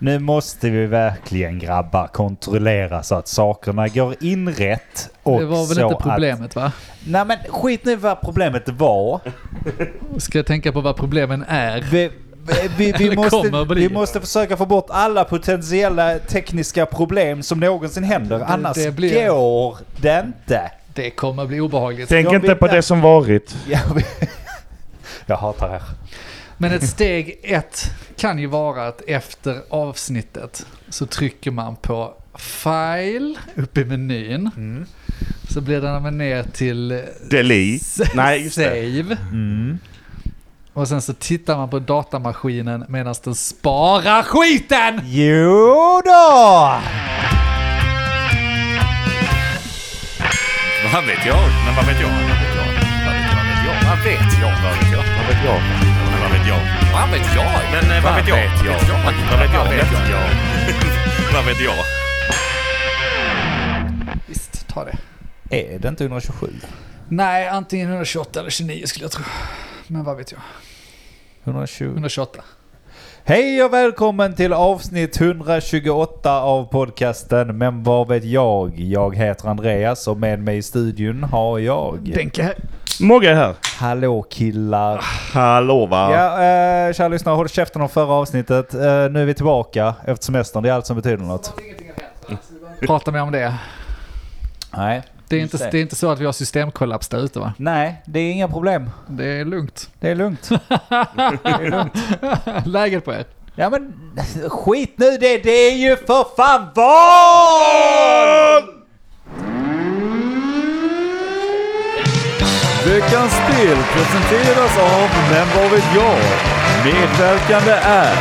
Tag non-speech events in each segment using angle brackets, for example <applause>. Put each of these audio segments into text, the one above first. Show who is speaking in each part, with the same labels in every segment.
Speaker 1: Nu måste vi verkligen grabbar kontrollera så att sakerna går in rätt. Och
Speaker 2: Det var väl
Speaker 1: så
Speaker 2: inte problemet va?
Speaker 1: Att, nej men skit nu vad problemet var.
Speaker 2: Ska jag tänka på vad problemen är?
Speaker 1: Vi, vi- vi, vi,
Speaker 2: <laughs> Eller kommer
Speaker 1: måste,
Speaker 2: att bli.
Speaker 1: vi måste försöka få bort alla potentiella tekniska problem som någonsin händer. Annars
Speaker 2: det blir-
Speaker 1: går det inte.
Speaker 2: Det kommer bli obehagligt.
Speaker 3: Tänk
Speaker 1: Jag
Speaker 3: inte
Speaker 1: vet
Speaker 3: på
Speaker 1: det.
Speaker 3: det som varit.
Speaker 1: Jag, <laughs> jag hatar er.
Speaker 2: Men ett steg ett kan ju vara att efter avsnittet så trycker man på file uppe i menyn. Så blir den ner till eh,
Speaker 3: Delete. Nej, just det.
Speaker 2: save. Och sen så tittar man på datamaskinen medan den sparar skiten!
Speaker 1: Jo då!
Speaker 4: Vad vet jag? Men vad vet jag? Vad vet jag? Vad vet jag? Vad vet jag? Vad vet jag? Men vad vet jag? Vad vet jag? Men eh, vad vet jag? Vad vet jag? Vad vet jag? Vad vet jag?
Speaker 2: Visst, ta det.
Speaker 1: Är det inte 127?
Speaker 2: Nej, antingen 128 eller 29 skulle jag tro. Men vad vet jag?
Speaker 1: 120.
Speaker 2: 128.
Speaker 1: Hej och välkommen till avsnitt 128 av podcasten Men vad vet jag? Jag heter Andreas och med mig i studion har jag...
Speaker 2: Benke här.
Speaker 3: Mogge är här.
Speaker 1: Hallå killar!
Speaker 3: Hallå va?
Speaker 1: Ja, eh, kära lyssnare, håll käften om förra avsnittet. Eh, nu är vi tillbaka efter semestern, det är allt som betyder något.
Speaker 2: Prata mer om det.
Speaker 1: Nej.
Speaker 2: Det är, inte, det är inte så att vi har systemkollaps där ute va?
Speaker 1: Nej, det är inga problem.
Speaker 2: Det är lugnt. <laughs>
Speaker 1: Det är lugnt. det är lugnt.
Speaker 2: Läget på er?
Speaker 1: Ja men skit nu det, det är ju för fan val!
Speaker 5: Veckans spel presenteras av Men vad vet jag? Medverkande är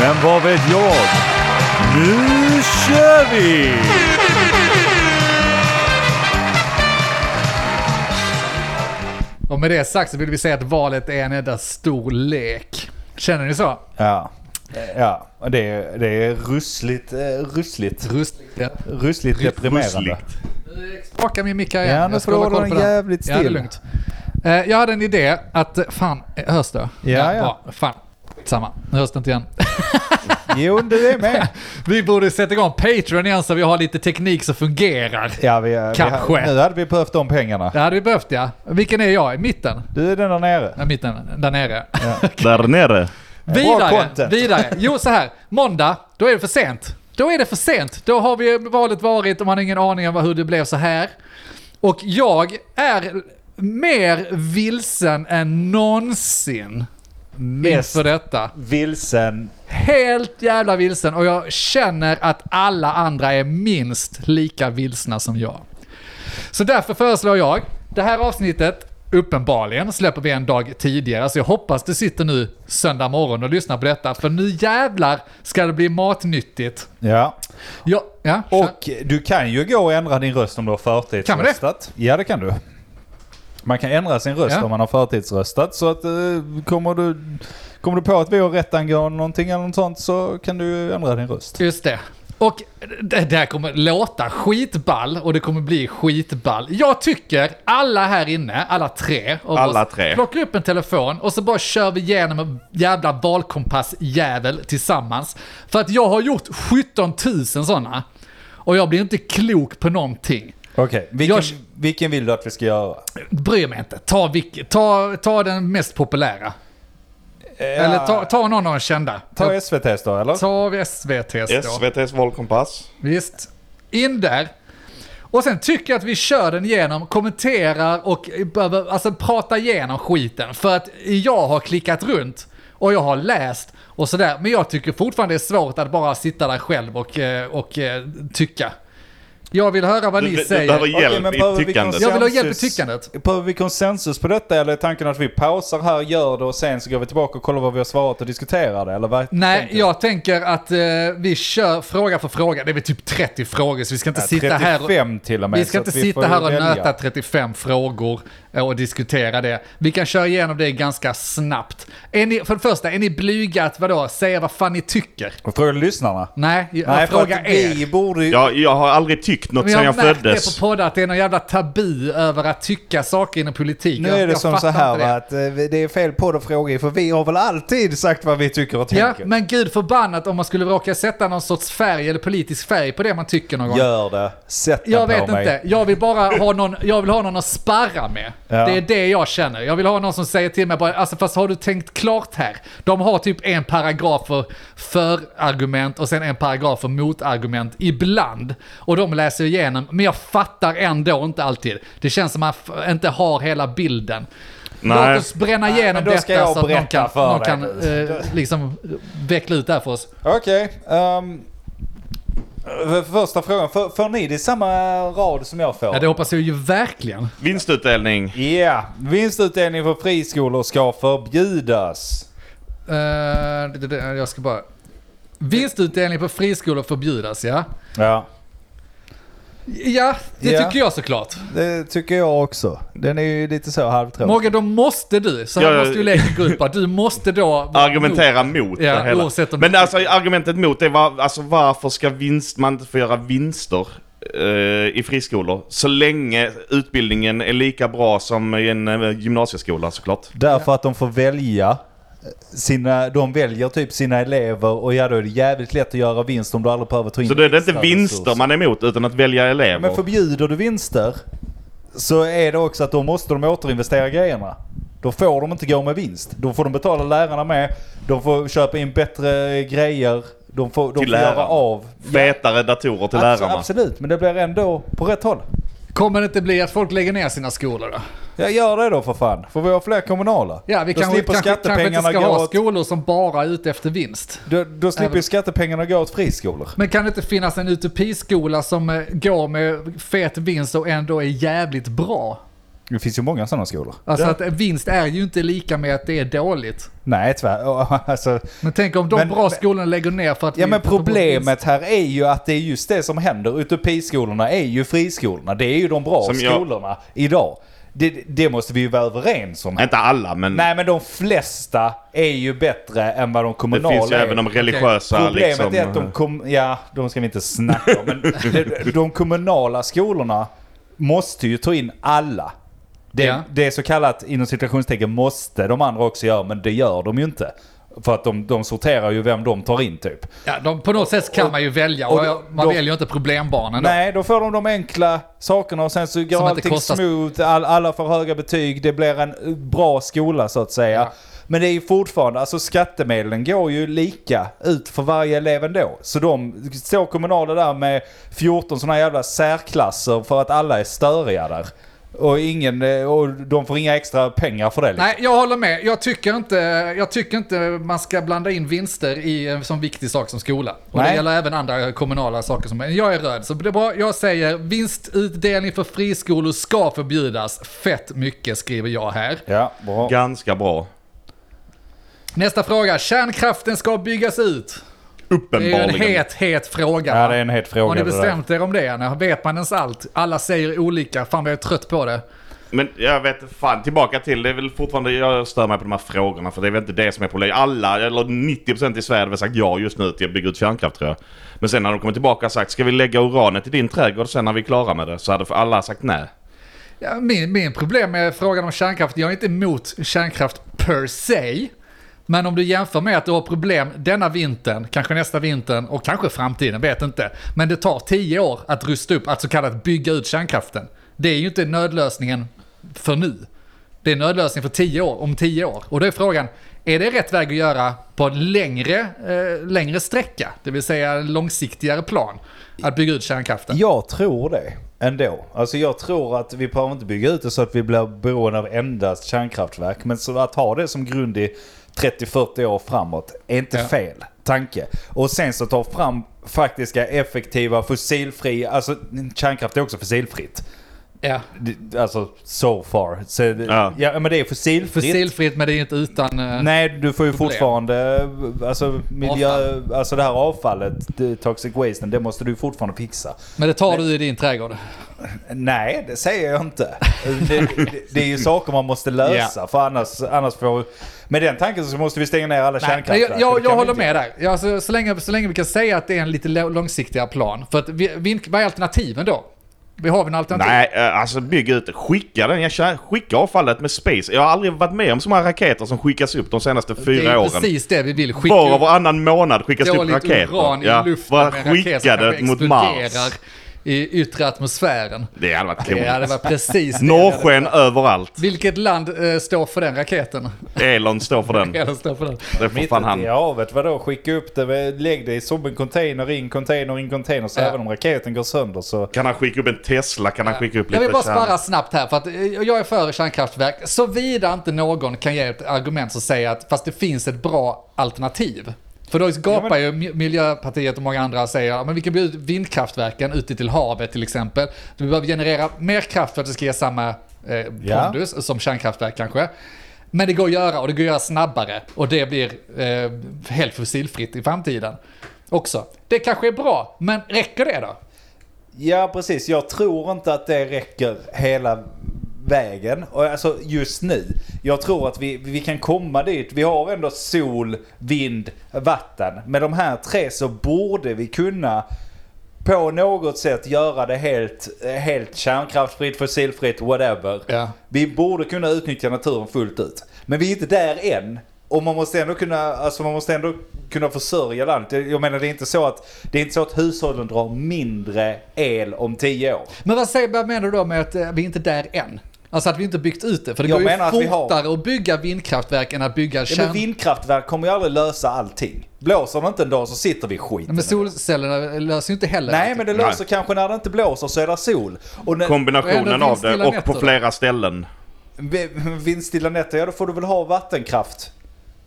Speaker 5: Men vad vet jag? Nu kör vi!
Speaker 2: Och med det sagt så vill vi säga att valet är en enda stor lek. Känner ni så?
Speaker 1: Ja. Ja, det är, det är russligt, eh, russligt,
Speaker 2: Rust. Ja.
Speaker 1: russligt deprimerande.
Speaker 3: Russligt.
Speaker 2: Skaka min micka igen.
Speaker 1: Ja, nu
Speaker 2: Jag ska
Speaker 1: får du
Speaker 2: hålla
Speaker 1: hålla
Speaker 2: koll
Speaker 1: den
Speaker 2: på
Speaker 1: jävligt
Speaker 2: Ja, det är
Speaker 1: still.
Speaker 2: lugnt. Eh, Jag hade en idé att... Fan, eh, hörs det?
Speaker 1: Ja, ja.
Speaker 2: Bra, fan. Samma. Nu hörs det inte igen. <laughs>
Speaker 1: Jo, du är med.
Speaker 2: Vi borde sätta igång Patreon igen så vi har lite teknik som fungerar.
Speaker 1: Ja, vi, eh, Vi,
Speaker 2: Kanske.
Speaker 1: nu hade vi behövt de pengarna.
Speaker 2: Det hade vi behövt ja. Vilken är jag? I mitten?
Speaker 1: Du är den där nere.
Speaker 2: Ja, mitten. Där nere.
Speaker 3: Där nere.
Speaker 2: Vidare,
Speaker 1: content.
Speaker 2: vidare. Jo, så här. Måndag, då är det för sent. Då är det för sent. Då har vi valet varit och man har ingen aning om hur det blev så här. Och jag är mer vilsen än någonsin
Speaker 1: Mest
Speaker 2: inför detta.
Speaker 1: vilsen.
Speaker 2: Helt jävla vilsen och jag känner att alla andra är minst lika vilsna som jag. Så därför föreslår jag, det här avsnittet uppenbarligen släpper vi en dag tidigare, så jag hoppas du sitter nu söndag morgon och lyssnar på detta, för nu jävlar ska det bli matnyttigt.
Speaker 1: Ja.
Speaker 2: Ja, ja. kör.
Speaker 1: Och du kan ju gå och ändra din röst om du har
Speaker 2: Kan man det?
Speaker 1: förtidsröstat. Ja, det kan du. Man kan ändra sin röst
Speaker 2: Ja.
Speaker 1: om man har förtidsröstat. Så att, eh, kommer, du, kommer du på att vi har rätt angående någonting eller något sånt så kan du ju ändra din röst.
Speaker 2: Just det. Och det det här kommer låta skitball och det kommer bli skitball. Jag tycker alla här inne, alla tre, av
Speaker 3: Alla
Speaker 2: oss,
Speaker 3: tre.
Speaker 2: plockar upp en telefon och så bara kör vi igenom en jävla valkompassjävel tillsammans. För att jag har gjort 17 000 sådana och jag blir inte klok på någonting.
Speaker 1: Okej, vilken,
Speaker 2: Jag-
Speaker 1: vilken vill du att vi ska göra?
Speaker 2: Bryr mig inte. Ta, vilk- ta, ta den mest populära. Eller ta, ta någon av de kända.
Speaker 1: Ta SVT's då, eller?
Speaker 2: Ta SVT's då.
Speaker 3: SVT's valkompass.
Speaker 2: Visst. In där. Och sen tycker jag att vi kör den igenom, kommenterar och behöver, alltså prata igenom skiten. För att jag har klickat runt och jag har läst och sådär. Men jag tycker fortfarande det är svårt att bara sitta där själv och, eh, och eh, tycka. Jag vill höra vad
Speaker 3: Du,
Speaker 2: ni
Speaker 3: du
Speaker 2: säger.
Speaker 3: behöver
Speaker 1: Okej,
Speaker 3: hjälp
Speaker 1: men behöver vi
Speaker 3: i tyckandet.
Speaker 1: konse-
Speaker 2: Jag vill ha hjälp i
Speaker 1: konsensus.
Speaker 2: tyckandet.
Speaker 1: Behöver vi konsensus på detta eller är tanken att vi pausar här, gör det och sen så går vi tillbaka och kollar vad vi har svarat och diskuterar det? Eller vad
Speaker 2: Nej,
Speaker 1: tänker du?
Speaker 2: jag tänker att eh, vi kör fråga för fråga. Det är väl typ 30 frågor så vi ska inte sitta här och...
Speaker 1: 35 till och med.
Speaker 2: Vi ska
Speaker 1: så
Speaker 2: inte
Speaker 1: att vi får
Speaker 2: sitta
Speaker 1: ju
Speaker 2: här och
Speaker 1: välja.
Speaker 2: nöta 35 frågor eh, och diskutera det. Vi kan köra igenom det ganska snabbt. Är ni, för det första, är ni blyga att vadå, säga vad fan ni tycker?
Speaker 1: Och fråga lyssnarna.
Speaker 2: Nej, jag
Speaker 1: Nej, för
Speaker 2: frågar
Speaker 1: att vi
Speaker 2: er.
Speaker 1: borde ju...
Speaker 3: Jag, jag har aldrig tyckt något
Speaker 2: Men
Speaker 3: sedan
Speaker 2: jag
Speaker 3: jag
Speaker 2: har märkt det
Speaker 3: föddes.
Speaker 2: på poddar att det är någon jävla tabu över att tycka saker inom politiken.
Speaker 1: Nu är det
Speaker 2: jag
Speaker 1: som
Speaker 2: fattar
Speaker 1: så här
Speaker 2: inte det.
Speaker 1: va, att eh, det är fel podd att fråga i, för vi har väl alltid sagt vad vi tycker och
Speaker 2: Ja,
Speaker 1: tänker.
Speaker 2: men gud förbannat om man skulle råka sätta någon sorts färg eller politisk färg på det man tycker någon gång.
Speaker 1: Gör det. Sätt den
Speaker 2: Jag
Speaker 1: på
Speaker 2: vet
Speaker 1: mig.
Speaker 2: inte. Jag vill bara ha någon, jag vill ha någon att sparra med.
Speaker 1: Ja.
Speaker 2: Det är det jag känner. Jag vill ha någon som säger till mig bara, alltså fast har du tänkt klart här? De har typ en paragraf för förargument och sen en paragraf för motargument ibland. Och de läser igenom, men jag fattar ändå inte alltid. Det känns som att man f- inte har hela bilden.
Speaker 3: Nej.
Speaker 2: Låt oss bränna
Speaker 1: Nej,
Speaker 2: igenom
Speaker 1: men då ska
Speaker 2: detta
Speaker 1: jag
Speaker 2: så att någon
Speaker 1: berätta
Speaker 2: kan,
Speaker 1: för
Speaker 2: någon
Speaker 1: dig.
Speaker 2: kan eh, liksom veckla ut det här för oss.
Speaker 1: Okej. ehm, för- första frågan. För, får ni det i samma rad som jag får?
Speaker 2: Ja, det hoppas jag ju verkligen.
Speaker 3: Vinstutdelning.
Speaker 1: Ja, vinstutdelning för friskolor ska förbjudas.
Speaker 2: Eh, det- det- det- jag ska bara... Vinstutdelning på friskolor förbjudas, ja.
Speaker 1: Ja,
Speaker 2: Ja, det
Speaker 1: Ja.
Speaker 2: tycker jag såklart.
Speaker 1: det tycker jag också. Den är ju lite så halvtråkig.
Speaker 2: Morgan, då måste du, så här
Speaker 3: Ja, ja.
Speaker 2: måste ju leken gå ut på, du måste då... vara
Speaker 3: Argumentera mot
Speaker 2: Ja,
Speaker 3: det hela.
Speaker 2: oavsett om-
Speaker 3: Men alltså argumentet mot det var, alltså varför ska vinst, man inte få göra vinster eh, i friskolor? Så länge utbildningen är lika bra som i en eh, gymnasieskola såklart.
Speaker 1: Därför att de får välja. eh, Sina, de väljer typ sina elever och ja då är det jävligt lätt att göra vinst om du aldrig behöver ta in
Speaker 3: Så då är det inte
Speaker 1: extra
Speaker 3: vinster
Speaker 1: resurser.
Speaker 3: man är emot utan att välja elever.
Speaker 1: Men förbjuder du vinster så är det också att då måste de återinvestera grejerna. Då får de inte gå med vinst. Då får de betala lärarna med. De får köpa in bättre grejer. De får, de får
Speaker 3: Till
Speaker 1: göra
Speaker 3: lärarna.
Speaker 1: av.
Speaker 3: Fetare datorer till
Speaker 1: Abs-
Speaker 3: lärarna.
Speaker 1: Absolut, men det blir ändå på rätt håll.
Speaker 2: Kommer det inte bli att folk lägger ner sina skolor då?
Speaker 1: Jag gör det då för fan. Får vi ha fler kommunala?
Speaker 2: Ja, vi
Speaker 1: då
Speaker 2: kanske,
Speaker 1: slipper
Speaker 2: kanske, kanske inte
Speaker 1: skattepengarna
Speaker 2: ska
Speaker 1: gå
Speaker 2: ha
Speaker 1: åt,
Speaker 2: skolor som bara är ute efter vinst.
Speaker 1: då, då slipper ju skattepengarna gå åt friskolor.
Speaker 2: Men kan det inte finnas en utopiskola som eh, går med fet vinst och ändå är jävligt bra?
Speaker 1: Det finns ju många sådana skolor.
Speaker 2: Alltså att vinst är ju inte lika med att det är dåligt.
Speaker 1: Nej, tyvärr. <laughs> Alltså,
Speaker 2: Men tänk om de
Speaker 1: Men-
Speaker 2: bra skolorna lägger ner för att...
Speaker 1: Ja
Speaker 2: vi
Speaker 1: men
Speaker 2: tar bort vinst.
Speaker 1: problemet här är ju att det är just det som händer. Utopiskolorna är ju friskolorna. Det är ju de bra
Speaker 3: Som jag-
Speaker 1: skolorna idag. Det, det måste vi ju vara överens om. här.
Speaker 3: Inte alla men
Speaker 1: Nej men de flesta är ju bättre än vad de
Speaker 3: det
Speaker 1: kommunala
Speaker 3: finns ju
Speaker 1: är.
Speaker 3: även de religiösa
Speaker 1: Problemet
Speaker 3: liksom.
Speaker 1: är att de, kom, ja, de ska vi inte snacka om, men de, de kommunala skolorna måste ju ta in alla. Det,
Speaker 2: Ja.
Speaker 1: det är så kallat, inom citationstecken, måste de andra också göra, men det gör de ju inte. För att de, de sorterar ju vem de tar in typ.
Speaker 2: Ja, de, på något sätt kan man ju välja och,
Speaker 1: och
Speaker 2: jag- man
Speaker 1: då-
Speaker 2: väljer ju inte problembarnen. då.
Speaker 1: Nej, då får de de enkla sakerna och sen så går
Speaker 2: Som inte
Speaker 1: allting
Speaker 2: kostar-
Speaker 1: smooth, all, alla får höga betyg, det blir en eh, bra skola så att säga.
Speaker 2: Ja.
Speaker 1: Men det är ju fortfarande, alltså skattemedlen går ju lika ut för varje elev ändå. Så de står kommunala där med 14 sådana jävla särklasser för att alla är störiga där. Och, ingen, eh, och de får inga extra pengar för det. liksom.
Speaker 2: Nej, jag håller med. Jag tycker, inte, jag tycker inte man ska blanda in vinster i en sån viktig sak som skola. Och det
Speaker 1: Nej.
Speaker 2: gäller även andra kommunala saker. Som, jag är röd, så det är bra. Jag säger vinstutdelning för friskolor ska förbjudas. Fett mycket skriver jag här.
Speaker 1: Ja, bra.
Speaker 3: Ganska bra.
Speaker 2: Nästa fråga. Kärnkraften ska byggas ut. Det är ju en
Speaker 3: Uppenbarligen.
Speaker 2: het, het fråga.
Speaker 1: Ja,
Speaker 2: va?
Speaker 1: det är en het
Speaker 2: Har
Speaker 1: fråga.
Speaker 2: ni
Speaker 1: det där.
Speaker 2: bestämt er om det? Anna? Vet man ens allt? Alla säger olika. Fan vad jag är trött på det.
Speaker 3: Men jag vet fan, tillbaka till det är väl fortfarande, jag stör mig på de här frågorna för det är väl inte det som är problemet. Alla, eller 90% i Sverige hade väl sagt ja just nu till att bygga ut kärnkraft tror jag. Men sen när de kommer tillbaka och sagt ska vi lägga uranet i din trädgård sen när vi är klara med det så hade alla sagt nej.
Speaker 2: Ja, min, min problem med frågan om kärnkraft, jag är inte emot kärnkraft per se. Men om du jämför med att du har problem denna vintern, kanske nästa vintern och kanske framtiden, vet inte. Men det tar tio år att rusta upp, att så kallat bygga ut kärnkraften. Det är ju inte nödlösningen för nu. Det är nödlösning för tio år, om tio år. Och då är frågan, är det rätt väg att göra på en längre, eh, längre sträcka? Det vill säga en långsiktigare plan, att bygga ut kärnkraften.
Speaker 1: Jag tror det ändå. Alltså jag tror att vi behöver inte bygga ut det så att vi blir beroende av endast kärnkraftverk. Men så att ha det som grund i 30-40 år framåt är inte
Speaker 2: Ja.
Speaker 1: fel tanke. Och sen så ta fram faktiska effektiva fossilfria, alltså kärnkraft är också fossilfritt.
Speaker 2: Ja.
Speaker 1: Det- Alltså so far. Så, ja.
Speaker 3: Ja.
Speaker 1: ja men det är fossilfritt.
Speaker 2: Fossilfritt men det är inte utan... eh,
Speaker 1: Nej, du får ju
Speaker 2: Problem.
Speaker 1: fortfarande, alltså, miljö, alltså det här avfallet, det- toxic wasten, det måste du ju fortfarande fixa.
Speaker 2: Men det tar du i din trädgård.
Speaker 1: Nej, det säger jag inte. Det, det, det är ju saker man måste lösa, för annars, annars får... Med den tanken så måste vi stänga ner alla
Speaker 2: Nej,
Speaker 1: kärnkraftverk.
Speaker 2: jag,
Speaker 1: och det kan
Speaker 2: jag, jag
Speaker 1: vi
Speaker 2: håller
Speaker 1: inte
Speaker 2: med där. Ja, Alltså, så, länge, så länge vi kan säga att det är en lite lo- långsiktigare plan. För att vi, vi, vad är alternativen då? Vi har väl en alternativ?
Speaker 3: Nej, eh, alltså bygg ut det. Skicka den. Jag kär, skicka avfallet med space. Jag har aldrig varit med om så många raketer som skickas upp de senaste
Speaker 2: det
Speaker 3: fyra
Speaker 2: är
Speaker 3: åren.
Speaker 2: precis det vi vill. Skicka
Speaker 3: Var och
Speaker 2: upp
Speaker 3: varannan månad skickas det upp
Speaker 2: dåligt
Speaker 3: raketer.
Speaker 2: uran i luften
Speaker 3: bara
Speaker 2: med en raket som
Speaker 3: skicka det
Speaker 2: kanske
Speaker 3: mot
Speaker 2: exploderar
Speaker 3: Mars.
Speaker 2: i yttre atmosfären.
Speaker 3: Det hade varit
Speaker 2: Ja, det
Speaker 3: coolt.
Speaker 2: var
Speaker 3: <laughs>
Speaker 2: precis det.
Speaker 3: Norrsken överallt.
Speaker 2: Vilket land eh, står för den raketen?
Speaker 3: Elon står
Speaker 2: <laughs>
Speaker 3: för den.
Speaker 2: Eller står för den.
Speaker 3: Det får
Speaker 1: Mitt
Speaker 3: fan han.
Speaker 1: ute i havet, vadå? Skicka upp det, lägg det som en container, in container, in container. Så
Speaker 2: Ja.
Speaker 1: även om raketen går sönder så...
Speaker 3: Kan han skicka upp en Tesla? Kan han skicka upp
Speaker 2: Jag
Speaker 3: lite
Speaker 2: vill bara
Speaker 3: kärn-
Speaker 2: spara snabbt här, för att eh, jag är för kärnkraftverk. Såvida inte någon kan ge ett argument som säger att fast det finns ett bra alternativ. För då gapar
Speaker 1: men-
Speaker 2: ju Mi- Miljöpartiet och många andra och säger "Ja, men vi kan bjuda ut vindkraftverken ute till havet till exempel. Vi behöver generera mer kraft för att det ska ge samma eh,
Speaker 1: Ja.
Speaker 2: pondus som kärnkraftverk kanske. Men det går att göra och det går att göra snabbare och det blir eh, helt fossilfritt i framtiden också. Det kanske är bra, men räcker det då?
Speaker 1: Ja, precis. Jag tror inte att det räcker hela vägen. Och Alltså just nu. Jag tror att vi, vi kan komma dit. Vi har ändå sol, vind, vatten. Med de här tre så borde vi kunna på något sätt göra det helt, helt kärnkraftsfritt, fossilfritt, whatever.
Speaker 2: Ja.
Speaker 1: Vi borde kunna utnyttja naturen fullt ut. Men vi är inte där än. Och man måste ändå kunna, alltså man måste ändå kunna försörja landet. Jag menar det är inte så att, det är inte så att hushållen drar mindre el om tio år.
Speaker 2: Men vad, säger, vad menar du då med att eh, vi inte är där än? Alltså att vi inte byggt ut det. För det
Speaker 1: Jag
Speaker 2: går ju
Speaker 1: menar att vi har-
Speaker 2: fortare att bygga vindkraftverk än att bygga
Speaker 1: Ja,
Speaker 2: kärn...
Speaker 1: men vindkraftverk kommer ju aldrig lösa allting. Blåser det inte en dag så sitter vi i skiten.
Speaker 2: Nej, men solcellerna löser ju inte heller
Speaker 1: Nej
Speaker 2: allting.
Speaker 1: men det
Speaker 3: Nej.
Speaker 1: löser kanske när det inte blåser så är det sol. Och när,
Speaker 2: Och
Speaker 3: Kombinationen
Speaker 2: ändå
Speaker 3: av
Speaker 2: vindstilla
Speaker 3: det och
Speaker 2: nätter
Speaker 3: på
Speaker 2: då?
Speaker 3: flera ställen.
Speaker 1: vindstilla nätter, ja då får du väl ha vattenkraft.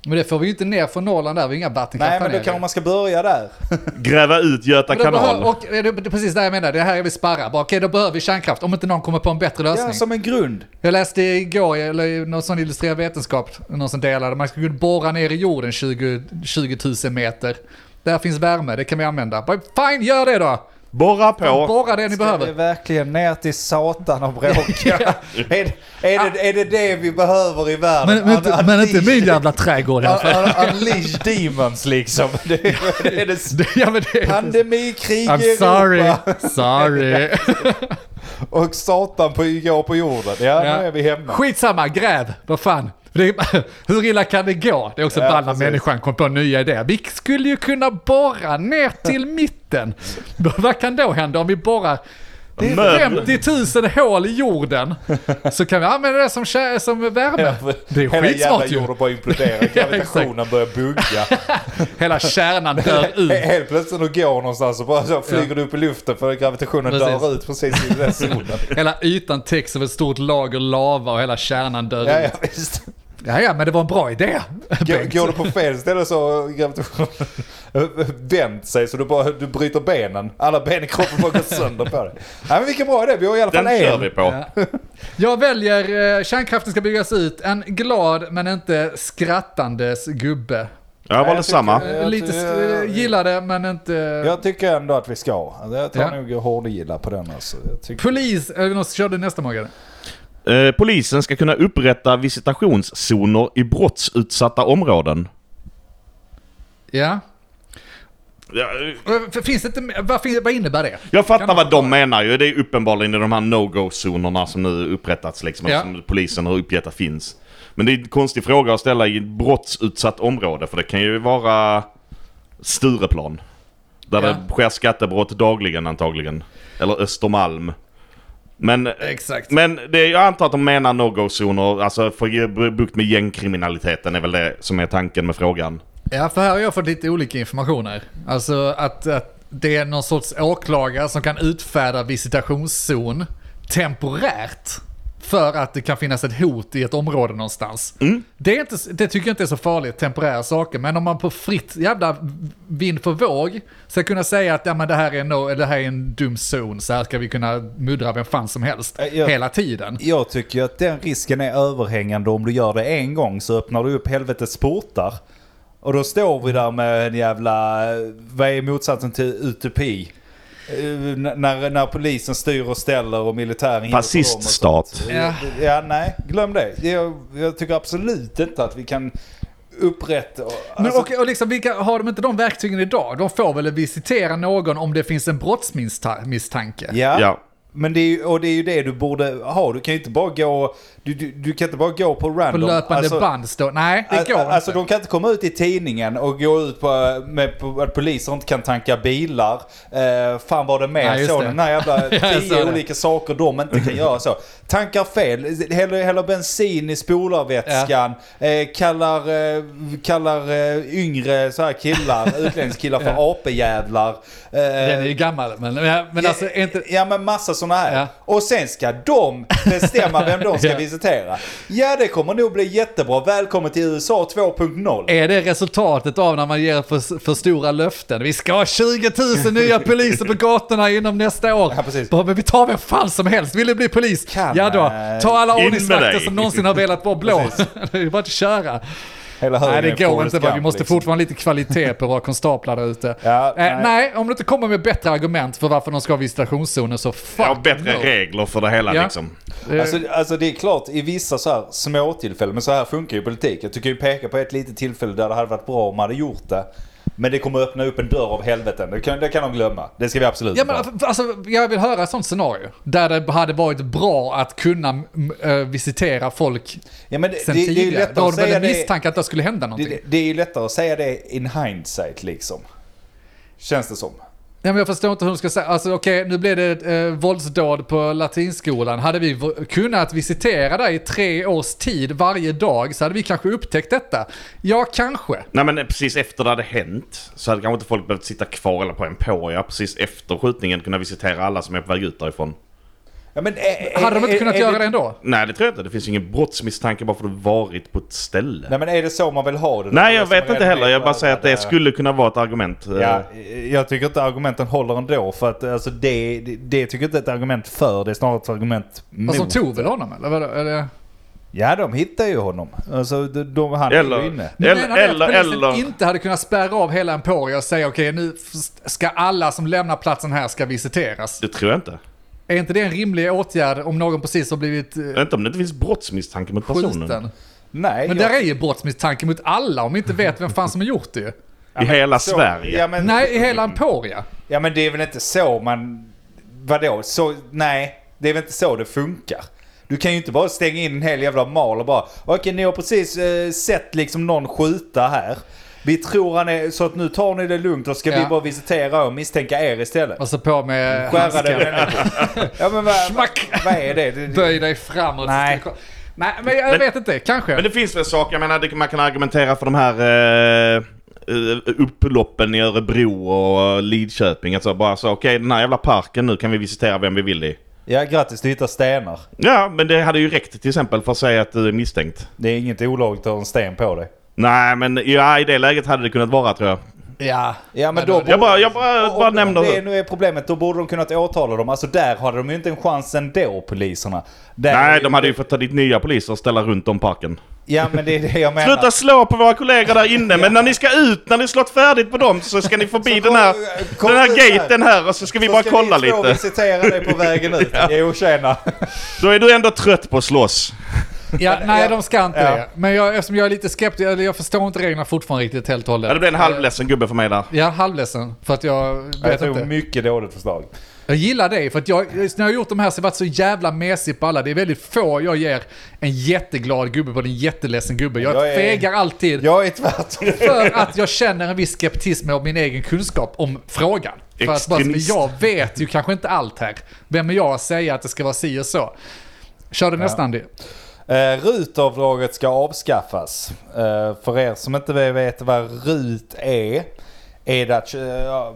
Speaker 2: Men det får vi ju inte ner från Norrland där, vi har inga vattenkraft
Speaker 1: Nej men då
Speaker 2: där nere.
Speaker 1: kanske man ska börja där.
Speaker 3: Gräva ut Göta
Speaker 2: Men då
Speaker 3: kanal.
Speaker 2: behöver- och, eh, det, det, är precis där jag menar, det här är vi sparrar. Bara, Okej, då behöver vi kärnkraft om inte någon kommer på en bättre lösning.
Speaker 1: Ja, som en grund.
Speaker 2: Jag läste igår, eller i någon sån illustrerad vetenskap, någon som delade, man skulle kunna borra ner i jorden 20, 20 000 meter. Där finns värme, det kan vi använda. Bara, Fine, gör det då!
Speaker 3: Borra på.
Speaker 2: Borra det ni behöver.
Speaker 1: Ska vi verkligen ner till satan och
Speaker 2: <laughs>
Speaker 1: bråka? <laughs> är, är, det, är det det vi behöver i världen?
Speaker 2: Men, men, inte-
Speaker 1: Un-
Speaker 2: men inte
Speaker 1: unleash-
Speaker 2: min jävla trädgård i alla
Speaker 1: <laughs>
Speaker 2: fall.
Speaker 1: un- un- Unleash demons liksom. <laughs> Det är, det
Speaker 2: <laughs>
Speaker 1: är det
Speaker 2: ja, men det är
Speaker 1: pandemikrig i
Speaker 2: I'm sorry,
Speaker 1: Europa
Speaker 2: sorry.
Speaker 1: och satan på, igår på jorden. Ja,
Speaker 2: Ja.
Speaker 1: nu är vi hemma.
Speaker 2: Skitsamma, gräv, vad fan. Det är, <laughs> hur illa kan det gå? Det är också
Speaker 1: Ja,
Speaker 2: ball när
Speaker 1: precis.
Speaker 2: människan kom på nya idéer. Vi skulle ju kunna borra ner
Speaker 1: <laughs>
Speaker 2: till mitten. vad kan då hända om vi borrar
Speaker 3: Möbel.
Speaker 2: 50 000 hål i jorden? Så kan vi använda det som, kä- som värme. <laughs> Det är
Speaker 1: Hela jävla
Speaker 2: skitsmart ju.
Speaker 1: jorden bara
Speaker 2: <laughs>
Speaker 1: imploderar. Gravitationen börjar bugga. <laughs>
Speaker 2: Hela kärnan <laughs> dör ut.
Speaker 1: He- Helt plötsligt när du går någonstans så bara så flyger
Speaker 2: Ja.
Speaker 1: du upp i luften för gravitationen
Speaker 2: Precis.
Speaker 1: dör ut precis i den
Speaker 2: <laughs>
Speaker 1: zonen.
Speaker 2: Hela ytan täcks av ett stort lager lava och hela kärnan dör
Speaker 1: Ja,
Speaker 2: ut.
Speaker 1: ja, visst.
Speaker 2: Ja, ja, men det var en bra idé.
Speaker 1: Går,
Speaker 2: Bengt.
Speaker 1: går du på fel ställe så har gravitationen
Speaker 3: <laughs>
Speaker 1: vänt sig så du, bara, du bryter benen. Alla ben i kroppen bara går
Speaker 3: <laughs>
Speaker 1: sönder på dig. Nej men vilken bra idé, vi har i alla
Speaker 3: Den
Speaker 1: fall
Speaker 3: kör
Speaker 1: en.
Speaker 3: vi på.
Speaker 2: Jag väljer eh, kärnkraften ska byggas ut. En glad men inte skrattandes gubbe.
Speaker 3: Jag var
Speaker 1: jag
Speaker 3: detsamma.
Speaker 1: tycker-
Speaker 2: Eh, Lite sk- eh, gillar det men inte...
Speaker 1: Jag tycker ändå att vi ska. Alltså, jag tar
Speaker 2: Ja.
Speaker 1: nog hårdgilla på den alltså. Jag tycker...
Speaker 2: Polis, eh, eller någon som körde nästa morgon.
Speaker 3: Eh, Polisen ska kunna upprätta visitationszoner i brottsutsatta områden.
Speaker 2: Ja.
Speaker 3: Ja, eh,
Speaker 2: Eh, för- Finns det inte, mer- vad, fin- vad innebär det?
Speaker 3: Jag
Speaker 2: Kan
Speaker 3: fattar
Speaker 2: man
Speaker 3: vad de
Speaker 2: förklara?
Speaker 3: menar ju. Det är uppenbarligen i de här no-go-zonerna som nu upprättats liksom.
Speaker 2: Ja.
Speaker 3: Som polisen har uppgett att finns. Men det är en konstig fråga att ställa i ett brottsutsatt område. För det kan ju vara Stureplan. Där
Speaker 2: Ja.
Speaker 3: det sker skattebrott dagligen antagligen. Eller Östermalm. Men,
Speaker 2: Exakt.
Speaker 3: men det är, jag antar att de menar no-go-zoner. Alltså för att ge bukt med gängkriminaliteten är väl det som är tanken med frågan.
Speaker 2: Ja, för här har jag fått lite olika informationer. Alltså att, att det är någon sorts åklagare som kan utfärda visitationszon temporärt för att det kan finnas ett hot i ett område någonstans. Det, är inte, det tycker jag inte är så farligt, temporära saker, men om man på fritt jävla vind för våg ska kunna säga att ja, men det, här är no, eller det här är en dum zon, så här ska vi kunna muddra vem fan som helst
Speaker 1: Äh, jag-
Speaker 2: hela tiden.
Speaker 1: Jag tycker ju att den risken är överhängande om du gör det en gång så öppnar du upp helvetets portar. Och då står vi där med en jävla, eh, vad är motsatsen till utopi? Eh, n- när, när polisen styr och ställer och militären hinner på dem och
Speaker 3: Fasciststat.
Speaker 1: sånt.
Speaker 2: Ja.
Speaker 1: Ja, nej, glöm det. Jag, jag tycker absolut inte att vi kan upprätta...
Speaker 2: Men
Speaker 1: alltså-
Speaker 2: och, och liksom, vilka, har de inte de verktygen idag? De får väl visitera någon om det finns en brottsmisstanke?
Speaker 1: Ja.
Speaker 3: Ja.
Speaker 1: Men det är, ju, och det är ju det du borde ha. Du kan ju inte bara gå, du, du, du kan inte bara gå på
Speaker 2: På
Speaker 1: random.
Speaker 2: löpande
Speaker 1: Alltså-
Speaker 2: band står... Nej, det går
Speaker 1: Alltså
Speaker 2: inte.
Speaker 1: de kan inte komma ut i tidningen och gå ut på, med, på att poliser inte kan tanka bilar. Eh, fan var det mer
Speaker 2: Nej, just
Speaker 1: så?
Speaker 2: det.
Speaker 1: Den här
Speaker 2: <laughs>
Speaker 1: jävla
Speaker 2: jag
Speaker 1: tio
Speaker 2: såg det.
Speaker 1: olika saker de inte kan göra så. Tankar fel, häller, häller bensin i spolarvätskan, eh, kallar, eh, kallar eh, yngre så här
Speaker 2: <laughs>
Speaker 1: killar, utlänningskillar för apejävlar. Eh,
Speaker 2: Den är ju gammal, men, men, men alltså är inte...
Speaker 1: Ja men massa sådana här.
Speaker 2: Ja.
Speaker 1: Och sen ska de bestämma vem de ska
Speaker 2: <laughs> Ja.
Speaker 1: visitera. Ja det kommer nog bli jättebra. Välkommen till USA 2.0.
Speaker 2: Är det resultatet av när man ger för, för stora löften? Vi ska ha 20 000 nya poliser på gatorna inom nästa år.
Speaker 1: Ja, precis.
Speaker 2: Bara, men vi tar vem fan som helst. Vill du bli polis?
Speaker 1: Kan,
Speaker 2: ja då,
Speaker 1: eh,
Speaker 2: ta alla
Speaker 3: in med
Speaker 2: ordningsvakter
Speaker 3: dig.
Speaker 2: som någonsin har velat vara blå. <laughs> det är bara att köra.
Speaker 1: Hela högen
Speaker 2: Nej, det
Speaker 1: är
Speaker 2: går
Speaker 1: Forrest
Speaker 2: inte. bara. Vi
Speaker 1: Gump,
Speaker 2: måste
Speaker 1: liksom.
Speaker 2: fortfarande ha lite kvalitet på våra konstaplar där ute.
Speaker 1: <laughs> Ja,
Speaker 2: Eh,
Speaker 1: nej.
Speaker 2: nej. om du inte kommer med bättre argument för varför de ska ha visitationszoner så fuck
Speaker 3: Ja, bättre
Speaker 2: no.
Speaker 3: regler för det hela
Speaker 2: Ja.
Speaker 3: liksom.
Speaker 2: Eh,
Speaker 1: Alltså, alltså det är klart i vissa så här små tillfällen, men så här funkar ju politik. Jag tycker ju peka på ett litet tillfälle där det hade varit bra om man hade gjort det. Men det kommer öppna upp en dörr av helveten. Det kan, det kan de glömma. Det ska vi absolut
Speaker 2: Ja,
Speaker 1: inte
Speaker 2: men,
Speaker 1: ha.
Speaker 2: alltså, jag vill höra ett sånt scenario. Där det hade varit bra att kunna m- eh, visitera folk
Speaker 1: ja, men det, det,
Speaker 2: sen
Speaker 1: det är ju
Speaker 2: tidigare.
Speaker 1: lättare
Speaker 2: Då har
Speaker 1: att
Speaker 2: du väl
Speaker 1: säga
Speaker 2: en
Speaker 1: det.
Speaker 2: misstanke att det skulle hända
Speaker 1: Det,
Speaker 2: någonting?
Speaker 1: det, det är ju lättare att säga det in hindsight liksom. Känns det som.
Speaker 2: Ja, men jag förstår inte hur de ska säga. Alltså okej, nu blev det ett eh, våldsdåd på latinskolan. Hade vi v- kunnat visitera där i tre års tid varje dag så hade vi kanske upptäckt detta. Ja, kanske.
Speaker 3: Nej men precis efter det hade hänt så hade kanske inte folk behövt sitta kvar eller på Emporia precis efter skjutningen kunna visitera alla som är på väg ut därifrån.
Speaker 1: Ja, men, är,
Speaker 2: Hade de inte kunnat göra det ändå?
Speaker 3: Nej det tror jag inte. Det finns ju ingen brottsmisstanke bara för att du varit på ett ställe. Nej, alltså,
Speaker 1: Nej men är det så man vill ha det? Alltså,
Speaker 3: jag vet inte heller. Jag bara säger att det skulle kunna vara ett argument.
Speaker 1: eh,
Speaker 3: Eh,
Speaker 1: Ja, eh,
Speaker 3: Ja.
Speaker 1: jag tycker inte argumenten håller ändå för att alltså, det, det, det tycker jag inte är ett argument för, det är snarare ett argument
Speaker 2: Och
Speaker 1: mot.
Speaker 2: som Alltså, tog väl honom eller? vadå? eller?
Speaker 1: Ja de hittar ju honom. Alltså de, de, han är ju
Speaker 3: Eller,
Speaker 1: inne.
Speaker 3: eller,
Speaker 2: Menar ni att
Speaker 3: eller,
Speaker 2: polisen
Speaker 3: eller,
Speaker 2: inte hade kunnat spärra av hela Emporia och säga okej nu f- ska alla som lämnar platsen här ska visiteras.
Speaker 3: Det tror jag inte.
Speaker 2: Är inte det en rimlig åtgärd om någon precis har blivit eh,
Speaker 3: Inte om det inte finns brottsmisstanke mot personen.
Speaker 2: skjuten?
Speaker 1: Nej.
Speaker 2: Men
Speaker 1: jag-
Speaker 2: där är ju brottsmisstanke mot alla om vi inte vet vem fan som har gjort det ju.
Speaker 3: I hela
Speaker 1: så-
Speaker 3: Sverige.
Speaker 1: Ja men,
Speaker 2: Nej, i hela Emporia.
Speaker 1: ja men det är väl inte så man... Vadå? Så, nej, det är väl inte så det funkar. Du kan ju inte bara stänga in en hel jävla mal och bara Okej ni har precis eh, sett liksom någon skjuta här. Vi tror han är... Så att nu tar ni det lugnt och ska vi
Speaker 2: Ja.
Speaker 1: bara visitera och misstänka er istället.
Speaker 2: Och så Alltså på med
Speaker 1: Skära dig
Speaker 2: handsken.
Speaker 1: människor. Ja men vad,
Speaker 2: Schmack!
Speaker 1: vad är det? det, det
Speaker 2: Böj dig framåt.
Speaker 1: Nej.
Speaker 2: Nej, men jag
Speaker 3: Men-
Speaker 2: vet inte. Kanske.
Speaker 3: Men det finns väl saker, jag menar det, man kan argumentera för de här eh, eh, upploppen i Örebro och Lidköping. Alltså bara så, okej den här jävla parken nu kan vi visitera vem vi vill i.
Speaker 1: ja grattis du hittar stenar.
Speaker 3: Ja, men det hade ju räckt till exempel för att säga att du är misstänkt.
Speaker 1: Det är inget olagligt att ha en sten på dig.
Speaker 3: Nej, men ja, i det läget hade det kunnat vara tror jag.
Speaker 2: Ja.
Speaker 1: Ja men då...
Speaker 3: Jag bara, jag bara, bara nämner
Speaker 1: det.
Speaker 3: det.
Speaker 1: nu är problemet, då borde de kunnat åtala dem. Alltså där hade de ju inte en chans ändå, poliserna. Där
Speaker 3: Nej, de hade ju fått ta dit nya poliser och ställa runt om parken.
Speaker 1: Ja men det är det jag menar.
Speaker 3: Sluta slå på våra kollegor där inne, men när ni ska ut, när ni slått färdigt på dem så ska ni förbi den här,
Speaker 1: kom
Speaker 3: den här
Speaker 1: ut här.
Speaker 3: gaten här och så ska vi
Speaker 1: Så
Speaker 3: bara
Speaker 1: ska
Speaker 3: kolla
Speaker 1: vi två
Speaker 3: lite.
Speaker 1: visitera dig på vägen
Speaker 3: <laughs>
Speaker 1: ut. Jo tjena.
Speaker 3: Då är du ändå trött på att slåss.
Speaker 2: Ja, nej, de ska inte
Speaker 1: Ja.
Speaker 2: det. Men jag, eftersom jag är lite skeptisk, eller jag förstår inte reglerna fortfarande riktigt helt och
Speaker 3: Ja, det
Speaker 2: hållet.
Speaker 3: blev en halvledsen gubbe för mig där.
Speaker 2: Jag är halvledsen för att jag
Speaker 1: Jag
Speaker 2: vet
Speaker 1: tror
Speaker 2: inte.
Speaker 1: mycket dåligt förslag.
Speaker 2: Jag gillar dig för att jag, när jag har gjort de här så har jag varit så jävla mesig på alla. Det är väldigt få jag ger en jätteglad gubbe på en jätteledsen gubbe. Jag,
Speaker 1: Jag är-
Speaker 2: fegar alltid
Speaker 1: Jag är tvärtom.
Speaker 2: för att jag känner en viss skeptism av min egen kunskap om frågan. För att bara, men
Speaker 3: Extremist.
Speaker 2: jag vet ju kanske inte allt här. Vem är jag att säga att det ska vara si och så? Kör du nästan det?
Speaker 1: Eh, RUT-avdraget ska avskaffas. Eh, för er som inte vet vad RUT är, är det att eh,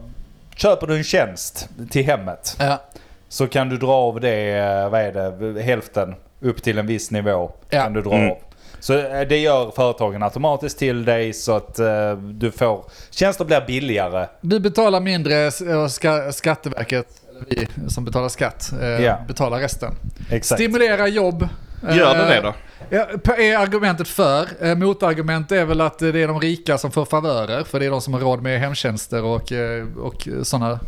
Speaker 1: köper du en tjänst till hemmet
Speaker 2: Ja.
Speaker 1: så kan du dra av det, eh, vad är det, hälften upp till en viss nivå
Speaker 2: Ja.
Speaker 1: kan du dra
Speaker 3: Mm.
Speaker 1: av. Så eh, det gör företagen automatiskt till dig så att eh, du får, tjänster blir billigare.
Speaker 2: Du betalar mindre och ska, Skatteverket, eller vi som betalar skatt, eh,
Speaker 1: Ja.
Speaker 2: betalar resten.
Speaker 1: Exakt.
Speaker 2: Stimulera jobb.
Speaker 3: Gör det
Speaker 2: Eh,
Speaker 3: det då?
Speaker 2: Ja, p- är argumentet för. Eh, Motargument är väl att eh, det är de rika som får favörer, för det är de som har råd med hemtjänster och, eh, och sådana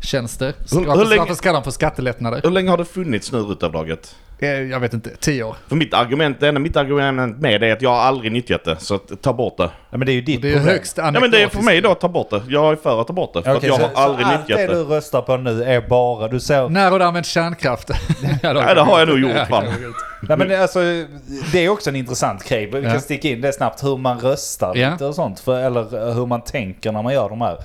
Speaker 2: ruttjänster. Så
Speaker 3: Hur- hur
Speaker 2: Varför,
Speaker 3: länge-
Speaker 2: varför ska de få skattelättnader?
Speaker 3: Hur länge har det funnits nu rutavdraget?
Speaker 2: Eh, Jag vet inte, tio år.
Speaker 3: För mitt argument, det enda mitt argument med det är att jag har aldrig nyttjat det, så att ta bort det.
Speaker 1: Ja, men det är ju ditt
Speaker 2: Det är ju
Speaker 1: problem.
Speaker 2: högst
Speaker 3: Ja men det är för mig då att ta bort det. Jag är för att ta bort det, för
Speaker 1: Okej,
Speaker 3: att
Speaker 1: så,
Speaker 3: jag har aldrig
Speaker 1: så
Speaker 3: nyttjat
Speaker 1: allt det
Speaker 3: det.
Speaker 1: du röstar på nu är bara, du ser
Speaker 2: När har du använt
Speaker 3: <laughs>
Speaker 2: kärnkraft? ja,
Speaker 3: Nej, det har jag nog gjort fan.
Speaker 1: Nej, men alltså, det är också en intressant grej. Vi kan
Speaker 2: Ja.
Speaker 1: sticka in det snabbt. Hur man röstar
Speaker 2: Ja.
Speaker 1: lite och sånt. För, eller eh, hur man tänker när man gör de här.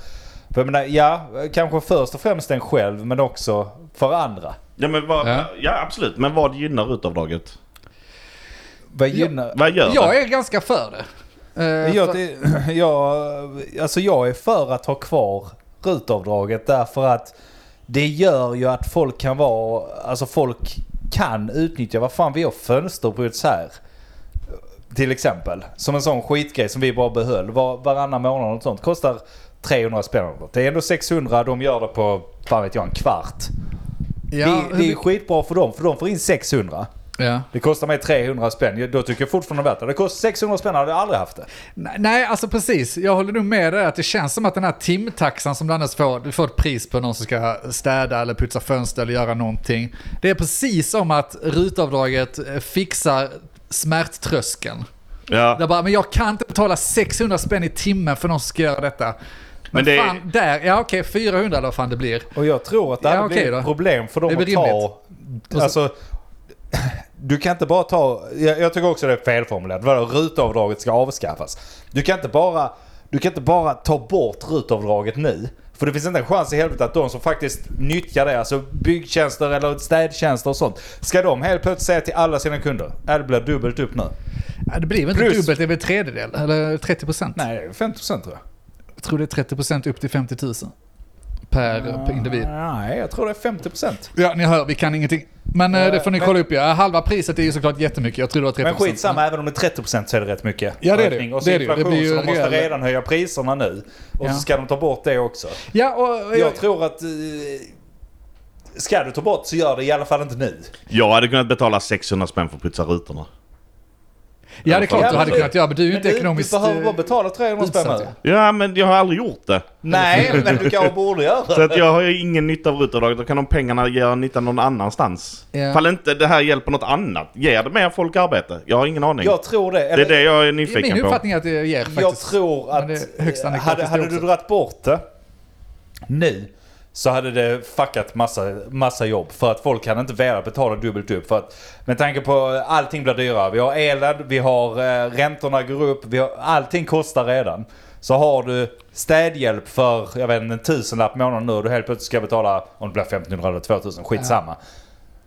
Speaker 1: För jag menar, ja, kanske först och främst en själv men också för andra.
Speaker 3: Ja men vad,
Speaker 2: Ja.
Speaker 3: ja. absolut, men vad gynnar rutavdraget?
Speaker 1: Vad gynnar...
Speaker 3: Vad gör
Speaker 2: Jag
Speaker 3: det?
Speaker 2: är ganska för det. Eh,
Speaker 1: Jag,
Speaker 2: för-
Speaker 1: det- <clears throat> jag, alltså jag är för att ha kvar rutavdraget därför att det gör ju att folk kan vara, alltså folk kan utnyttja, vad fan vi har fönsterbryts här. Till exempel, som en sån skitgrej som vi bara behöll var, varannan månad och sånt. Kostar 300 spänn eller något. Det är ändå 600, de gör det på, fan vet jag, en kvart.
Speaker 2: ja,
Speaker 1: det, det är skitbra för dem, för de får in 600.
Speaker 2: ja.
Speaker 1: Det kostar mig 300 spänn, då tycker jag fortfarande värt det. Det kostar 600 spänn, hade jag aldrig haft det.
Speaker 2: Nej, Nej, alltså precis. Jag håller nog med dig att det känns som att den här timtaxan som du annars får, du får ett pris på någon som ska städa eller putsa fönster eller göra någonting. Det är precis som att rutavdraget eh, fixar smärttröskeln.
Speaker 3: Ja.
Speaker 2: Där bara, men jag kan inte betala 600 spänn i timmen för någon som ska göra detta. Men,
Speaker 3: Men det är-
Speaker 2: fan, där, ja okej, 400 eller vad fan det blir.
Speaker 1: Och jag tror att det
Speaker 2: Ja,
Speaker 1: hade
Speaker 2: okej
Speaker 1: blivit
Speaker 2: då.
Speaker 1: ett problem för dem
Speaker 2: Det är
Speaker 1: att
Speaker 2: väl
Speaker 1: ta... Alltså, du kan inte bara ta... Jag, jag tycker också det är felformulerat. Vadå, rutavdraget ska avskaffas. Du kan inte bara... Du kan inte bara ta bort rutavdraget nu. För det finns inte en chans i helvete att de som faktiskt nyttjar det, alltså byggtjänster eller städtjänster och sånt. Ska de helt plötsligt säga till alla sina kunder, "Ja, det blir dubbelt upp nu.
Speaker 2: Ja, Det blir väl inte
Speaker 1: Plus-
Speaker 2: dubbelt, det är väl tredjedel eller 30 procent?
Speaker 1: Nej, det är 50% tror jag.
Speaker 2: Jag tror det är 30 procent upp till 50 000 per,
Speaker 1: Ah.
Speaker 2: per individ.
Speaker 1: Nej, jag tror det är 50%.
Speaker 2: Ja, ni hör, vi kan ingenting. Men eh, det får ni
Speaker 1: men-
Speaker 2: kolla upp ja. Halva priset är ju såklart jättemycket. Jag tror det var 30%.
Speaker 1: Men skitsamma, även om det är 30% så är det rätt mycket.
Speaker 2: Ja, det är det.
Speaker 1: ökning. Och så
Speaker 2: Det är det ju. Det
Speaker 1: inflation,
Speaker 2: blir ju
Speaker 1: så de måste
Speaker 2: rejäl-
Speaker 1: redan höja priserna nu. Och
Speaker 2: Ja.
Speaker 1: så ska de ta bort det också.
Speaker 2: Ja, och,
Speaker 1: Jag tror att... eh, Ska du ta bort så gör det i alla fall inte nu.
Speaker 3: Jag hade kunnat betala 600 spänn för att putsa rutorna.
Speaker 2: ja, det är klart
Speaker 1: Ja,
Speaker 2: du hade
Speaker 1: men-
Speaker 2: kunnat göra, men du är ju
Speaker 1: Men
Speaker 2: inte
Speaker 1: du,
Speaker 2: ekonomiskt...
Speaker 1: du behöver
Speaker 2: eh,
Speaker 1: bara betala 300 spänn
Speaker 2: utsatt,
Speaker 1: nu.
Speaker 2: ja.
Speaker 3: Ja men jag har aldrig gjort det.
Speaker 2: <laughs>
Speaker 1: Nej, men du kanske borde göra
Speaker 3: Så
Speaker 1: det.
Speaker 3: att jag har ju ingen nytta av rutavdraget. Då kan de pengarna göra nytta någon annanstans.
Speaker 2: Ja.
Speaker 3: Fall inte det här hjälper något annat. Ger det mer folk arbete? Jag har ingen aning.
Speaker 1: Jag tror det.
Speaker 3: det är
Speaker 1: Eller,
Speaker 3: det jag är
Speaker 2: Min
Speaker 3: nyfiken på.
Speaker 2: uppfattning är att det ger faktiskt.
Speaker 1: jag tror
Speaker 2: Men
Speaker 1: att...
Speaker 2: det är högst
Speaker 1: eh,
Speaker 2: anekdotiskt
Speaker 1: hade hade
Speaker 2: det
Speaker 1: du
Speaker 2: också.
Speaker 1: dragit bort det nu så hade det fuckat massa, massa jobb. För att folk hade inte velat betala dubbelt upp. För att, med tanke på eh, allting blir dyrare. Vi har elen, vi har eh, räntorna går upp, vi har, allting kostar redan. Så har du städhjälp för, jag vet inte, en tusenlapp i månaden nu och du helt plötsligt ska betala, om det blir 1500 eller 2000, skitsamma.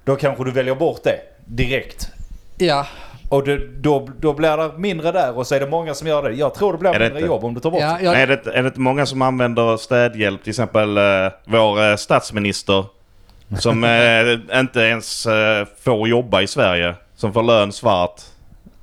Speaker 1: Då kanske du väljer bort det direkt.
Speaker 2: Ja,
Speaker 1: Och det, då, då blir det mindre där och så är det många som gör det. Jag tror det blir
Speaker 3: Är det
Speaker 1: mindre
Speaker 3: inte?
Speaker 1: jobb om du tar bort det.
Speaker 2: ja, jag,
Speaker 3: Är, det, är det inte många som använder städhjälp? Till exempel eh, vår eh, statsminister.
Speaker 2: <laughs>
Speaker 3: Som eh, inte ens eh, får jobba i Sverige. Som får lön svart.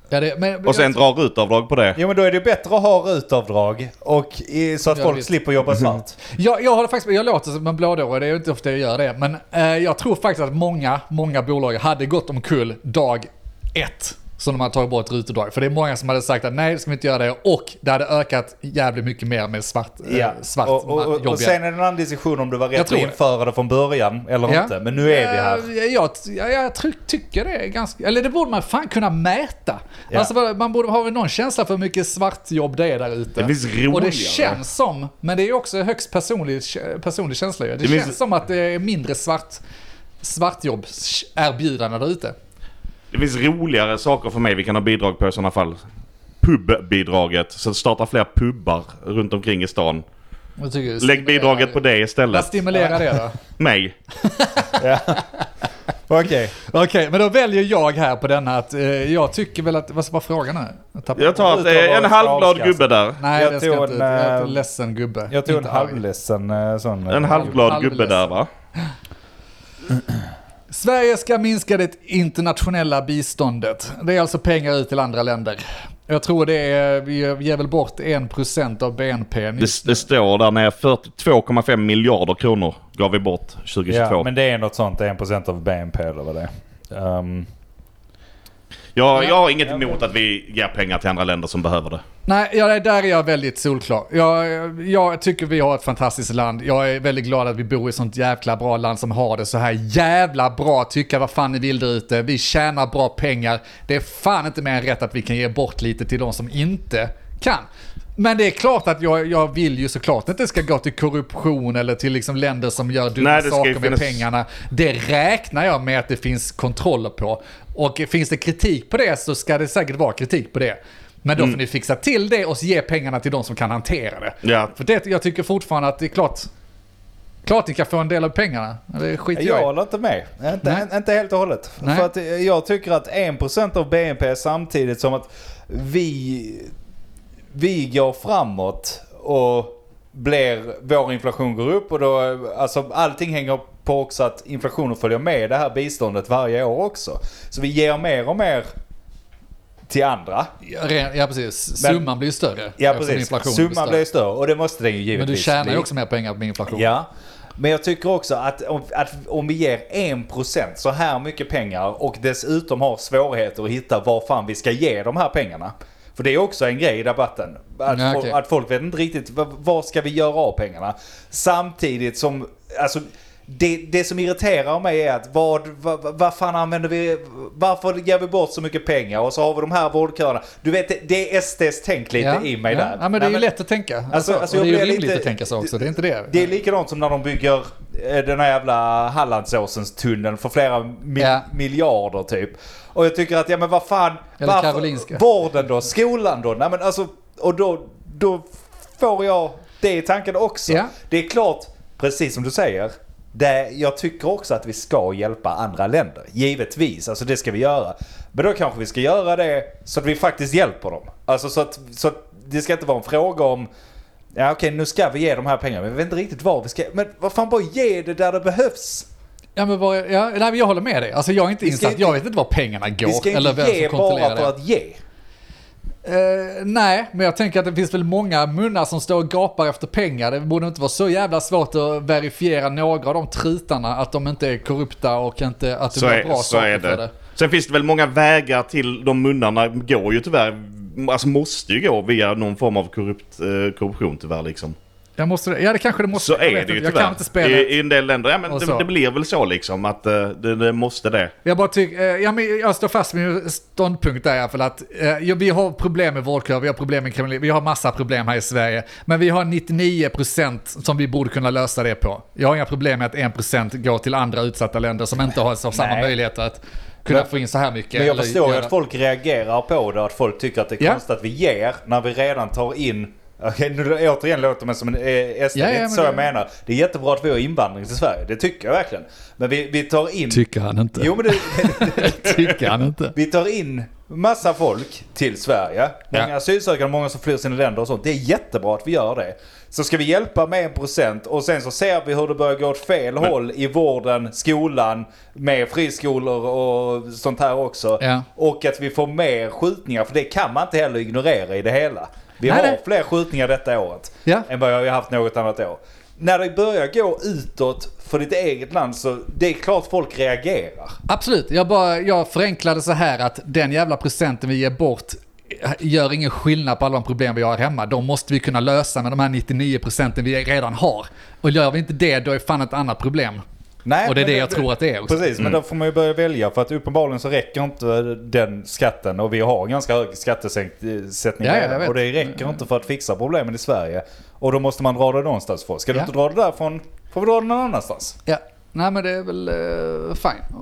Speaker 2: ja, det, men,
Speaker 3: Och sen
Speaker 2: jag,
Speaker 3: drar rutavdrag på det.
Speaker 1: Jo men då är det bättre att ha rutavdrag och i, så att
Speaker 2: Ja,
Speaker 1: folk
Speaker 2: visst.
Speaker 1: slipper jobba
Speaker 3: Mhm.
Speaker 1: svart.
Speaker 2: jag, jag håller faktiskt Jag låter som en blådåre, det är ju inte ofta jag gör det. Men eh, jag tror faktiskt att många, många bolag hade gått omkull dag ett. Som de hade tagit bort rutavdrag. För det är många som hade sagt att nej, det ska vi inte göra det. Och det hade ökat jävligt mycket mer med svart, eh,
Speaker 1: ja.
Speaker 2: svart
Speaker 1: och, och, och,
Speaker 2: jobbiga.
Speaker 1: och sen är det en annan diskussion om du var
Speaker 2: Jag
Speaker 1: rätt
Speaker 2: tror
Speaker 1: att
Speaker 2: det.
Speaker 1: införa det från början eller
Speaker 2: Ja.
Speaker 1: inte. Men nu är vi här.
Speaker 2: Eh, Jag, jag, jag try- tycker det är ganska... Eller det borde man fan kunna mäta.
Speaker 1: Ja.
Speaker 2: Alltså, vad- man borde ha någon känsla för hur mycket svartjobb det är där ute.
Speaker 3: Det finns
Speaker 2: Och
Speaker 3: roligare.
Speaker 2: det känns som, men det är ju också högst personlig, personlig känsla ju. Det,
Speaker 3: Det
Speaker 2: känns
Speaker 3: finns-
Speaker 2: som att det är mindre svart, svartjobb-erbjudanden där ute.
Speaker 3: Det finns roligare saker för mig vi kan ha bidrag på i sådana fall. Pubbidraget. Så starta fler pubbar runt omkring i stan.
Speaker 2: Jag tycker det
Speaker 3: Lägg
Speaker 2: stimulerar-
Speaker 3: bidraget på det
Speaker 2: Vad
Speaker 3: istället.
Speaker 2: stimulerar det då?
Speaker 3: Mig.
Speaker 1: Okej.
Speaker 2: Okej, men då väljer jag här på denna att eh, jag tycker väl att... Vad var frågan nu? Jag tappade-
Speaker 3: Jag tar att det är en halvglad gubbe där.
Speaker 2: Nej,
Speaker 1: jag
Speaker 2: det ska
Speaker 1: tog
Speaker 2: jag
Speaker 1: en,
Speaker 2: inte. Jag är
Speaker 1: eh,
Speaker 2: en ledsen gubbe.
Speaker 1: Jag tog en
Speaker 2: Inte arg.
Speaker 1: halvledsen eh, sån.
Speaker 3: En halvglad
Speaker 2: Alldeles.
Speaker 3: gubbe där va?
Speaker 2: Sverige ska minska det internationella biståndet. Det är alltså pengar ut till andra länder. Jag tror det är, vi ger väl bort 1% av BNP.
Speaker 3: Det, det står där nere 42,5 miljarder kronor gav vi bort 2022.
Speaker 1: Ja, men det är något sånt. 1% av BNP eller vad det är. Ehm,
Speaker 3: jag, jag har inget emot att vi ger pengar till andra länder som behöver det.
Speaker 2: Nej, ja, det där är jag väldigt solklar. Jag, jag tycker vi har ett fantastiskt land. Jag är väldigt glad att vi bor i ett sånt jävla bra land som har det så här jävla bra. Tycka vad fan ni vill där ute. Vi tjänar bra pengar. Det är fan inte mer än rätt att vi kan ge bort lite till de som inte kan. Men det är klart att jag, jag vill ju såklart att det ska gå till korruption eller till liksom länder som gör dumma
Speaker 3: Nej, det ska ju
Speaker 2: saker med
Speaker 3: finnas-
Speaker 2: pengarna pengarna. Det räknar jag med att det finns kontroller på. Och finns det kritik på det så ska det säkert vara kritik på det. Men då får
Speaker 1: Mm.
Speaker 2: ni fixa till det och ge pengarna till de som kan hantera det.
Speaker 3: Ja.
Speaker 2: För det, jag tycker fortfarande att det är klart, klart ni kan få en del av pengarna. Det skiter
Speaker 1: jag
Speaker 2: jag i.
Speaker 1: håller inte med.
Speaker 2: Nej.
Speaker 1: Inte, inte helt och hållet.
Speaker 2: Nej.
Speaker 1: För att jag tycker att 1% av BNP är samtidigt som att vi, vi går framåt och blir, vår inflation går upp och då, alltså allting hänger på också att inflationen följer med det här biståndet varje år också. Så vi ger mer och mer till andra.
Speaker 2: Ja, re- Ja, precis.
Speaker 1: Men-
Speaker 2: Summan blir ju större.
Speaker 1: Ja
Speaker 2: eftersom
Speaker 1: precis.
Speaker 2: inflationen
Speaker 1: Summan blir större och det måste den ju givetvis
Speaker 2: Men du tjänar ju
Speaker 1: bli.
Speaker 2: också mer pengar med inflation.
Speaker 1: Ja. Men jag tycker också att om, att om vi ger 1% så här mycket pengar och dessutom har svårigheter att hitta var fan vi ska ge de här pengarna. För det är också en grej i debatten. Att,
Speaker 2: Ja,
Speaker 1: fo-
Speaker 2: okej.
Speaker 1: att folk vet inte riktigt vad, vad ska vi göra av pengarna. Samtidigt som, alltså det, det som irriterar mig är att vad, vad, vad fan använder vi, varför ger vi bort så mycket pengar och så har vi de här vårdköerna. Du vet, det- det är SDs tänk lite
Speaker 2: Ja,
Speaker 1: i mig
Speaker 2: ja.
Speaker 1: där.
Speaker 2: Ja, men det är
Speaker 1: Nej,
Speaker 2: ju lätt att tänka. Alltså,
Speaker 1: alltså,
Speaker 2: och det är
Speaker 1: jag blir
Speaker 2: ju rimligt
Speaker 1: lite-
Speaker 2: att tänka så också. Det är inte det.
Speaker 1: det är likadant som när de bygger eh, den här jävla Hallandsåsens tunneln för flera mi-
Speaker 2: Ja.
Speaker 1: miljarder typ. Och jag tycker att, ja men vad fan.
Speaker 2: Eller Karolinska.
Speaker 1: Vården då? Skolan då? Nej men alltså, och då, då får jag det i tanken också.
Speaker 2: Ja.
Speaker 1: Det är klart, precis som du säger, det, jag tycker också att vi ska hjälpa andra länder. Givetvis, alltså det ska vi göra. Men då kanske vi ska göra det så att vi faktiskt hjälper dem. Alltså så att, så att det ska inte vara en fråga om Ja okej, nu ska vi ge de här pengarna, men vi vet inte riktigt var vi ska... Men vad fan, bara ge det där det behövs!
Speaker 2: Ja, men vad, ja, nej, men jag håller med dig. Alltså, jag är inte
Speaker 1: Vi ska
Speaker 2: insatt.
Speaker 1: inte-
Speaker 2: Jag vet inte var pengarna går.
Speaker 1: Vi ska
Speaker 2: eller
Speaker 1: inte
Speaker 2: vem
Speaker 1: ge
Speaker 2: som kontrollerar
Speaker 1: bara
Speaker 2: det.
Speaker 1: för att ge.
Speaker 2: Eh, nej, men jag tänker att det finns väl många munnar som står och gapar efter pengar. Det borde inte vara så jävla svårt att verifiera några av de trutarna. Att de inte är korrupta och inte att de
Speaker 3: Så
Speaker 2: gör
Speaker 3: är,
Speaker 2: bra
Speaker 3: så
Speaker 2: saker
Speaker 3: är
Speaker 2: för
Speaker 3: det.
Speaker 2: det.
Speaker 3: Sen finns det väl många vägar till de munnarna. Går ju tyvärr, alltså måste ju gå via någon form av korrupt, eh, korruption tyvärr liksom.
Speaker 2: Jag måste, ja, det kanske det måste.
Speaker 3: Så
Speaker 2: jag
Speaker 3: är
Speaker 2: vet
Speaker 3: det ju
Speaker 2: inte, Jag kan inte spela.
Speaker 3: tyvärr. I, I en del länder, ja men
Speaker 2: Och
Speaker 3: det,
Speaker 2: så.
Speaker 3: det blir väl så liksom att eh, det, det måste det.
Speaker 2: Jag bara tycker, eh, ja, men jag står fast med min ståndpunkt där i alla fall att eh, ja, vi har problem med vårdköer, vi har problem med kriminalitet, vi har massa problem här i Sverige. Men vi har 99% som vi borde kunna lösa det på. Jag har inga problem med att 1% går till andra utsatta länder som inte har så samma
Speaker 1: Nej.
Speaker 2: möjligheter att kunna
Speaker 1: Men-
Speaker 2: få in så här mycket.
Speaker 1: Men jag
Speaker 2: eller
Speaker 1: förstår ju
Speaker 2: göra-
Speaker 1: att folk reagerar på det, att folk tycker att det är
Speaker 2: Ja.
Speaker 1: konstigt att vi ger när vi redan tar in... <laughs> Okej, nu återigen låter man som en eh, SD, det
Speaker 2: Ja, ja,
Speaker 1: är
Speaker 2: men
Speaker 1: inte så jag
Speaker 2: det-
Speaker 1: menar. Det är jättebra att vi har invandring till Sverige, det tycker jag verkligen. Men vi, vi tar in...
Speaker 2: Tycker han inte.
Speaker 1: Jo men det,
Speaker 2: <laughs> Tycker han inte.
Speaker 1: Vi tar in massa folk till Sverige. Många
Speaker 2: Ja.
Speaker 1: asylsökande, många som flyr sina länder och sånt. Det är jättebra att vi gör det. Så ska vi hjälpa med 1% och sen så ser vi hur det börjar gå åt fel håll i vården, skolan, med friskolor och sånt här också.
Speaker 2: Ja.
Speaker 1: Och att vi får mer skjutningar, för det kan man inte heller ignorera i det hela. Vi
Speaker 2: Nej,
Speaker 1: har
Speaker 2: nej.
Speaker 1: fler skjutningar detta året
Speaker 2: Ja.
Speaker 1: än vad jag har haft något annat år. När det börjar gå utåt för ditt eget land så det är klart folk reagerar.
Speaker 2: Absolut, jag, bara, jag förenklade så här att den jävla procenten vi ger bort eh, gör ingen skillnad på alla de problem vi har hemma. De måste vi kunna lösa med de här 99 procenten vi redan har. Och gör vi inte det, då är fan ett annat problem.
Speaker 1: Nej,
Speaker 2: Och det är
Speaker 1: men
Speaker 2: det jag tror att det Mm. är också.
Speaker 1: Precis, men då får man ju börja välja för att uppenbarligen så räcker inte den skatten och vi har en ganska hög skattesättning
Speaker 2: Ja, ja, jag
Speaker 1: redan,
Speaker 2: vet.
Speaker 1: och det räcker inte för att fixa problemen i Sverige. Och då måste man dra det någonstans ifrån. Ska du
Speaker 2: Ja.
Speaker 1: inte dra det därifrån får vi dra det någon annanstans.
Speaker 2: Ja, nej men det är väl eh, fine.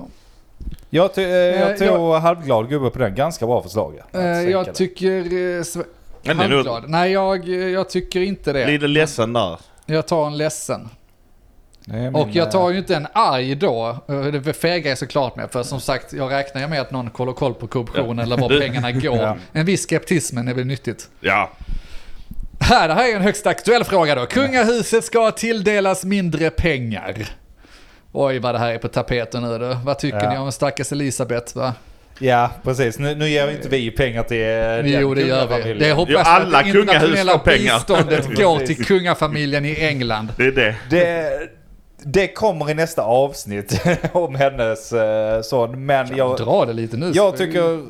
Speaker 1: Jag, ty- eh,
Speaker 2: Eh,
Speaker 1: jag tog
Speaker 2: jag-
Speaker 1: halvglad gubbe på den, ganska bra förslag. ja. Att
Speaker 2: Eh,
Speaker 1: sänka det.
Speaker 2: jag tycker... eh, Sve-
Speaker 3: Men det är nog-
Speaker 2: Halvglad. Nej, jag, jag tycker inte det.
Speaker 3: Lite ledsen där.
Speaker 2: Jag tar en ledsen.
Speaker 1: Det är min,
Speaker 2: Och jag tar
Speaker 1: eh,
Speaker 2: ju inte en arg då. Eh, Det fegar jag såklart med. För som sagt, jag räknar ju med att någon kollar koll på korruptionen eller var
Speaker 3: Du-
Speaker 2: pengarna går.
Speaker 1: Ja.
Speaker 2: En viss skeptismen är väl nyttigt.
Speaker 3: Ja.
Speaker 2: Här, det här är en högst aktuell fråga då. Kungahuset ska tilldelas mindre pengar. Oj vad det här är på tapeten nu du. Vad tycker
Speaker 1: Ja.
Speaker 2: ni om stackars Elisabeth va?
Speaker 1: Ja, precis. Nu, nu ger inte vi pengar till eh,
Speaker 2: Jo det
Speaker 1: den
Speaker 2: gör vi.
Speaker 1: kungafamiljen.
Speaker 2: Det hoppas
Speaker 3: Jo,
Speaker 2: jag
Speaker 3: alla
Speaker 2: att det
Speaker 3: kungahus
Speaker 2: internationella
Speaker 3: får pengar.
Speaker 2: biståndet
Speaker 1: Precis.
Speaker 2: går till kungafamiljen i England.
Speaker 3: Det är det.
Speaker 1: Det, det kommer i nästa avsnitt <laughs> om hennes eh, son. Men jag,
Speaker 2: Dra det lite nu.
Speaker 1: jag tycker...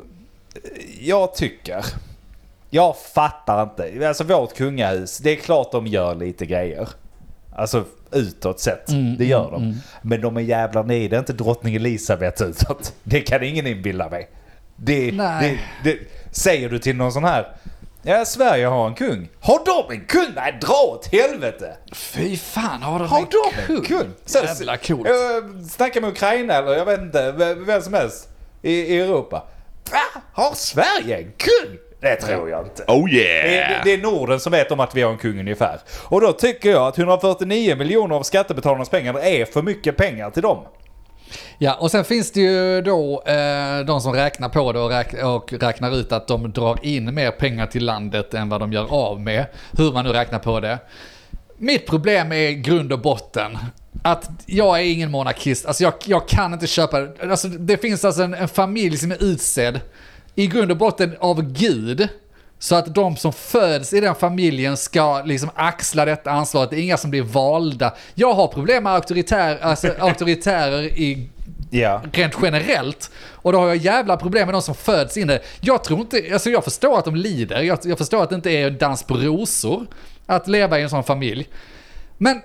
Speaker 1: Jag tycker... Jag fattar inte. Alltså vårt kungahus, det är klart de gör lite grejer. Alltså utåt sett,
Speaker 2: Mm,
Speaker 1: det gör de. Men de är jävlar nej, det är inte drottning Elisabeth utåt. <laughs> Det kan ingen inbilla mig. Det, det,
Speaker 2: Nej.
Speaker 1: det, säger du till någon sån här, ja Sverige har en kung. Har de en kung? Nej, dra åt helvete!
Speaker 2: Fy fan har de
Speaker 1: Har
Speaker 2: en
Speaker 1: de en kung? Så-
Speaker 2: Jävla coolt.
Speaker 1: Jag snackar med Ukraina eller jag vet inte, v- vem som helst i, i Europa. Va? Har Sverige en kung? Det tror jag inte.
Speaker 3: Oh
Speaker 1: Det är,
Speaker 3: yeah!
Speaker 1: det är Norden som vet om att vi har en kung ungefär. Och då tycker jag att 149 miljoner av skattebetalarnas pengar är för mycket pengar till dem.
Speaker 2: Ja, och sen finns det ju då eh, de som räknar på det och, räk och räknar ut att de drar in mer pengar till landet än vad de gör av med. Hur man nu räknar på det. Mitt problem är grund och botten. Att jag är ingen monarkist, alltså jag, jag kan inte köpa det. Alltså det finns alltså en, en familj som är utsedd i grund och botten av Gud. Så att de som föds i den familjen ska liksom axla detta ansvaret. Det är inga som blir valda. Jag har problem med auktoritär, alltså, auktoritärer i
Speaker 1: Ja.
Speaker 2: rent generellt. Och då har jag jävla problem med de som föds in i det. Jag tror inte, alltså jag förstår att de lider, jag, jag förstår att det inte är en dans på rosor att leva i en sån familj. Men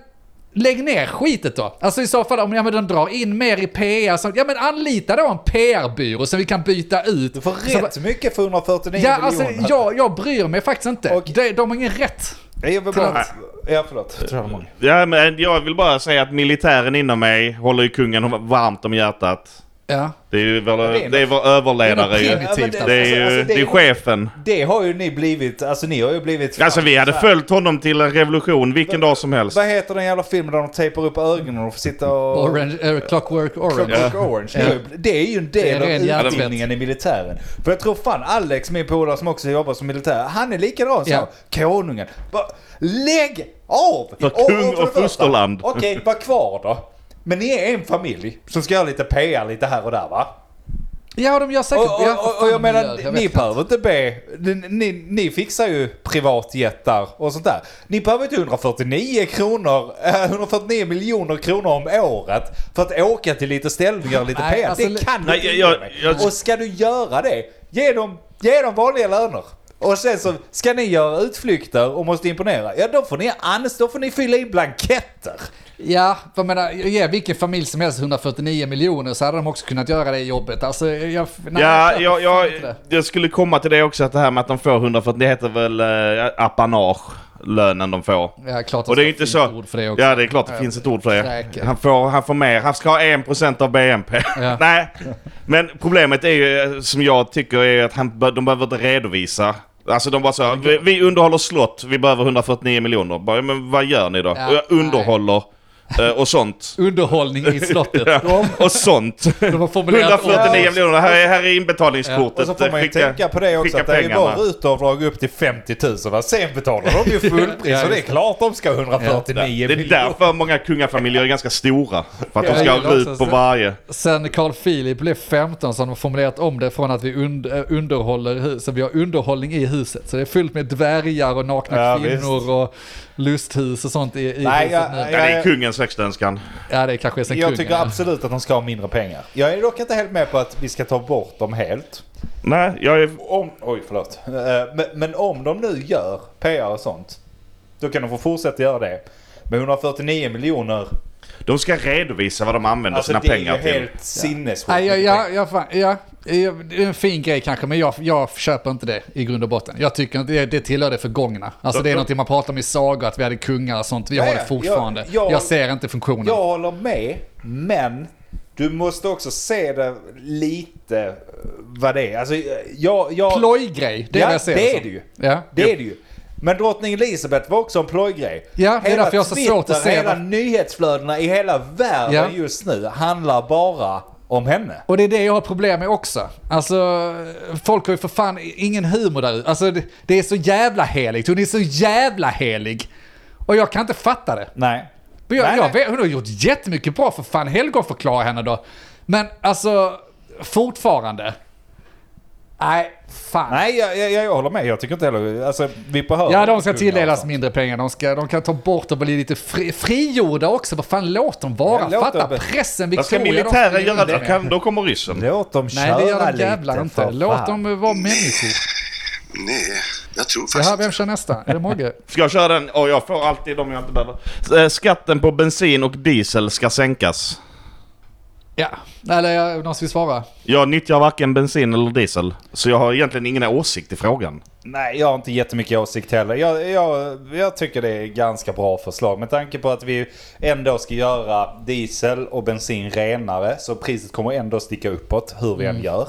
Speaker 2: lägg ner skitet då. Alltså i så fall om ja, men de drar in mer i PR, så, ja men anlita då en PR-byrå så vi kan byta ut.
Speaker 1: Du får rätt
Speaker 2: så,
Speaker 1: mycket för 149
Speaker 2: Ja, alltså
Speaker 1: miljoner.
Speaker 2: jag, jag bryr mig faktiskt inte.
Speaker 1: Och-
Speaker 2: De, de har ingen rätt.
Speaker 1: Jag vill bara...
Speaker 2: Förlåt.
Speaker 1: Ja, förlåt. Jag tror jag har många.
Speaker 3: Ja, men jag vill bara säga att militären inom mig håller ju kungen varmt om hjärtat.
Speaker 2: Ja.
Speaker 3: Det är ju vår,
Speaker 1: det är
Speaker 3: det är vår överledare
Speaker 2: det är
Speaker 3: ju.
Speaker 2: något primitivt,
Speaker 3: Det är ju det är chefen.
Speaker 1: Det har ju ni blivit, alltså ni har ju blivit...
Speaker 3: Alltså vi hade följt honom till en revolution vilken dag som helst.
Speaker 1: Vad heter den jävla filmen där de tejpar upp ögonen och får sitta och...
Speaker 2: Orange, eh, clockwork orange.
Speaker 1: Clockwork Orange. Det är ju- Det är ju en del
Speaker 2: Det är ren
Speaker 1: av
Speaker 2: hjärntvätt.
Speaker 1: utbildningen i militären. För jag tror fan Alex, min polare som också jobbar som militär, han är likadan.
Speaker 2: Ja.
Speaker 1: Ja. Konungen. Bara, lägg av!
Speaker 3: För kung
Speaker 1: för det
Speaker 3: och
Speaker 1: första,
Speaker 3: fosterland.
Speaker 1: Okej, var kvar då. Men ni är en familj som ska göra lite PR lite här och där va?
Speaker 2: Ja, de gör säkert...
Speaker 1: Och,
Speaker 2: ja,
Speaker 1: och, och, och jag
Speaker 2: fan,
Speaker 1: menar,
Speaker 2: gör- jag vet
Speaker 1: ni
Speaker 2: inte.
Speaker 1: behöver inte be... Ni, ni, ni fixar ju privatjättar och sånt där. Ni behöver inte 149 kronor, eh, 149 miljoner kronor om året för att åka till lite ställningar lite
Speaker 2: Nej,
Speaker 1: PR.
Speaker 2: alltså,
Speaker 1: det kan
Speaker 3: Nej,
Speaker 1: du inte
Speaker 3: jag-
Speaker 1: ge mig.
Speaker 3: jag-
Speaker 1: Och ska du göra det, ge dem, ge dem vanliga löner. Och sen så ska ni göra utflykter och måste imponera. Ja, då får ni, ans- då får ni fylla in blanketter.
Speaker 2: Ja, för jag menar, ge vilken familj som helst 149 miljoner så hade de också kunnat göra det jobbet. Alltså, jag... Nej,
Speaker 3: Ja,
Speaker 2: köper
Speaker 3: jag,
Speaker 2: fan
Speaker 3: jag,
Speaker 2: inte det.
Speaker 3: jag skulle komma till det också att det här med att de får 140, det heter väl eh, apanage, lönen de får.
Speaker 2: Ja, klart
Speaker 3: Och det är ju inte
Speaker 2: finns
Speaker 3: så...
Speaker 2: ett ord för det också.
Speaker 3: Ja, det är klart det finns ett ord för det.
Speaker 2: Säkert.
Speaker 3: Han får, han får mer. Han ska ha 1% av BNP.
Speaker 2: Ja.
Speaker 3: <laughs> Nej, men problemet är ju, eh, som jag tycker, är att han, be- de behöver inte redovisa. Alltså de bara så här, vi, vi underhåller slott, vi behöver 149 miljoner. Bara, men vad gör ni då?
Speaker 2: Ja,
Speaker 3: "Jag underhåller eh, och sånt.
Speaker 2: Underhållning i slottet.
Speaker 3: <laughs> Ja, och sånt.
Speaker 2: De har formulerat
Speaker 3: 149
Speaker 2: ord.
Speaker 3: miljoner, här är, här är
Speaker 1: Och
Speaker 3: inbetalningskortet.
Speaker 1: så får man ju
Speaker 3: Skicka-
Speaker 1: tänka på det också
Speaker 3: skicka
Speaker 1: att det är ju
Speaker 3: pengarna.
Speaker 1: bara rutavdrag upp till 50 000 va? Sen betalar de ju fullpris
Speaker 2: <laughs> Ja,
Speaker 1: och det är
Speaker 2: just det.
Speaker 1: klart de ska ha 149
Speaker 3: Det är
Speaker 1: miljoner.
Speaker 3: därför många kungafamiljer är ganska stora. För att de
Speaker 2: Ja,
Speaker 3: ska
Speaker 2: jag
Speaker 3: ha
Speaker 2: gillar
Speaker 3: rut
Speaker 2: också
Speaker 3: på
Speaker 2: så.
Speaker 3: varje.
Speaker 2: Sen Carl Philip blev 15 så har de formulerat om det från att vi und eh, underhåller huset. Vi har underhållning i huset. Så det är fullt med dvärgar och nakna
Speaker 1: Ja,
Speaker 2: kvinnor och lusthus och sånt i, i
Speaker 1: Nej,
Speaker 2: huset
Speaker 1: jag-
Speaker 2: nu.
Speaker 3: Ja, det är
Speaker 1: jag-
Speaker 3: kungens högsta önskan.
Speaker 2: Ja, det kanske är sen
Speaker 1: Jag
Speaker 2: kungen.
Speaker 1: tycker absolut att de ska ha mindre pengar. Jag är dock inte helt med på att vi ska ta bort dem helt.
Speaker 3: Nej, jag är...
Speaker 1: Om, oj, förlåt. Eh, Men, men om de nu gör PR och sånt, då kan de få fortsätta göra det. Men 149 miljoner,
Speaker 3: De ska redovisa vad de använder
Speaker 1: alltså
Speaker 3: sina
Speaker 1: det är ju
Speaker 3: pengar till.
Speaker 1: helt sinnessjukt.
Speaker 2: Nej, jag,
Speaker 1: mycket pengar.
Speaker 2: jag, jag, fan, ja, eh, det är en fin grej kanske, men jag, jag köper inte det i grund och botten. Jag tycker inte det, det tillhör det förgångna. Alltså det är någonting man pratar om i sagor, att vi hade kungar och sånt. Vi har
Speaker 1: Ja,
Speaker 2: det
Speaker 1: ja,
Speaker 2: fortfarande. Jag,
Speaker 1: jag- jag-
Speaker 2: ser inte funktionen.
Speaker 1: Jag håller med, men du måste också se det lite eh, vad det är. Alltså, jag, jag,
Speaker 2: Plojgrej, det är
Speaker 1: Ja,
Speaker 2: vad jag ser
Speaker 1: det är
Speaker 2: som.
Speaker 1: det ju.
Speaker 2: Ja.
Speaker 1: det är det ju. Men drottning Elisabeth var också en plojgrej.
Speaker 2: Ja, det är
Speaker 1: hela
Speaker 2: därför jag har så svårt att se
Speaker 1: Hela
Speaker 2: vad-
Speaker 1: nyhetsflödena i hela världen
Speaker 2: Ja.
Speaker 1: just nu handlar bara om henne.
Speaker 2: Och det är det jag har problem med också. Alltså, folk har ju för fan ingen humor där ute. Alltså, det, det är så jävla heligt. Hon är så jävla helig. Och jag kan inte fatta det.
Speaker 1: Nej.
Speaker 2: Men jag,
Speaker 1: Nej,
Speaker 2: jag
Speaker 1: nej.
Speaker 2: vet, hon har gjort jättemycket bra för fan helgon förklara henne då. Men alltså, fortfarande. Nej, fan.
Speaker 1: Nej, jag, jag, jag håller med. Jag tycker inte heller... Alltså, vi behöver...
Speaker 2: Ja, de ska
Speaker 1: kungar,
Speaker 2: tilldelas
Speaker 1: alltså.
Speaker 2: mindre pengar. De, ska, de kan ta bort och bli lite fri, frigjorda också. Vad fan, låt dem vara.
Speaker 1: Ja, låt
Speaker 2: Fatta
Speaker 1: dem-
Speaker 2: pressen
Speaker 3: Vad ska
Speaker 2: Victoria, de
Speaker 3: militären
Speaker 2: springer
Speaker 3: göra?
Speaker 2: in
Speaker 3: Då,
Speaker 2: med.
Speaker 3: kan, då kommer ryssen.
Speaker 1: Låt dem
Speaker 2: Nej, det gör
Speaker 1: köra
Speaker 2: de
Speaker 1: lite,
Speaker 2: jävlar inte.
Speaker 1: för
Speaker 2: Låt
Speaker 1: fan.
Speaker 2: dem vara människor.
Speaker 6: Nej, jag tror
Speaker 2: Det här,
Speaker 6: faktiskt...
Speaker 2: vem kör nästa? Är det Mogge?
Speaker 3: Ska jag köra den? Och jag får alltid de jag inte behöver. S- eh, Skatten på bensin och diesel ska sänkas.
Speaker 2: Ja, eller ja, någon som vill svara?
Speaker 3: Jag nyttjar varken bensin eller diesel, så jag har egentligen ingen åsikt i frågan.
Speaker 1: Nej, jag har inte jättemycket åsikt heller. Jag, jag, jag tycker det är ganska bra förslag. Med tanke på att vi ändå ska göra diesel och bensin renare så priset kommer ändå sticka uppåt hur vi än
Speaker 2: Mm.
Speaker 1: gör.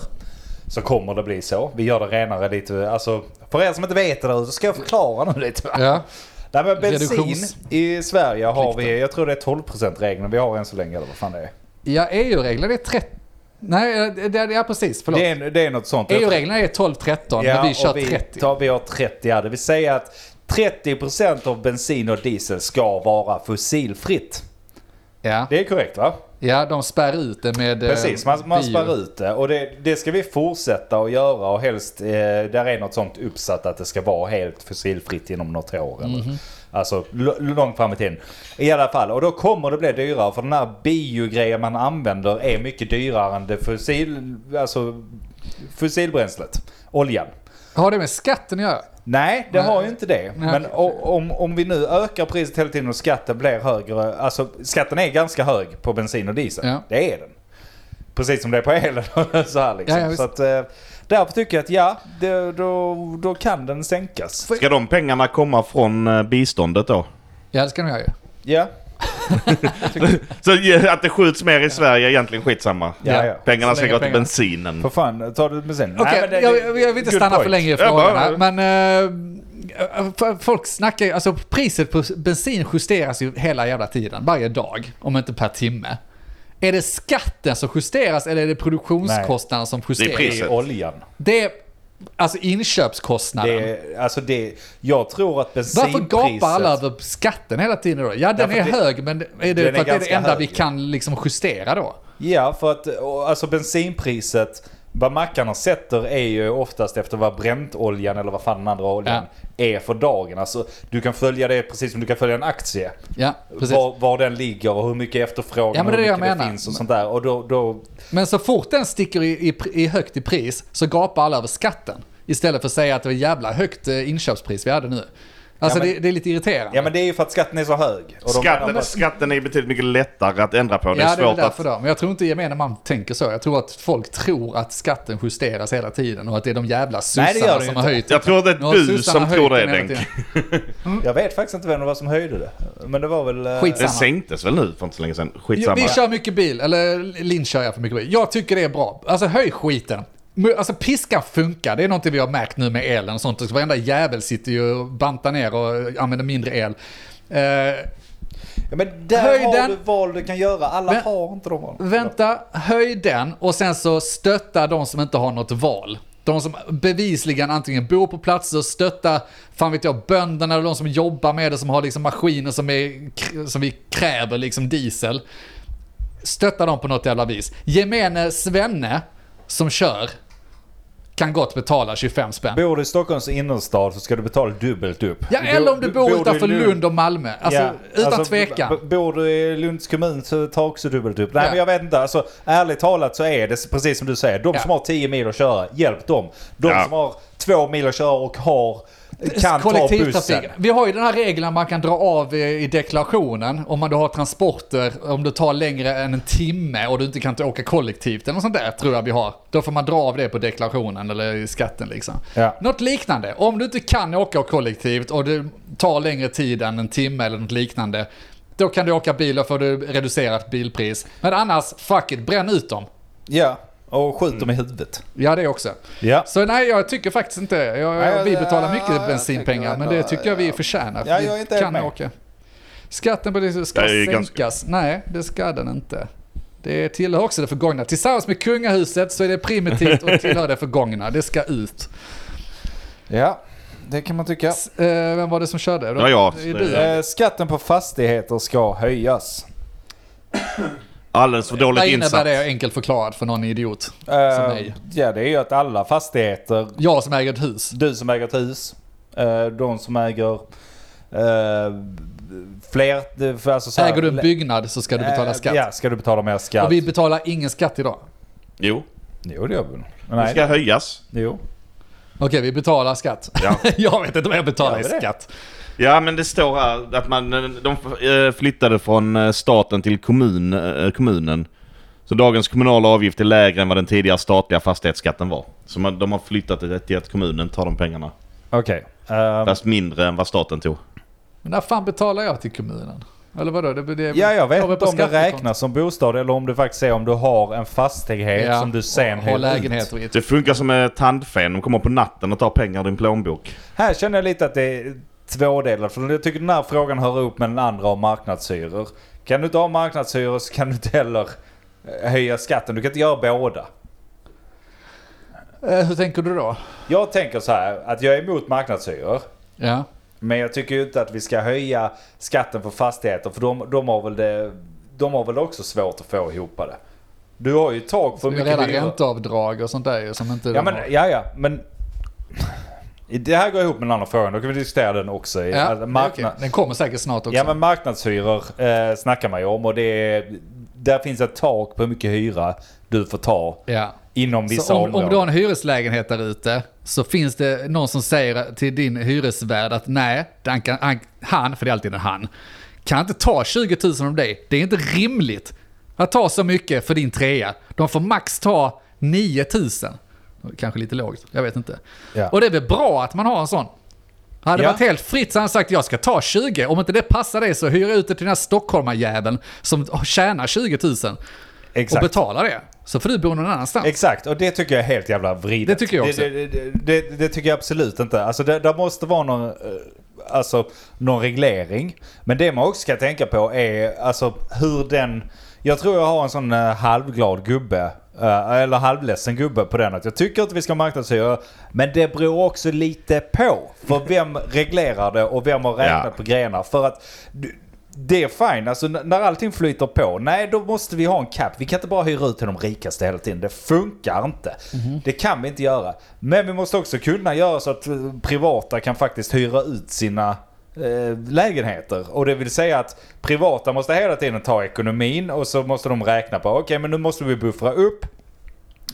Speaker 1: Så kommer det bli så. Vi gör det renare lite. Alltså, för er som inte vet det där ute så ska jag förklara nu lite. va?
Speaker 2: Ja.
Speaker 1: Nej, men bensin
Speaker 2: Reduktions-
Speaker 1: i Sverige har vi, jag tror det är 12%-regeln vi har än så länge eller vad fan det är.
Speaker 2: Ja, EU-reglerna är 30... Nej, det, det, ja, precis. Förlåt.
Speaker 1: Det är, det är något sånt.
Speaker 2: EU-reglerna är 12-13, men vi
Speaker 1: och
Speaker 2: kör
Speaker 1: vi
Speaker 2: 30.
Speaker 1: Tar, vi har 30 ja. Det vill säga att 30% av bensin och diesel ska vara fossilfritt.
Speaker 2: Ja.
Speaker 1: Det är korrekt va?
Speaker 2: ja, de spär ut det med eh,
Speaker 1: Precis, man, man
Speaker 2: bio.
Speaker 1: spär ut det. Och det, det ska vi fortsätta att göra och helst eh, där är något sånt uppsatt att det ska vara helt fossilfritt inom något år. Eller,
Speaker 2: Mhm.
Speaker 1: Alltså l- långt fram i tiden. I alla fall, och då kommer det bli dyrare för den här biogrejen man använder är mycket dyrare än det fossil, alltså, fossilbränslet, oljan.
Speaker 2: Har det med skatten att göra?
Speaker 1: Nej, det
Speaker 2: Nej.
Speaker 1: har ju inte det.
Speaker 2: Nej,
Speaker 1: Men
Speaker 2: okej.
Speaker 1: o- om, om vi nu ökar priset hela tiden och skatten blir högre. Alltså skatten är ganska hög på bensin och diesel.
Speaker 2: Ja.
Speaker 1: Det är den. Precis som det är <laughs> på elen. och så här liksom.
Speaker 2: Ja, ja, visst.
Speaker 1: så att, eh, därför tycker jag att ja, det, då, då kan den sänkas.
Speaker 3: Ska de pengarna komma från eh, biståndet då?
Speaker 2: Ja, det ska de göra ju.
Speaker 1: Ja,
Speaker 3: Så <laughs> eh, att det skjuts mer i Sverige är egentligen skitsamma.
Speaker 1: ja, ja.
Speaker 3: Pengarna
Speaker 2: Så
Speaker 3: ska
Speaker 2: länge
Speaker 3: gå till
Speaker 2: pengar-
Speaker 3: bensinen.
Speaker 1: För fan, tar du bensin?
Speaker 2: Okej,
Speaker 1: men det-
Speaker 2: jag,
Speaker 1: det-
Speaker 2: jag, jag vill inte
Speaker 1: good
Speaker 2: stanna för
Speaker 1: point.
Speaker 2: länge i
Speaker 3: Ja, bara-
Speaker 2: frågorna, men... eh, f- folk snackar ju, alltså priset på bensin justeras ju hela jävla tiden, varje dag, om inte per timme. Är det skatten som justeras eller är det produktionskostnaden som
Speaker 3: Det
Speaker 2: justeras?
Speaker 3: är
Speaker 1: Det
Speaker 3: priset.
Speaker 1: är oljan.
Speaker 2: Det är alltså inköpskostnaden.
Speaker 1: Det är, alltså det, jag tror att bensinpriset...
Speaker 2: Varför gapar alla över skatten hela tiden då? Ja, den
Speaker 1: Därför
Speaker 2: är
Speaker 1: att det-
Speaker 2: hög, men är det
Speaker 1: den är
Speaker 2: för att det är det
Speaker 1: ganska
Speaker 2: enda vi
Speaker 1: hög.
Speaker 2: kan liksom justera då?
Speaker 1: Ja, för att och, alltså bensinpriset, vad mackarna sätter är ju oftast efter vad bräntoljan eller vad fan den andra oljan är för dagen. Alltså, du kan följa det precis som du kan följa en aktie.
Speaker 2: Ja, precis.
Speaker 1: Var, var den ligger och hur mycket efterfrågan
Speaker 2: Ja,
Speaker 1: och
Speaker 2: men det är
Speaker 1: hur
Speaker 2: det jag
Speaker 1: mycket det
Speaker 2: menar.
Speaker 1: finns och sånt där. Och då, då,
Speaker 2: Men så fort den sticker i, i, pr- i högt i pris så gapar alla över skatten. Istället för att säga att det var jävla högt eh, inköpspris vi hade nu. Alltså
Speaker 1: Ja, men-
Speaker 2: det, det är lite irriterande.
Speaker 1: ja, men det är ju för att skatten är så hög. Och de-
Speaker 3: Skatten, skatten är betydligt mycket lättare att ändra på. Det är
Speaker 2: Ja, det är väl
Speaker 3: svårt
Speaker 2: därför
Speaker 3: att...
Speaker 2: då. Men jag tror inte gemene man tänker så. Jag tror att folk tror att skatten justeras hela tiden och att det är de jävla
Speaker 1: Nej, det gör
Speaker 2: sossarna
Speaker 1: det ju
Speaker 2: som har
Speaker 1: inte.
Speaker 2: höjt
Speaker 3: Jag tror att det
Speaker 2: Nu har
Speaker 3: är du
Speaker 2: sossarna
Speaker 3: som
Speaker 2: höjt
Speaker 3: tror det,
Speaker 2: den hela
Speaker 3: Denk.
Speaker 2: tiden.
Speaker 1: Jag vet faktiskt inte vem det var som höjde det. Men det var väl... eh,
Speaker 2: Skitsamma.
Speaker 3: Den sänktes väl nu för inte så länge sedan?
Speaker 2: Jo,
Speaker 3: Skitsamma.
Speaker 2: Vi kör mycket bil, eller Linn kör jag för mycket bil. Jag tycker det är bra. Alltså höj skiten. Men, Alltså piskan funkar, det är någonting vi har märkt nu med elen och sånt. Så Varenda jävel sitter ju och bantar ner och använder mindre el. Eh,
Speaker 1: Ja, men där
Speaker 2: Höjden.
Speaker 1: har du val du kan göra. Alla
Speaker 2: Men-
Speaker 1: har inte de valen.
Speaker 2: vänta, höj den och sen så stötta de som inte har något val. De som bevisligen antingen bor på platser, stötta, fan vet jag, bönderna eller de som jobbar med det, som har liksom maskiner som, är, som vi kräver, liksom diesel. stötta dem på något jävla vis. Gemene svenne som kör kan gott betala 25 spänn.
Speaker 1: Bor du i Stockholms innerstad så ska du betala dubbelt upp.
Speaker 2: Ja, eller om du bor utanför
Speaker 1: Lund-
Speaker 2: Lund och Malmö. Alltså,
Speaker 1: Ja,
Speaker 2: utan
Speaker 1: alltså,
Speaker 2: tvekan.
Speaker 1: b- Bor du i Lunds kommun så tar också dubbelt upp. Nej
Speaker 2: Ja.
Speaker 1: men jag vet inte. Alltså, ärligt talat så är det precis som du säger. De
Speaker 2: Ja.
Speaker 1: som har 10 mil att köra, hjälp dem. De
Speaker 3: Ja.
Speaker 1: som har 2 mil att köra och har kan ta bussen.
Speaker 2: Kollektivtrafik. Vi har ju den här regeln att man kan dra av eh, i deklarationen om man då har transporter, om det tar längre än en timme och du inte kan åka kollektivt eller något sånt där tror jag vi har. Då får man dra av det på deklarationen eller i skatten liksom.
Speaker 1: Ja.
Speaker 2: Något liknande. Om du inte kan åka kollektivt och det tar längre tid än en timme eller något liknande, då kan du åka bil och får du reducerat bilpris. Men annars, fuck it, bränn ut dem.
Speaker 1: Ja, och skjut dem i huvudet.
Speaker 2: Ja, det också.
Speaker 1: Ja.
Speaker 2: Så nej, jag tycker faktiskt inte... Jag,
Speaker 1: Nej,
Speaker 2: vi
Speaker 1: jag-
Speaker 2: betalar
Speaker 1: ja,
Speaker 2: mycket
Speaker 1: jag
Speaker 2: bensinpengar,
Speaker 1: tycker
Speaker 2: men det
Speaker 1: ändå-
Speaker 2: tycker jag vi förtjänar. för
Speaker 1: Ja,
Speaker 2: vi
Speaker 1: jag är inte
Speaker 2: kan
Speaker 1: med.
Speaker 2: åka. Skatten på det ska
Speaker 3: Jag är ganska-
Speaker 2: sänkas. Nej, det ska den inte. Det tillhör också det förgångna. Tillsammans med kungahuset så är det primitivt och tillhör det förgångna. Det ska ut.
Speaker 1: Ja. det kan man tycka.
Speaker 2: S- eh, vem var det som körde?
Speaker 3: Ja, ja.
Speaker 2: Det är du.
Speaker 1: Eh, Skatten på fastigheter ska höjas.
Speaker 3: Alldeles för dåligt
Speaker 2: Vad innebär
Speaker 3: insatt.
Speaker 2: det enkelt förklarat för någon idiot?
Speaker 1: Eh,
Speaker 2: Som mig.
Speaker 1: ja, det är ju att alla fastigheter,
Speaker 2: Jag som äger ett hus.
Speaker 1: du som äger ett hus, eh, de som äger eh, fler... det- för Alltså så här-
Speaker 2: Äger du en byggnad så ska du betala
Speaker 1: Eh,
Speaker 2: skatt.
Speaker 1: Ja, ska du betala mer skatt.
Speaker 2: Och vi betalar ingen skatt idag.
Speaker 3: Jo,
Speaker 1: Jo, det gör vi nog.
Speaker 3: det
Speaker 1: Nej,
Speaker 3: ska höjas.
Speaker 1: jo.
Speaker 2: Okej, vi betalar skatt.
Speaker 1: <laughs>
Speaker 3: Ja.
Speaker 2: <laughs> jag vet inte vad jag betalar i
Speaker 1: Gör vi det?
Speaker 2: skatt.
Speaker 3: Ja, men det står här att man, de eh, flyttade från eh, staten till kommun, eh, kommunen. Så dagens kommunala avgift är lägre än vad den tidigare statliga fastighetsskatten var. Så man, de har flyttat det till att kommunen tar de pengarna.
Speaker 1: Okej. Ehm,
Speaker 3: Fast mindre än vad staten tog.
Speaker 2: Men när fan betalar jag till kommunen? Eller vadå? Det, det,
Speaker 1: ja, jag vet
Speaker 2: kommer
Speaker 1: inte
Speaker 2: på
Speaker 1: om det
Speaker 2: skattekonto.
Speaker 1: räknas som bostad eller om det faktiskt är om du har en fastighet
Speaker 2: Ja,
Speaker 1: som du sen
Speaker 2: och har
Speaker 1: hyr
Speaker 2: lägenhet
Speaker 1: lägenhet.
Speaker 2: och it.
Speaker 3: Det funkar som en tandfen. De kommer på natten och tar pengar ur din plånbok.
Speaker 1: Här känner jag lite att det är tvådelat. För jag tycker den här frågan hör ihop med den andra om marknadshyror. Kan du inte ha marknadshyror så kan du inte heller eh, höja skatten. Du kan inte göra båda.
Speaker 2: Eh, hur tänker du då?
Speaker 1: Jag tänker så här att jag är emot marknadshyror.
Speaker 2: Ja.
Speaker 1: Men jag tycker ju inte att vi ska höja skatten på fastigheter för de, de, har, väl det, de har väl också svårt att få ihop det. Du har ju tak för
Speaker 2: Det
Speaker 1: hur
Speaker 2: är
Speaker 1: mycket
Speaker 2: redan
Speaker 1: du gör.
Speaker 2: ränteavdrag och sånt där ju som inte
Speaker 1: Ja
Speaker 2: de
Speaker 1: men,
Speaker 2: har.
Speaker 1: ja, ja, men... Det här går ihop med en annan fråga, då kan vi diskutera den också. i-
Speaker 2: Ja,
Speaker 1: alltså,
Speaker 2: det är
Speaker 1: markna-
Speaker 2: okej. Den kommer säkert snart också.
Speaker 1: ja men marknadshyror eh, snackar man ju om och det är, där finns ett tak på hur mycket hyra du får ta
Speaker 2: Ja.
Speaker 1: inom vissa
Speaker 2: Så om,
Speaker 1: områden.
Speaker 2: om du har en hyreslägenhet där ute så finns det någon som säger till din hyresvärd att nej, den kan, han, han, för det är alltid en han, kan inte ta 20 000 av dig. Det är inte rimligt att ta så mycket för din trea. De får max ta 9 000. Kanske lite lågt, jag vet inte.
Speaker 1: Ja.
Speaker 2: Och det är väl bra att man har en sån. Hade det
Speaker 1: Ja.
Speaker 2: varit helt fritt så hade han sagt jag ska ta 20. Om inte det passar dig så hyr jag ut det till den här stockholmarjäveln som tjänar 20 000 och
Speaker 1: Exakt.
Speaker 2: betalar det. Så får du bo någon annanstans.
Speaker 1: Exakt, och det tycker jag är helt jävla vridet.
Speaker 2: Det tycker jag också.
Speaker 1: Det, det, det, det, det tycker jag absolut inte. Alltså det, där måste vara någon, eh, alltså, någon reglering. Men det man också ska tänka på är alltså hur den... Jag tror jag har en sån eh, halvglad gubbe. eh, Eller halvledsen gubbe på den att jag tycker inte vi ska ha marknadshyra. Men det beror också lite på. För vem reglerar det och vem har räknat
Speaker 3: Ja.
Speaker 1: på grejerna. För att du- det är fine, alltså n- när allting flyter på, nej då måste vi ha en cap. Vi kan inte bara hyra ut till de rikaste hela tiden. Det funkar inte.
Speaker 2: Mhm.
Speaker 1: Det kan vi inte göra. Men vi måste också kunna göra så att eh, privata kan faktiskt hyra ut sina eh, lägenheter. Och det vill säga att privata måste hela tiden ta ekonomin och så måste de räkna på, okej men nu måste vi buffra upp.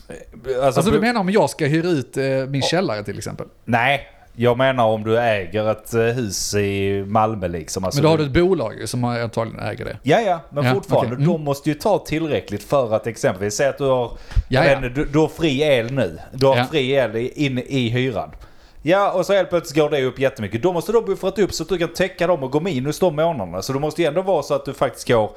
Speaker 1: Eh,
Speaker 2: Alltså
Speaker 1: bu-
Speaker 2: du menar om jag ska hyra ut eh, min källare till exempel?
Speaker 1: Nej, jag menar om du äger ett eh, hus i Malmö liksom. Alltså,
Speaker 2: Men då har
Speaker 1: du-
Speaker 2: du ett bolag ju som antagligen äger det.
Speaker 1: Ja, ja, men
Speaker 2: Ja,
Speaker 1: fortfarande.
Speaker 2: okej. Mm.
Speaker 1: De måste ju ta tillräckligt för att exempelvis säga att du har,
Speaker 2: Ja, ja.
Speaker 1: Men, du, du har fri el nu. Du har
Speaker 2: Ja.
Speaker 1: fri el i- in i hyran. Ja, och så helt plötsligt går det upp jättemycket. Då måste du ha buffrat upp så att du kan täcka dem och gå minus de månaderna. Så det måste ju ändå vara så att du faktiskt går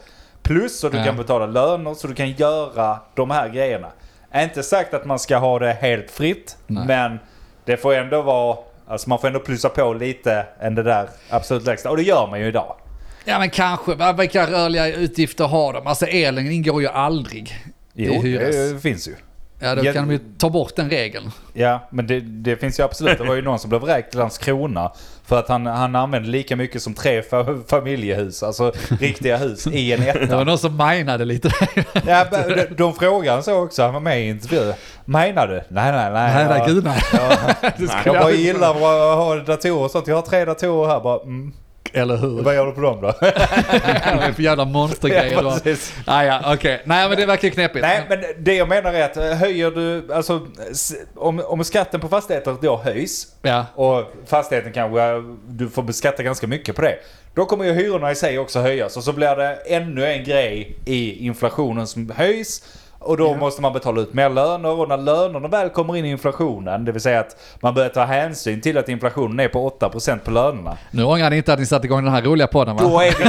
Speaker 1: plus så du
Speaker 2: Ja.
Speaker 1: kan betala löner så du kan göra de här grejerna. Inte sagt att man ska ha det helt fritt,
Speaker 2: Nej.
Speaker 1: men det får ändå vara... Alltså man får ändå plussa på lite än det där absolut lägsta. Och det gör man ju idag.
Speaker 2: Ja men kanske, Va- vilka rörliga utgifter har de? Alltså elen ingår ju aldrig
Speaker 1: Jo,
Speaker 2: i
Speaker 1: det,
Speaker 2: hyres.
Speaker 1: det finns ju.
Speaker 2: Ja då
Speaker 1: Ja.
Speaker 2: kan de ju ta bort den regeln.
Speaker 1: Ja, men det, det finns ju absolut. Det var ju någon som blev vräkt i Landskrona för att han, han använde lika mycket som tre fa- familjehus, alltså riktiga hus i en
Speaker 2: <laughs> Det var
Speaker 1: etta.
Speaker 2: någon som minade lite.
Speaker 1: Ja, men de, de frågade han så också, han var med i intervju. Menar du? Nej, nej, nej.
Speaker 2: <laughs> Nej, nej,
Speaker 1: jag,
Speaker 2: gud nej.
Speaker 1: jag
Speaker 2: <laughs>
Speaker 1: bara gillar att ha datorer och sånt. Jag har tre datorer här bara. Mm,
Speaker 2: Eller hur? <laughs>
Speaker 1: vad gör du på dem då?
Speaker 2: Vad är för
Speaker 1: <laughs>
Speaker 2: jävla monstergrejer du
Speaker 1: Ja,
Speaker 2: har?
Speaker 1: precis.
Speaker 2: Ah, ja, okej. Nej men det verkar ju knepigt.
Speaker 1: Nej, men det jag menar är att eh, höjer du, alltså s- om, om skatten på fastigheter då höjs
Speaker 2: Ja.
Speaker 1: och fastigheten kanske, du får beskatta ganska mycket på det. Då kommer ju hyrorna i sig också höjas och så blir det ännu en grej i inflationen som höjs. Och då måste man betala ut mer löner och när lönerna väl kommer in i inflationen, det vill säga att man börjar ta hänsyn till att inflationen är på 8% på lönerna.
Speaker 2: Nu ångrar ni inte att ni satte igång den här roliga podden va?
Speaker 1: Då är <laughs> vi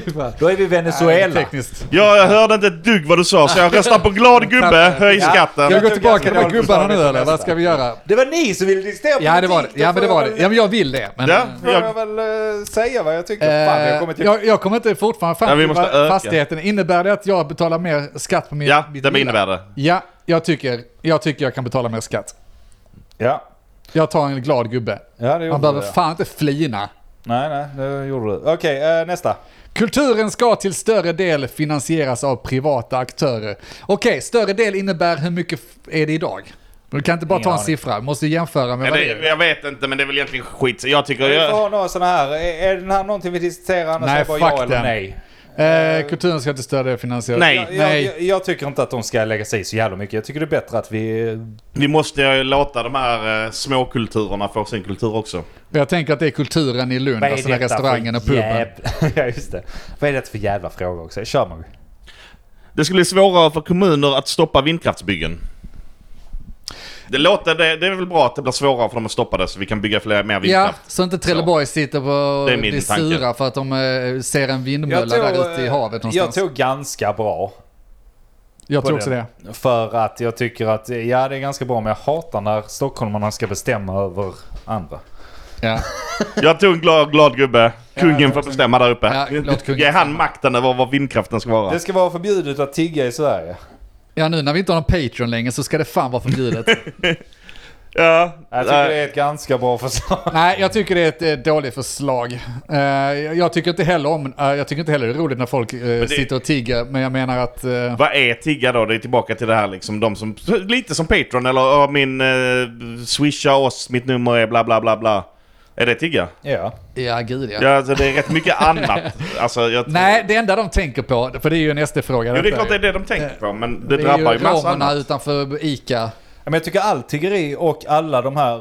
Speaker 1: fucked! Då är vi Venezuela.
Speaker 2: Tekniskt.
Speaker 3: Ja, jag hörde inte ett dugg vad du sa så jag röstar på glad gubbe, höj
Speaker 1: Ja.
Speaker 3: skatten.
Speaker 2: Ska vi gå
Speaker 1: tog ganska
Speaker 2: tillbaka till de här
Speaker 1: dåligt
Speaker 2: gubbarna nu
Speaker 1: förslag
Speaker 2: eller?
Speaker 1: nästa.
Speaker 2: Vad ska vi göra?
Speaker 1: Det var ni som ville diskutera
Speaker 2: Ja det var det.
Speaker 1: politik,
Speaker 2: Ja
Speaker 1: då
Speaker 2: men det
Speaker 1: får
Speaker 2: var
Speaker 1: jag
Speaker 2: det.
Speaker 1: väl-
Speaker 2: Ja men jag vill det. Men,
Speaker 3: Ja,
Speaker 1: får jag väl eh, säga vad jag tycker. Fan, jag kommer
Speaker 2: Eh,
Speaker 1: till...
Speaker 2: jag, jag kommer inte fortfarande fram
Speaker 3: Ja, vi
Speaker 2: till
Speaker 3: måste
Speaker 2: vad
Speaker 3: öka.
Speaker 2: fastigheten. Innebär det att jag betalar mer skatt på min,
Speaker 3: Ja,
Speaker 2: mitt
Speaker 3: det
Speaker 2: villa?
Speaker 3: innebär det.
Speaker 2: Ja, jag tycker, jag tycker jag kan betala mer skatt.
Speaker 1: Ja.
Speaker 2: Jag tar en glad gubbe.
Speaker 1: Ja, det
Speaker 2: Man
Speaker 1: gjorde
Speaker 2: behöver
Speaker 1: du. ja.
Speaker 2: fan inte flina.
Speaker 1: Nej, nej, det gjorde du. Okej, eh, nästa.
Speaker 2: Kulturen ska till större del finansieras av privata aktörer. Okej, större del innebär hur mycket f- är det idag? Du kan inte bara ta en
Speaker 1: aning.
Speaker 2: siffra, du måste jämföra med
Speaker 3: Ja,
Speaker 2: vad
Speaker 3: det,
Speaker 2: det är.
Speaker 3: jag vet inte, men det är väl egentligen skit. Jag tycker...
Speaker 1: Vi får
Speaker 3: Jag,
Speaker 1: ha några sådana här. Är, är den här någonting vi diskuterar annars
Speaker 2: Nej,
Speaker 1: är det bara ja
Speaker 2: fuck
Speaker 1: eller
Speaker 2: den.
Speaker 1: nej?
Speaker 2: Eh, kulturen ska till större del finansieras.
Speaker 3: Nej.
Speaker 1: Jag, jag,
Speaker 2: Nej.
Speaker 1: jag, jag tycker inte att de ska lägga sig i så jävla mycket. Jag tycker det är bättre att vi...
Speaker 3: vi måste ju låta de här eh, småkulturerna få sin kultur också.
Speaker 2: Jag tänker att det är kulturen i Lund, alltså med restaurangen och puben.
Speaker 1: jäv- <laughs> ja, just det. Vad är det för jävla fråga också? Kör man.
Speaker 3: Det skulle bli svårare för kommuner att stoppa vindkraftsbyggen. Det, låter, det, det är väl bra att det blir svårare för dem att stoppa det så vi kan bygga fler, mer
Speaker 2: Ja,
Speaker 3: vindkraft.
Speaker 2: så inte Trelleborg sitter på
Speaker 3: Det är
Speaker 2: och
Speaker 3: min
Speaker 2: blir
Speaker 3: tanke.
Speaker 2: sura för att de eh, ser en vindmölla där ute i
Speaker 1: eh,
Speaker 2: havet
Speaker 1: jag
Speaker 2: någonstans.
Speaker 1: tror ganska bra.
Speaker 2: jag
Speaker 1: på
Speaker 2: tror också
Speaker 1: den.
Speaker 2: det.
Speaker 1: För att jag tycker att, eh, ja det är ganska bra men jag hatar när stockholmarna ska bestämma över andra.
Speaker 2: Ja.
Speaker 3: Jag tog en glad, glad gubbe. Kungen
Speaker 1: det
Speaker 3: får bestämma där uppe.
Speaker 2: Ja, låt kungen
Speaker 3: Ge han makten över vad vindkraften ska vara.
Speaker 1: Det ska vara förbjudet att tigga i Sverige.
Speaker 2: ja, nu när vi inte har någon Patreon längre så ska det fan vara förbjudet.
Speaker 3: <laughs> Ja,
Speaker 1: Jag tycker
Speaker 3: äh,
Speaker 1: det är ett ganska bra förslag. <laughs>
Speaker 2: Nej, jag tycker det är ett eh, dåligt förslag. Eh, jag jag tycker inte heller om, eh, jag tycker inte heller det är roligt när folk eh, sitter och tigger, men jag menar att... eh,
Speaker 3: Vad är tigga då? Det är tillbaka till det här liksom. De som, lite som Patreon eller ja, min eh, swisha oss, mitt nummer är bla bla bla bla. Är det tigga?
Speaker 1: Ja.
Speaker 2: ja, gud ja.
Speaker 3: Ja, alltså, det är rätt mycket annat. Alltså, jag,
Speaker 2: Nej, det enda de tänker på, för det är ju en SD-fråga.
Speaker 3: Jo, det är
Speaker 2: detta
Speaker 3: klart det
Speaker 2: ju.
Speaker 3: är det de tänker på, men det,
Speaker 2: Det är
Speaker 3: drabbar ju
Speaker 2: ju
Speaker 3: massa
Speaker 2: romerna
Speaker 3: annat.
Speaker 2: utanför ICA.
Speaker 1: Men jag tycker all tiggeri och alla de här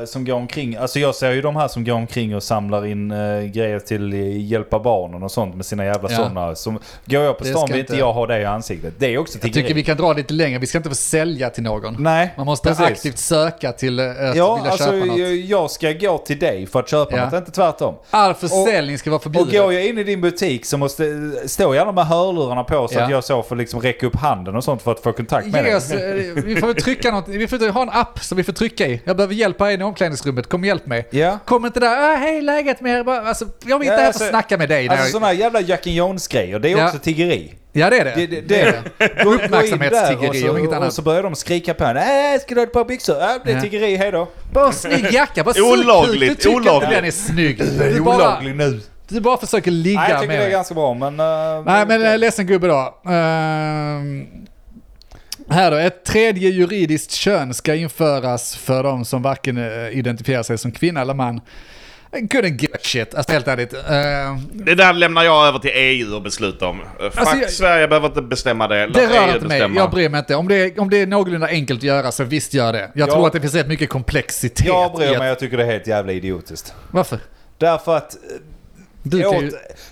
Speaker 1: eh, som går omkring. Alltså jag ser ju de här som går omkring och samlar in eh, grejer till eh, hjälpa barnen och sånt med sina jävla
Speaker 2: Ja.
Speaker 1: sådana. Som, går jag på
Speaker 2: Det
Speaker 1: stan
Speaker 2: ska
Speaker 1: vill
Speaker 2: inte-
Speaker 1: inte jag ha det i ansiktet. Det är också
Speaker 2: Jag
Speaker 1: tiggeri.
Speaker 2: tycker vi kan dra lite längre, vi ska inte få sälja till någon.
Speaker 1: Nej,
Speaker 2: Man måste
Speaker 1: precis.
Speaker 2: aktivt söka till eh, att
Speaker 1: Ja,
Speaker 2: vilja
Speaker 1: alltså
Speaker 2: köpa något.
Speaker 1: jag, jag ska gå till dig för att köpa
Speaker 2: Ja.
Speaker 1: något, inte tvärtom.
Speaker 2: All försäljning ska vara
Speaker 1: Och
Speaker 2: förbjuden.
Speaker 1: går jag in i din butik så måste, stå gärna med hörlurarna på så
Speaker 2: Ja.
Speaker 1: att jag så får liksom räcka upp handen och sånt för att få kontakt med
Speaker 2: Ge
Speaker 1: dig.
Speaker 2: oss, eh, vi får väl trycka något, vi får ha en app som vi får trycka i. Jag behöver hjälp här inne i omklädningsrummet, kom och hjälp mig.
Speaker 1: Ja.
Speaker 2: Kom inte där, ah, hej läget med er? Bara, Alltså, jag vill inte
Speaker 1: Ja,
Speaker 2: här för
Speaker 1: alltså-
Speaker 2: att snacka med dig.
Speaker 1: Alltså
Speaker 2: Där-
Speaker 1: sådana jävla Jack and Jones-grejer, det är
Speaker 2: Ja.
Speaker 1: också tiggeri.
Speaker 2: ja det är det.
Speaker 1: Det, det, det är det. Gå- gå in där
Speaker 2: Uppmärksamhetstiggeri
Speaker 1: och,
Speaker 2: om inget
Speaker 1: så-
Speaker 2: annat.
Speaker 1: och så börjar de skrika på en. Äh, ska du ha ett par byxor? Äh, det är
Speaker 2: Ja.
Speaker 1: tiggeri, hejdå.
Speaker 2: Bara snygg jacka, bara
Speaker 3: Olagligt,
Speaker 2: sug kuk. Du tycker
Speaker 3: olagligt.
Speaker 2: inte den är snygg. Du bara,
Speaker 1: nu.
Speaker 2: du bara försöker ligga
Speaker 1: Nej, jag tycker
Speaker 2: med
Speaker 1: det är
Speaker 2: mig.
Speaker 1: ganska bra men... eh,
Speaker 2: Nej men eh, ledsen gubbe då. Ehm, här då, ett tredje juridiskt kön ska införas för de som varken eh, identifierar sig som kvinna eller man. I couldn't give a shit, alltså helt ärligt. Ehm,
Speaker 3: Det där lämnar jag över till EU att besluta om. Fuck,
Speaker 2: Alltså, jag-
Speaker 3: Sverige behöver inte bestämma det. Låt
Speaker 2: det rör
Speaker 3: EU
Speaker 2: inte mig,
Speaker 3: bestämma.
Speaker 2: jag bryr mig inte. Om det, är, om det är någorlunda enkelt att göra så visst gör det. Jag
Speaker 1: Ja.
Speaker 2: tror att det finns rätt mycket komplexitet.
Speaker 1: jag bryr
Speaker 2: i
Speaker 1: mig,
Speaker 2: att-
Speaker 1: jag tycker det är helt jävla idiotiskt.
Speaker 2: Varför?
Speaker 1: Därför att... eh,
Speaker 2: Du
Speaker 1: åt,
Speaker 2: kan ju...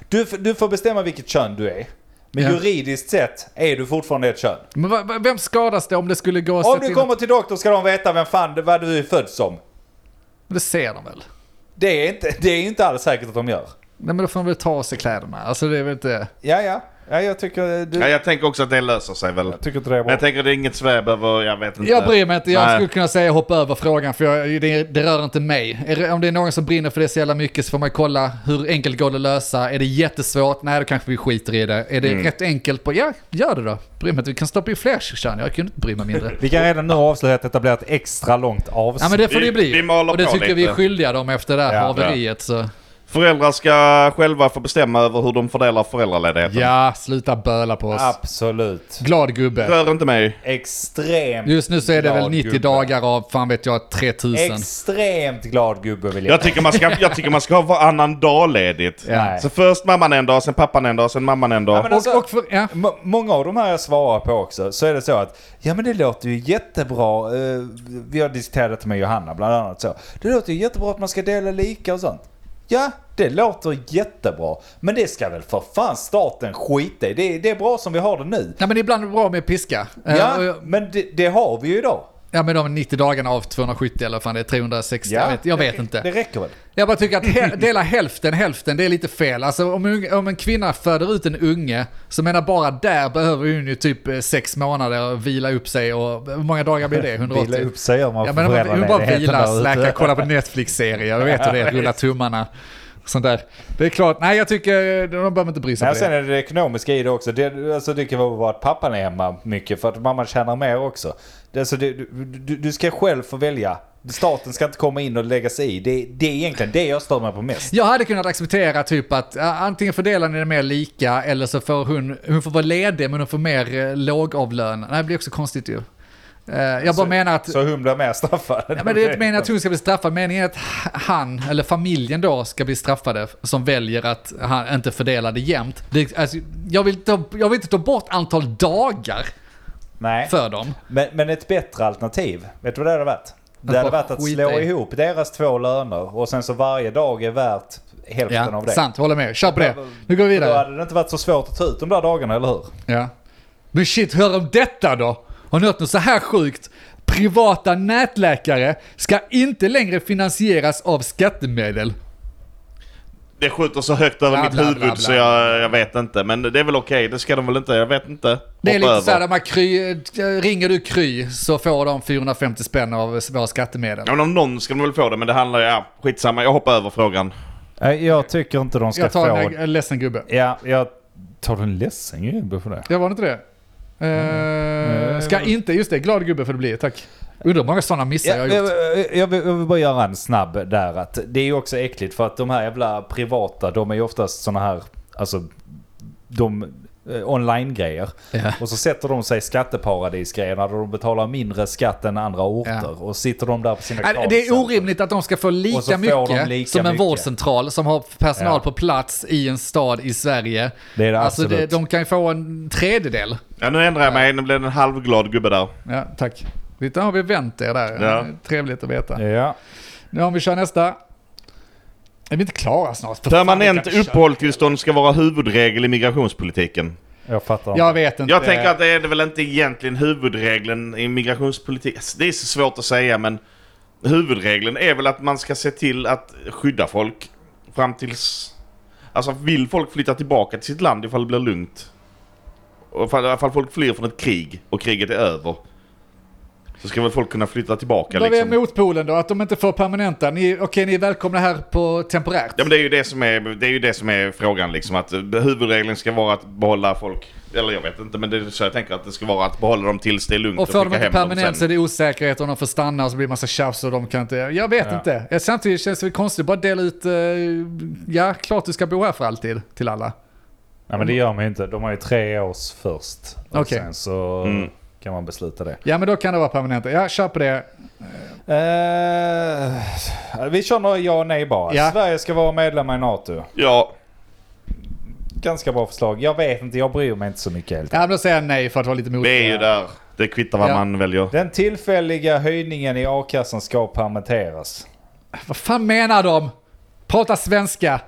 Speaker 1: du, f- du får bestämma vilket kön du är. Men
Speaker 2: Ja.
Speaker 1: juridiskt sett är du fortfarande ett kön.
Speaker 2: Men va- va- vem skadas det om det skulle gå
Speaker 1: Om
Speaker 2: sätta
Speaker 1: du
Speaker 2: in-
Speaker 1: kommer till doktorn ska de veta vem fan det- vad du är född som.
Speaker 2: Det ser de väl?
Speaker 1: Det är inte, det är inte alls säkert att de gör.
Speaker 2: Nej men då får de väl ta av sig kläderna. Alltså det är väl inte...
Speaker 1: Ja, ja. ja jag, tycker, eh, du,
Speaker 3: Ja, jag tänker också att det löser sig väl.
Speaker 1: jag tycker inte det är
Speaker 3: Men
Speaker 1: bra.
Speaker 3: jag tänker det är inget Sverige behöver, jag vet inte.
Speaker 2: Jag bryr mig inte, jag
Speaker 3: Nej.
Speaker 2: skulle kunna säga hoppa över frågan för jag, det, det rör inte mig. Är det- Om det är någon som brinner för det så jävla mycket så får man kolla hur enkelt går det att lösa. Är det jättesvårt? Nej, då kanske vi skiter i det. Är det rätt enkelt? På, ja, gör det då. Bryr mig inte, vi kan stoppa in fler kyrkan. Jag kunde inte bry mig mindre.
Speaker 1: Vi kan redan nu avslöja att detta blir ett extra långt avsnitt.
Speaker 2: Ja men det får det ju
Speaker 3: Vi-
Speaker 2: bli.
Speaker 3: vi maler
Speaker 2: Och det
Speaker 3: på
Speaker 2: tycker vi är
Speaker 3: lite.
Speaker 2: skyldiga dem efter det här
Speaker 1: Ja,
Speaker 2: haveriet. Så.
Speaker 3: Föräldrar ska själva få bestämma över hur de fördelar föräldraledigheten.
Speaker 2: Ja, sluta böla på oss.
Speaker 1: Absolut.
Speaker 2: Glad gubbe.
Speaker 3: Rör inte mig.
Speaker 1: Extremt
Speaker 2: Just nu så är det väl
Speaker 1: glad
Speaker 2: 90
Speaker 1: gubbe.
Speaker 2: dagar av, fan vet jag, 3000.
Speaker 1: Extremt glad gubbe vill jag.
Speaker 3: Jag tycker man ska, jag tycker man ska ha varannan dag ledigt.
Speaker 1: Ja.
Speaker 3: Så först mamman en dag, sen pappan en dag, sen mamman en dag.
Speaker 1: Ja, men alltså-
Speaker 2: Och, och för, ja.
Speaker 1: M- många av de här jag svarar på också, så är det så att ja men det låter ju jättebra. eh, vi har diskuterat detta med Johanna bland annat så. Det låter ju jättebra att man ska dela lika och sånt. Ja, det låter jättebra. Men det ska väl för fan staten skita i. Det, det är bra som vi har det nu.
Speaker 2: Nej men ibland är det bra med piska. Eh, och
Speaker 1: Ja,
Speaker 2: jag-
Speaker 1: men det, det har vi ju idag.
Speaker 2: Ja men de 90 dagarna av 270 eller fan det är 360,
Speaker 1: Ja.
Speaker 2: jag, vet, jag vet
Speaker 1: Det
Speaker 2: inte.
Speaker 1: räcker väl?
Speaker 2: Jag bara tycker att he- dela hälften hälften, det är lite fel. Alltså om, un- om en kvinna föder ut en unge, så menar bara där behöver hon ju typ eh, sex månader och vila upp sig och hur många dagar blir det?
Speaker 1: <laughs>
Speaker 2: 180?
Speaker 1: Vila upp sig om man
Speaker 2: Ja
Speaker 1: får
Speaker 2: men om hon bara
Speaker 1: föräldraledigheten
Speaker 2: vilar,
Speaker 1: där ute.
Speaker 2: släkar, kollar på Netflix-serier, jag vet hur det är, rulla tummarna. Sånt där. Det är klart, nej jag tycker, de behöver inte bry sig
Speaker 1: Nej,
Speaker 2: om det.
Speaker 1: sen är det det ekonomiska i det också. Det, alltså, det kan vara bara att pappan är hemma mycket för att mamman tjänar mer också. Det, alltså, det, du, du, du ska själv få välja. Staten ska inte komma in och lägga sig i. Det, det är egentligen det jag stör mig på mest.
Speaker 2: Jag hade kunnat acceptera typ att ja, antingen fördelar ni det mer lika eller så får hon, hon får vara ledig men hon får mer eh, lågavlönad. Nej, det blir också konstigt ju. Eh, jag bara menar att...
Speaker 1: Så hon blir mer straffad.
Speaker 2: Ja, men det är inte meningen att hon ska bli straffad, meningen är att han, eller familjen då, ska bli straffade som väljer att han inte fördelar det jämnt. Det, alltså, jag, vill ta, jag vill inte ta bort antal dagar
Speaker 1: Nej.
Speaker 2: för dem.
Speaker 1: Men, men ett bättre alternativ, vet du vad det hade varit? Det hade
Speaker 2: bara
Speaker 1: varit att
Speaker 2: skita
Speaker 1: slå
Speaker 2: i.
Speaker 1: ihop deras två löner och sen så varje dag är värt hälften
Speaker 2: Ja,
Speaker 1: av det.
Speaker 2: sant. Håller med. Kör på det. Nu går vi
Speaker 1: Då
Speaker 2: vidare.
Speaker 1: hade det inte varit så svårt att ta ut de där dagarna, eller hur?
Speaker 2: Ja. Men shit, hör om detta då? Har ni hört något så här sjukt? Privata nätläkare ska inte längre finansieras av skattemedel.
Speaker 3: Det skjuter så högt över
Speaker 2: Bla,
Speaker 3: mitt
Speaker 2: bla, bla,
Speaker 3: huvud
Speaker 2: bla.
Speaker 3: så jag, jag vet inte. Men det är väl okej, det ska de väl inte, jag vet inte.
Speaker 2: Det är
Speaker 3: Hoppa
Speaker 2: lite så här,
Speaker 3: över.
Speaker 2: de här kry, ringer du Kry så får de 450 spänn av våra skattemedel.
Speaker 3: Ja, men om någon ska de väl få det, men det handlar ju... Ja, skitsamma, jag hoppar över frågan.
Speaker 1: Jag tycker inte de
Speaker 2: Jag tar en, en ledsen gubbe.
Speaker 1: Ja, jag tar en ledsen gubbe för det.
Speaker 2: Jag var det inte det?
Speaker 1: Mm.
Speaker 2: Eh, ska inte, just det, glad gubbe får det bli, tack. Undrar hur många sådana missar jag
Speaker 1: Jag,
Speaker 2: har gjort.
Speaker 1: jag, jag, vill, jag vill bara göra en snabb där. Att det är ju också äckligt för att de här jävla privata, de är ju oftast såna här, alltså, de eh, online-grejer.
Speaker 2: Ja.
Speaker 1: Och så sätter de sig i skatteparadisgrejerna där de betalar mindre skatt än andra orter. Och sitter de där på sina
Speaker 2: Nej, Det är
Speaker 1: callcenter.
Speaker 2: orimligt att de ska få
Speaker 1: Och så
Speaker 2: lika
Speaker 1: får de
Speaker 2: mycket
Speaker 1: lika
Speaker 2: som en
Speaker 1: mycket.
Speaker 2: vårdcentral som har personal
Speaker 1: Ja.
Speaker 2: på plats i en stad i Sverige.
Speaker 1: Det är det
Speaker 2: alltså
Speaker 1: absolut.
Speaker 2: de kan ju få en tredjedel.
Speaker 3: Ja, nu ändrar jag mig. Nu blev det en halvglad gubbe där.
Speaker 2: Ja, tack. Lite har vi vänt er där.
Speaker 3: Ja.
Speaker 2: Trevligt att veta.
Speaker 1: Ja.
Speaker 2: Nu om vi kör nästa. Är vi inte klara snart? För fan, vi
Speaker 3: Permanent
Speaker 2: kan inte köra.
Speaker 3: uppehållstillstånd ska vara huvudregel i migrationspolitiken.
Speaker 1: Jag fattar.
Speaker 2: Jag vet inte.
Speaker 3: Jag tänker att det är det väl inte egentligen huvudregeln i migrationspolitik. Alltså, Det är så svårt att säga men huvudregeln är väl att man ska se till att skydda folk fram tills... Alltså vill folk flytta tillbaka till sitt land ifall det blir lugnt? Och ifall, ifall folk flyr från ett krig och kriget är över. Så ska väl folk kunna flytta tillbaka
Speaker 2: Då är vi
Speaker 3: liksom.
Speaker 2: motpolen då, att de inte får permanenta. Ni, okej, ni är välkomna här på temporärt.
Speaker 3: Ja men det är ju det som är, det är, ju det som är frågan liksom. Att eh, huvudregeln ska vara att behålla folk. Eller jag vet inte men det är så jag tänker att det ska vara att behålla dem tills det är lugnt
Speaker 2: Och får de
Speaker 3: skicka
Speaker 2: inte
Speaker 3: hem dem
Speaker 2: permanent
Speaker 3: sen.
Speaker 2: så är det osäkerhet om de får stanna och så blir det massa tjafs och de kan inte... Jag vet inte. Ja, Samtidigt känns det väl konstigt att bara dela ut... eh, Ja, klart du ska bo här för alltid till alla.
Speaker 1: Nej men det gör man ju inte. De har ju tre års först. Och
Speaker 2: Okej.
Speaker 1: Sen så
Speaker 3: Mm.
Speaker 1: kan man besluta det.
Speaker 2: Ja, men då kan det vara permanent. Ja, kör på det.
Speaker 1: Eh, vi kör några ja och nej bara.
Speaker 2: Ja.
Speaker 1: Sverige ska vara medlem i NATO.
Speaker 3: Ja,
Speaker 1: Ganska bra förslag. Jag vet inte, jag bryr mig inte så mycket helt
Speaker 2: Ja, men då säger jag nej för att vara lite motig.
Speaker 3: det är ju där. Det kvittar vad
Speaker 2: Ja.
Speaker 3: man väljer.
Speaker 1: Den tillfälliga höjningen i a-kassan ska permitteras.
Speaker 2: Vad fan menar de? Prata svenska.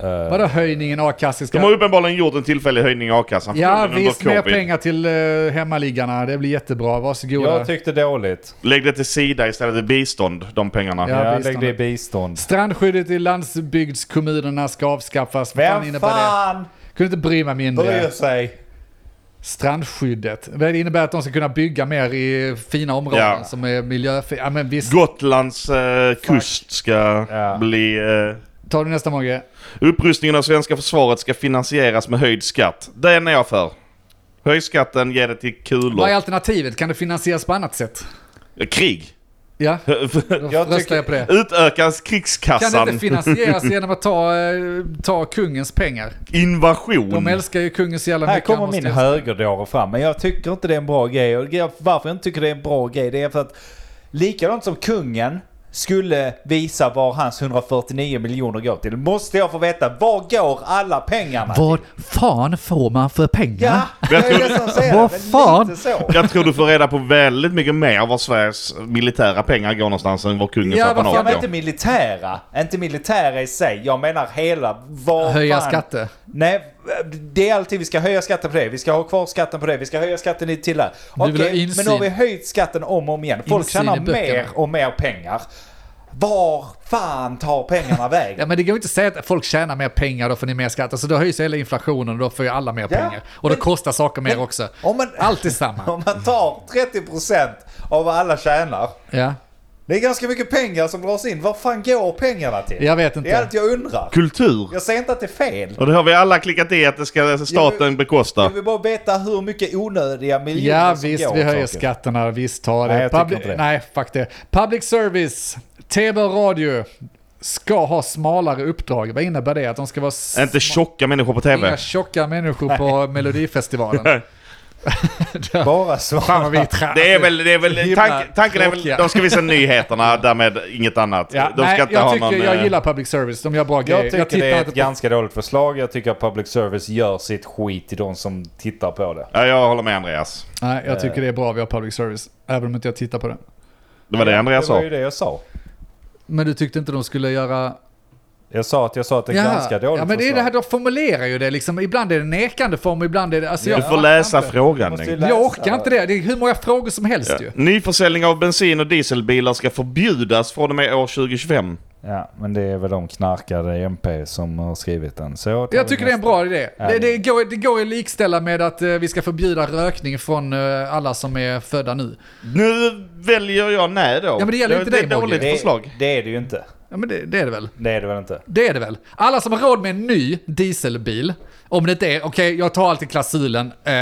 Speaker 1: Eh,
Speaker 2: Vadå höjningen a-kassan
Speaker 3: De
Speaker 2: ska...
Speaker 3: har uppenbarligen gjort en tillfällig höjning i a-kassan.
Speaker 2: Ja,
Speaker 3: förmodligen
Speaker 2: visst,
Speaker 3: under
Speaker 2: mer
Speaker 3: covid.
Speaker 2: pengar till uh, hemmaliggarna. Det blir jättebra. Varsågoda.
Speaker 1: jag tyckte dåligt.
Speaker 3: Lägg det till Sida istället för bistånd, de pengarna.
Speaker 2: Ja,
Speaker 1: Ja, jag
Speaker 2: bistånd.
Speaker 1: lägg det i bistånd.
Speaker 2: Strandskyddet i landsbygdskommunerna ska avskaffas. Vad
Speaker 1: Vem
Speaker 2: innebär det?
Speaker 1: fan
Speaker 2: Kunde inte bry mig mindre.
Speaker 1: bryr sig?
Speaker 2: Strandskyddet. Det innebär att de ska kunna bygga mer i fina områden
Speaker 3: Ja.
Speaker 2: som är miljöfina. Ja, men visst.
Speaker 3: Gotlands eh, kust ska
Speaker 1: Ja.
Speaker 3: bli... Eh,
Speaker 2: Tar du nästa Mogge?
Speaker 3: upprustningen av svenska försvaret ska finansieras med höjd skatt. Den är jag för. Höj skatten, ge det till kulor.
Speaker 2: Vad är alternativet? Kan det finansieras på annat sätt?
Speaker 3: Eh, Krig! <laughs>
Speaker 2: Ja, då
Speaker 1: Jag
Speaker 2: röstar
Speaker 1: tycker-
Speaker 2: jag på det.
Speaker 3: Utökas
Speaker 2: Kan det inte
Speaker 3: krigskassan.
Speaker 2: finansieras genom att ta, eh, ta kungens pengar? De
Speaker 3: Invasion.
Speaker 2: älskar ju kungen så jävla
Speaker 1: Här
Speaker 2: mycket.
Speaker 1: kommer
Speaker 2: han måste
Speaker 1: min högerdåre fram, men jag tycker inte det är en bra grej. Och jag- Varför jag inte tycker det är en bra grej, det är för att likadant som kungen skulle visa var hans 149 miljoner går till, måste jag få veta var går alla pengarna?
Speaker 2: Vad fan får man för pengar?
Speaker 1: Ja, det är det som säger det,
Speaker 2: Vad
Speaker 1: men
Speaker 2: fan?
Speaker 1: Lite så.
Speaker 3: Jag tror du får reda på väldigt mycket mer var Sveriges militära pengar går någonstans än var kungens
Speaker 2: Ja, vad
Speaker 3: apparat
Speaker 1: Ja, men
Speaker 3: går.
Speaker 1: inte militära. Inte militära i sig. Jag menar hela... Var
Speaker 2: Höja
Speaker 1: fan-
Speaker 2: skatter.
Speaker 1: Nej, det är alltid vi ska höja skatten på det. Vi ska ha kvar skatten på det. Vi ska höja skatten hit till där.
Speaker 2: vill ha
Speaker 1: Okej,
Speaker 2: insyn.
Speaker 1: men nu har vi höjt skatten om och om igen. Folk
Speaker 2: Insyn i
Speaker 1: tjänar
Speaker 2: böckerna.
Speaker 1: mer och mer pengar. Var fan tar pengarna
Speaker 2: Ja, <laughs>
Speaker 1: vägen?
Speaker 2: men det går ju inte att säga att folk tjänar mer pengar, då får ni mer skatt. Alltså då höjs hela inflationen och då får ju alla mer
Speaker 1: Ja,
Speaker 2: pengar. Och då
Speaker 1: men-
Speaker 2: kostar saker mer
Speaker 1: men-
Speaker 2: också.
Speaker 1: Om man, <laughs>
Speaker 2: Allt är samma.
Speaker 1: om man tar 30% av vad alla tjänar
Speaker 2: Ja.
Speaker 1: Det är ganska mycket pengar som dras in. Vad fan går pengarna till?
Speaker 2: Jag vet
Speaker 1: Det är
Speaker 2: inte.
Speaker 1: allt jag undrar.
Speaker 3: Kultur.
Speaker 1: Jag säger inte att det är fel.
Speaker 3: Och det har vi alla klickat i att det ska staten
Speaker 1: Jag
Speaker 3: bekosta.
Speaker 1: vill bara veta hur mycket onödiga miljoner
Speaker 2: Ja
Speaker 1: som
Speaker 2: visst,
Speaker 1: går
Speaker 2: vi
Speaker 1: åt
Speaker 2: höjer
Speaker 1: saker.
Speaker 2: skatterna. Visst tar det.
Speaker 1: Nej, jag tycker inte det.
Speaker 2: nej, fuck det. Public service, tv och radio ska ha smalare uppdrag. Vad innebär det? Att de ska vara s-
Speaker 3: Inte tjocka människor på
Speaker 2: inga
Speaker 3: TV.
Speaker 2: tjocka människor på Melodifestivalen.
Speaker 1: <laughs>
Speaker 3: Nej.
Speaker 1: Bara svara.
Speaker 2: Fan vad vi är trä-
Speaker 3: Det är väl, det är väl
Speaker 2: Himla
Speaker 3: tank, tanken är väl,
Speaker 2: tråkiga.
Speaker 3: de ska visa nyheterna, därmed inget annat.
Speaker 2: Ja,
Speaker 3: de ska
Speaker 2: nej,
Speaker 3: inte
Speaker 2: jag,
Speaker 3: ha
Speaker 2: tycker,
Speaker 3: någon, eh,
Speaker 2: jag gillar public service, de gör bra
Speaker 1: Jag
Speaker 2: grejer.
Speaker 1: tycker det är
Speaker 2: inte
Speaker 1: ett
Speaker 2: på-
Speaker 1: ganska dåligt förslag. Jag tycker att public service gör sitt skit till de som tittar på det.
Speaker 3: Ja, jag håller med Andreas.
Speaker 2: Nej, jag tycker det är bra vi har public service, även om inte jag tittar på det.
Speaker 3: Det var det Andreas
Speaker 1: Det var ju
Speaker 3: sa.
Speaker 1: det jag sa.
Speaker 2: Men du tyckte inte de skulle göra...
Speaker 1: Jag sa att jag sa att det är
Speaker 2: Jaha.
Speaker 1: ganska dåligt
Speaker 2: Ja, men det är
Speaker 1: förslag.
Speaker 2: det här, de formulerar ju det liksom. Ibland är det nekande form, ibland är det... Alltså,
Speaker 3: Du
Speaker 2: jag
Speaker 3: får
Speaker 2: orkar
Speaker 3: läsa
Speaker 2: inte.
Speaker 3: frågan.
Speaker 1: Måste ju
Speaker 3: Nick.
Speaker 1: läsa.
Speaker 2: Jag orkar inte det. Det är hur många frågor som helst
Speaker 3: Ja.
Speaker 2: ju.
Speaker 3: Nyförsäljning av bensin och dieselbilar ska förbjudas från och med år 2025.
Speaker 1: Ja, men det är väl de knarkade MP som har skrivit den. Så tar
Speaker 2: Jag
Speaker 1: vi
Speaker 2: tycker det är en
Speaker 1: nästa.
Speaker 2: bra idé.
Speaker 1: Ja,
Speaker 2: Det,
Speaker 1: det-
Speaker 2: det, går, det går att likställa med att eh, vi ska förbjuda rökning från eh, alla som är födda nu.
Speaker 3: Nu väljer jag nej då. Ja,
Speaker 2: men det gäller inte
Speaker 3: det är
Speaker 2: dig,
Speaker 3: ett dåligt
Speaker 2: Mogge.
Speaker 3: förslag.
Speaker 1: Det är det ju inte.
Speaker 2: Ja, men det, det är det väl.
Speaker 1: Det är det väl inte.
Speaker 2: Det är det väl. Alla som har råd med en ny dieselbil, om det inte är, okej jag tar alltid klausulen, eh,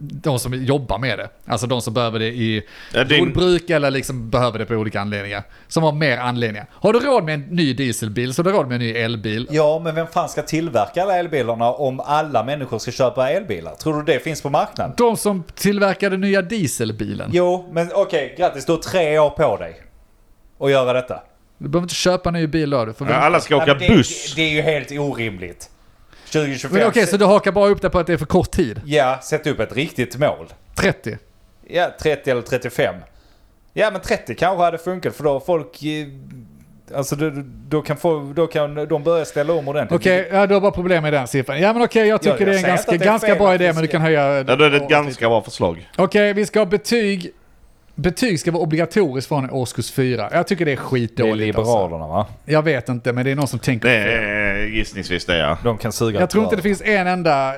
Speaker 2: de som jobbar med det. Alltså de som behöver det i
Speaker 3: Ja, din-
Speaker 2: jordbruk eller liksom behöver det på olika anledningar. Som har mer anledningar. Har du råd med en ny dieselbil så har du råd med en ny elbil.
Speaker 1: Ja, men vem fan ska tillverka alla elbilarna om alla människor ska köpa elbilar? Tror du det finns på marknaden?
Speaker 2: De som tillverkade nya dieselbilen.
Speaker 1: Jo, men okej, grattis. Du har tre år på dig att göra detta.
Speaker 2: Du behöver inte köpa en ny bil då. Du får
Speaker 3: Ja,
Speaker 2: vänta.
Speaker 3: alla ska
Speaker 1: Nej,
Speaker 3: åka
Speaker 1: men det,
Speaker 3: buss.
Speaker 1: Det är ju helt orimligt. 2025.
Speaker 2: Men okej, så du hakar bara upp det på att det är för kort tid?
Speaker 1: Ja, sätt upp ett riktigt mål.
Speaker 2: 30?
Speaker 1: Ja, 30 eller 35. Ja, men 30 kanske hade funkat för då har folk... eh, Alltså då, då, kan få, då kan de börja ställa om ordentligt.
Speaker 2: Okej, ja, du har bara problem med den siffran. Ja men okej, jag tycker
Speaker 1: jag
Speaker 2: det är en
Speaker 1: säger inte
Speaker 2: ganska,
Speaker 1: att det är
Speaker 2: ganska
Speaker 1: fel
Speaker 2: bra
Speaker 1: att
Speaker 2: idé
Speaker 1: vi
Speaker 2: men du
Speaker 1: ska-
Speaker 2: kan höja...
Speaker 3: Ja, då är det ett ganska bra förslag.
Speaker 2: Okej, vi ska ha betyg. Betyg ska vara obligatoriskt från årskurs 4. Jag tycker det är
Speaker 1: Det är
Speaker 2: skitdåligt. alltså.
Speaker 1: Liberalerna va?
Speaker 2: Jag vet inte, men det är någon som tänker
Speaker 3: Det
Speaker 2: fel.
Speaker 3: är gissningsvis det ja.
Speaker 1: De kan suga
Speaker 2: Jag tror inte det
Speaker 1: röv.
Speaker 2: finns en enda,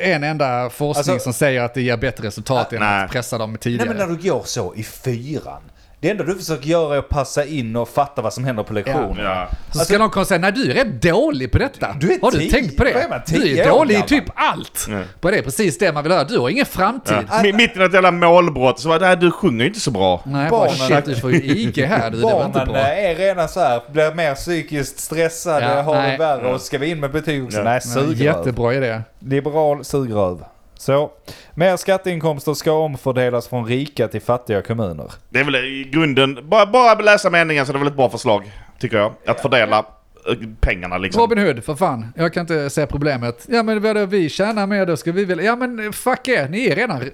Speaker 2: eh, en enda forskning
Speaker 1: Alltså-
Speaker 2: som säger att det ger bättre resultat än
Speaker 3: Ah, nej.
Speaker 2: att pressa dem
Speaker 1: Nej
Speaker 2: tidigare.
Speaker 1: men när du går så i fyran. Det enda du försöker göra är att passa in och fatta vad som händer på lektionen.
Speaker 3: ja.
Speaker 2: Så ska någon komma och säga, nej du är rätt dålig på detta.
Speaker 1: alltså- Du är
Speaker 2: har du
Speaker 1: tio-
Speaker 2: tänkt på
Speaker 1: vad är
Speaker 2: det?
Speaker 1: man,
Speaker 2: Du
Speaker 1: tio
Speaker 2: är
Speaker 1: år
Speaker 2: dålig i
Speaker 1: gammal?
Speaker 2: typ allt. Bara det är precis det man vill höra. Du har ingen framtid.
Speaker 3: Ja. Mi- Mitt i något jävla målbrott så var det här, du sjunger ju inte så bra.
Speaker 2: Nej, bara
Speaker 1: Barnen-
Speaker 2: shit, du får ju IG här. Du, det var inte
Speaker 1: Barnen
Speaker 2: bra.
Speaker 1: eh, är redan så här, blir mer psykiskt stressade,
Speaker 2: Ja,
Speaker 1: har
Speaker 2: nej.
Speaker 1: det värre och ska vi in med betyg också. Nej, sugröv.
Speaker 2: Jättebra idé.
Speaker 1: Liberal sugröv. Så, mer skatteinkomster ska omfördelas från rika till fattiga kommuner.
Speaker 3: Det är väl i grunden, bara, bara läsa meningen så det är väl ett bra förslag. Tycker jag. Att fördela eh, pengarna liksom.
Speaker 2: Robin Hood, för fan. Jag kan inte se problemet. Ja men vadå, vi tjänar mer då ska vi väl... Ja men fuck er, ni är redan r-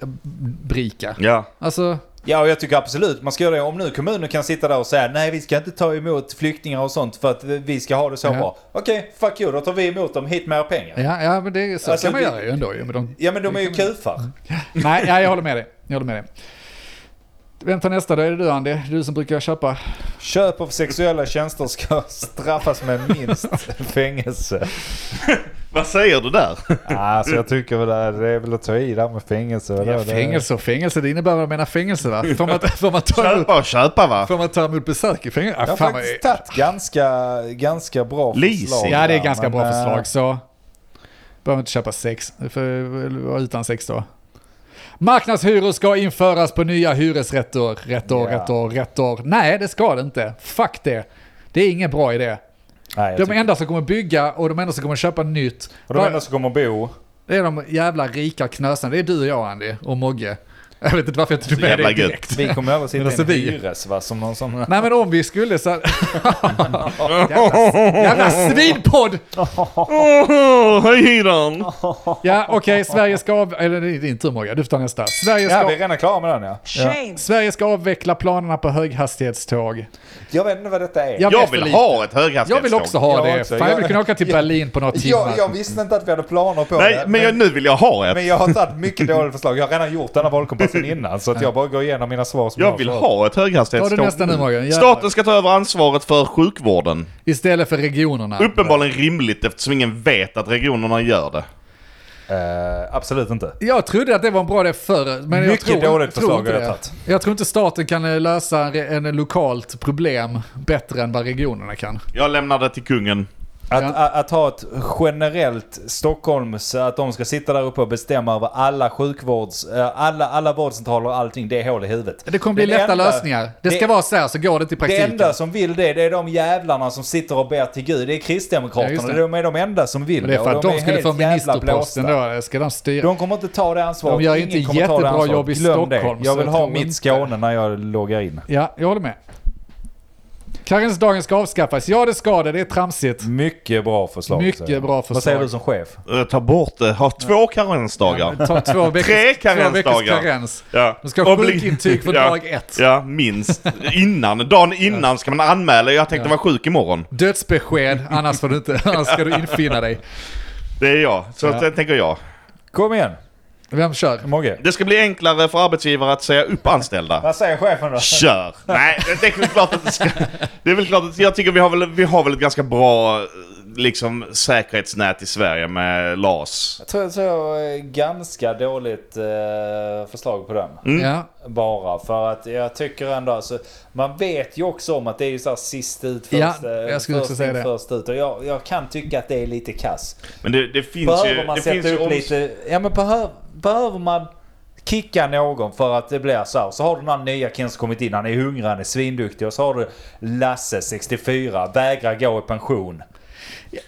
Speaker 2: rika.
Speaker 3: Ja.
Speaker 2: Alltså,
Speaker 1: Ja, och jag tycker absolut man ska göra det. Om nu kommunen kan sitta där och säga nej, vi ska inte ta emot flyktingar och sånt för att vi ska ha det så
Speaker 2: Ja.
Speaker 1: bra. Okej, fuck you, då tar vi emot dem, hit mer pengar.
Speaker 2: ja, ja men det, så
Speaker 1: Alltså,
Speaker 2: kan man
Speaker 1: det-
Speaker 2: göra ju ändå ju. Men de,
Speaker 1: Ja, men de är ju kufar.
Speaker 2: nej, ja, jag håller med dig. Jag håller med dig. Vem tar nästa då? Är det du Andy? Du som brukar köpa.
Speaker 1: Köp av sexuella tjänster ska straffas med <laughs> minst fängelse.
Speaker 3: Vad säger
Speaker 2: <laughs>
Speaker 3: du där?
Speaker 1: Alltså jag tycker väl att det är väl att ta i där med fängelse. vadå?
Speaker 2: Ja,
Speaker 1: Det-
Speaker 2: fängelse och fängelse, det innebär vad jag menar fängelse va? Får man, får man, ta, emot,
Speaker 3: Köpa och köpa va?
Speaker 2: får man ta emot besök i fängelse?
Speaker 1: Jag
Speaker 2: Ah,
Speaker 1: har
Speaker 2: fan, vad-
Speaker 1: faktiskt tagit ganska, ganska bra
Speaker 3: Leasing.
Speaker 1: förslag.
Speaker 2: ja det är
Speaker 1: där,
Speaker 2: ganska bra
Speaker 1: men, eh,
Speaker 2: förslag så. Behöver inte köpa sex, Du får vara utan sex då. Marknadshyror ska införas på nya hyresrätter. Rätt år,
Speaker 1: Ja.
Speaker 2: rätt år, rätt år. Nej, det ska det inte. Fuck det. Det är ingen bra idé.
Speaker 1: Nej, jag
Speaker 2: De
Speaker 1: tycker-
Speaker 2: enda som kommer bygga och de enda som kommer köpa nytt,
Speaker 1: och de enda som kommer bo.
Speaker 2: det är de jävla rika knösarna. Det är du och jag Andy, och Mogge. Jag vet inte varför jag inte tog med
Speaker 3: jävla
Speaker 2: det
Speaker 3: gött.
Speaker 2: direkt.
Speaker 1: Vi kommer över sitta
Speaker 2: Men alltså
Speaker 1: i
Speaker 2: vi-
Speaker 1: en hyres va? Som någon som...
Speaker 2: Nej men om vi
Speaker 1: <laughs>
Speaker 2: skulle så... jävla, jävla svinpodd!
Speaker 3: Åh, höj hyran!
Speaker 2: Ja, okej, Sverige ska av... Eller det är din tur Morgan, du får ta nästa. Sverige
Speaker 1: Ja, vi
Speaker 2: ska,
Speaker 1: är redan klara med den ja.
Speaker 2: Sverige ska avveckla planerna på höghastighetståg.
Speaker 1: Jag vet inte vad detta är.
Speaker 2: Jag vet
Speaker 3: Jag
Speaker 2: för
Speaker 3: vill
Speaker 2: lite.
Speaker 3: ha ett
Speaker 2: Jag vill
Speaker 3: höghastighetståg.
Speaker 2: också ha
Speaker 1: Jag
Speaker 2: det.
Speaker 1: också.
Speaker 2: Fan, jag vill
Speaker 1: Jag-
Speaker 2: kunna åka till Berlin på några timmar.
Speaker 1: Jag, jag visste inte att vi hade planer på
Speaker 3: Nej,
Speaker 1: det.
Speaker 3: men jag, nu vill jag ha ett.
Speaker 1: men jag har tagit mycket dåliga förslag. Jag har redan gjort den här
Speaker 2: <laughs>
Speaker 1: valkompassen innan. Så att jag bara går igenom mina svar som
Speaker 3: Jag vill
Speaker 1: har.
Speaker 3: ha ett
Speaker 2: Tar du
Speaker 3: höghastighetståg.
Speaker 2: nästa nu Morgan? Jävlar.
Speaker 3: Staten ska ta över ansvaret för sjukvården.
Speaker 2: Istället för regionerna.
Speaker 3: Uppenbarligen rimligt eftersom ingen vet att regionerna gör det.
Speaker 1: Eh, absolut inte.
Speaker 2: Jag trodde att det var en bra idé förr, men jag
Speaker 1: Mycket
Speaker 2: tror,
Speaker 1: dåligt
Speaker 2: tror
Speaker 1: förslag
Speaker 2: inte
Speaker 1: har jag
Speaker 2: det.
Speaker 1: tagit.
Speaker 2: Jag tror inte staten kan eh, lösa en, re- en lokalt problem bättre än vad regionerna kan.
Speaker 3: Jag lämnar det till kungen.
Speaker 1: Att,
Speaker 2: Ja.
Speaker 1: att, att ha ett generellt Stockholms, att de ska sitta där uppe och bestämma över alla sjukvårds, eh, alla, alla vårdcentraler och allting, det är hål i huvudet.
Speaker 2: Det kommer bli
Speaker 1: Den
Speaker 2: lätta
Speaker 1: enda-
Speaker 2: lösningar. Det ska
Speaker 1: det-
Speaker 2: vara så här så går det inte i
Speaker 1: Det
Speaker 2: praktiken.
Speaker 1: enda som vill det, det är de jävlarna som sitter och ber till Gud. Det är
Speaker 2: Ja,
Speaker 1: Kristdemokraterna.
Speaker 2: just det.
Speaker 1: de är de enda som vill
Speaker 2: Men det är för att
Speaker 1: och
Speaker 2: de,
Speaker 1: är
Speaker 2: skulle
Speaker 1: helt
Speaker 2: få
Speaker 1: jävla
Speaker 2: ministerposten
Speaker 1: blåsta.
Speaker 2: då. Ska de styra?
Speaker 1: De kommer inte ta det ansvaret.
Speaker 2: De gör
Speaker 1: Ingen
Speaker 2: inte
Speaker 1: kommer ta det
Speaker 2: jättebra
Speaker 1: ansvaret.
Speaker 2: jobb i
Speaker 1: Glöm
Speaker 2: Stockholm,
Speaker 1: Det.
Speaker 2: så
Speaker 1: Jag vill
Speaker 2: jag
Speaker 1: ha
Speaker 2: tror
Speaker 1: mitt
Speaker 2: inte-
Speaker 1: Skåne när jag loggar in.
Speaker 2: Ja, jag håller med. Karensdagen ska avskaffas. Ja, det ska det. Det är tramsigt.
Speaker 1: Mycket bra förslag.
Speaker 2: Mycket
Speaker 1: säger jag.
Speaker 2: bra
Speaker 1: Vad säger
Speaker 2: förslag.
Speaker 1: du som chef?
Speaker 3: Eh, Ta bort det. Ha två karensdagar.
Speaker 2: Ta två veckors,
Speaker 3: Tre
Speaker 2: två veckors
Speaker 3: karensdagar.
Speaker 2: karens.
Speaker 3: Ja.
Speaker 2: De ska ha
Speaker 3: Obli-
Speaker 2: sjukintyg för
Speaker 3: <laughs> Ja.
Speaker 2: dag ett.
Speaker 3: Ja, minst. Innan. Dagen innan ska man anmäla. Jag tänkte vara sjuk imorgon.
Speaker 2: Dödsbesked, annars, får du inte, <laughs> annars ska du infinna dig.
Speaker 3: Det är jag. Så det tänker jag.
Speaker 1: Kom igen,
Speaker 2: Vem kör?
Speaker 1: Mogge.
Speaker 3: Det ska bli enklare för arbetsgivare att säga upp anställda.
Speaker 1: Vad säger chefen då?
Speaker 3: Kör! Nej, det är väl klart att det ska... Det är väl klart att jag tycker vi har väl, vi har väl ett ganska bra eh, liksom, säkerhetsnät i Sverige med LAS.
Speaker 1: Jag tror jag tror ganska dåligt eh, förslag på den.
Speaker 2: Ja.
Speaker 1: Bara för att jag tycker ändå alltså, Man vet ju också om att det är ju så här sist ut först,
Speaker 2: Ja,
Speaker 1: eh,
Speaker 2: jag skulle
Speaker 1: först
Speaker 2: också säga
Speaker 1: in
Speaker 2: det.
Speaker 1: först ut. Och jag, jag kan tycka att det är lite kass.
Speaker 3: Men det, det finns
Speaker 1: Behöver
Speaker 3: ju...
Speaker 1: man
Speaker 3: det finns
Speaker 1: sätta
Speaker 3: ju
Speaker 1: upp
Speaker 3: oms-
Speaker 1: lite... Ja men behöv, behöver man kicka någon för att det blir så här. Så har du den här nya killen som kommit in. Han är hungrig, han är svinduktig. Och så har du Lasse 64, vägrar gå i pension.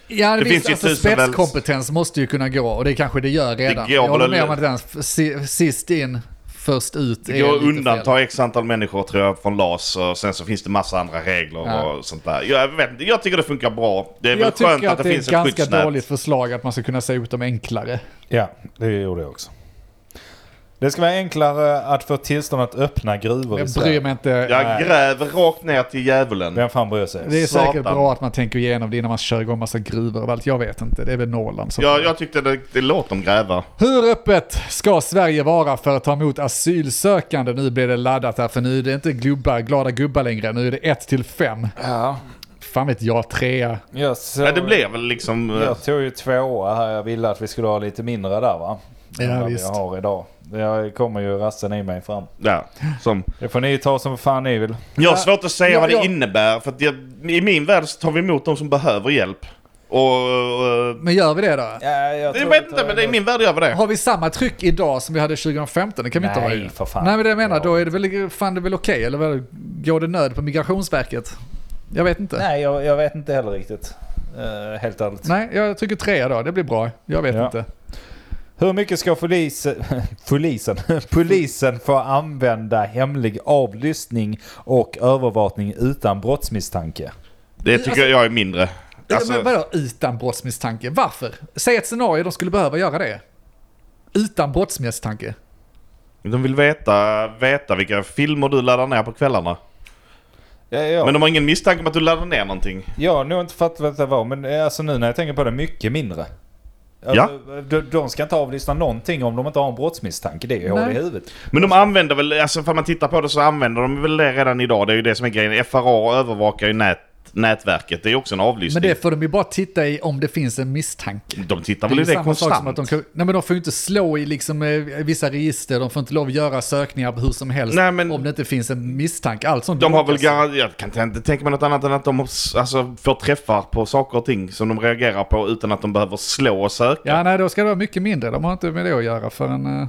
Speaker 2: Ja, det
Speaker 3: Det
Speaker 2: visst,
Speaker 3: finns ju
Speaker 2: alltså
Speaker 3: tusen väl-
Speaker 2: spetskompetens måste ju kunna gå och det kanske det gör redan.
Speaker 3: går
Speaker 2: jag håller
Speaker 3: väl-
Speaker 2: med om att den f- si- sist in, först ut
Speaker 3: Det går att
Speaker 2: lite fel.
Speaker 3: undanta x antal människor tror jag från LAS och sen så finns det massa andra regler
Speaker 2: Ja.
Speaker 3: och sånt där. Jag, vet, inte, jag tycker det funkar bra. Det är väl
Speaker 2: Jag
Speaker 3: skönt
Speaker 2: tycker
Speaker 3: att
Speaker 2: att
Speaker 3: det,
Speaker 2: det är ett
Speaker 3: finns ett
Speaker 2: ganska
Speaker 3: skyddsnät.
Speaker 2: dåligt förslag att man ska kunna säga ut dem enklare.
Speaker 1: Ja, det gjorde jag också. Det ska vara enklare att få tillstånd att öppna gruvor
Speaker 2: Jag bryr mig inte.
Speaker 3: Jag gräver rakt ner till djävulen.
Speaker 1: Vem fan bryr sig?
Speaker 2: Det är
Speaker 3: Satan.
Speaker 2: säkert bra att man tänker igenom det innan man kör igång massa gruvor och allt. Jag vet inte, det är väl Norrland som...
Speaker 3: Jag, jag tyckte det, det låt dem gräva.
Speaker 2: Hur öppet ska Sverige vara för att ta emot asylsökande? Nu blir det laddat här för nu är det inte gubbar, glada gubbar längre. Nu är det 1 till 5.
Speaker 1: Ja,
Speaker 2: Fan vet jag, trea.
Speaker 1: jag såg...
Speaker 3: Ja, det blev väl liksom... eh,
Speaker 1: Jag tog ju tvåa här. Jag ville att vi skulle ha lite mindre där va?
Speaker 2: Ja,
Speaker 1: Än vad
Speaker 2: visst.
Speaker 1: jag har idag. Jag kommer ju rassen i mig fram.
Speaker 3: Ja, som.
Speaker 1: Det får ni ta som fan ni vill.
Speaker 3: Jag har svårt att säga
Speaker 2: Ja,
Speaker 3: vad det
Speaker 2: ja.
Speaker 3: innebär för att jag, i min värld så tar vi emot de som behöver hjälp. Och... eh,
Speaker 2: Men gör vi det då?
Speaker 1: Ja, jag eh,
Speaker 3: jag vet inte, men i min värld gör vi det.
Speaker 2: Har vi samma tryck idag som vi hade 2015? Det kan vi inte ha.
Speaker 1: Nej,
Speaker 2: ju.
Speaker 1: för fan.
Speaker 2: Nej, men det jag menar,
Speaker 1: Ja.
Speaker 2: då är det väl, fan det är väl okej? Eller vad, går det nöd på Migrationsverket? Jag vet inte.
Speaker 1: Nej, jag, jag vet inte heller riktigt. Eh, helt ärligt.
Speaker 2: Nej, jag tycker trea då. Det blir bra. Jag vet
Speaker 1: Ja.
Speaker 2: inte.
Speaker 1: Hur mycket ska polisen, <laughs> polisen, polisen få använda hemlig avlyssning och övervakning utan brottsmisstanke?
Speaker 3: Det tycker jag är mindre.
Speaker 2: alltså- men
Speaker 3: Alltså,
Speaker 2: vadå utan brottsmisstanke? Varför? Säg ett scenario de skulle behöva göra det. Utan brottsmisstanke.
Speaker 3: de vill veta, veta vilka filmer du laddar ner på kvällarna.
Speaker 1: Ja, ja.
Speaker 3: Men de har ingen misstanke om att du laddar ner någonting.
Speaker 1: Jag har nog inte fattat vad det var, men eh, alltså nu när jag tänker på det, mycket mindre. Alltså, de, de ska inte avlyssna någonting om de inte har en brottsmisstanke. Det är ju hål i
Speaker 2: Nej.
Speaker 1: huvudet.
Speaker 3: Men de använder väl, alltså om man tittar på det så använder de väl det redan idag. Det är ju det som är grejen. FRA övervakar ju nät, nätverket. Det är ju också en
Speaker 2: Men
Speaker 3: avlyssning.
Speaker 2: det får de ju bara titta i om det finns en misstanke.
Speaker 3: De tittar
Speaker 2: Det är
Speaker 3: väl i
Speaker 2: ju
Speaker 3: det
Speaker 2: samma sak som
Speaker 3: konstant.
Speaker 2: att de, kan- nej men de får ju inte slå i liksom eh, vissa register, de får inte lov att göra sökningar på hur som helst
Speaker 3: Nej, men-
Speaker 2: om det inte finns en misstanke. Allt sånt
Speaker 3: De har väl
Speaker 2: blockas.
Speaker 3: garanterat, jag kan inte tänka mig något annat än att de har s- alltså, får träffar på saker och ting som de reagerar på utan att de behöver slå och söka.
Speaker 2: Ja, nej, då ska det vara mycket mindre. De har inte med det att göra för en... eh,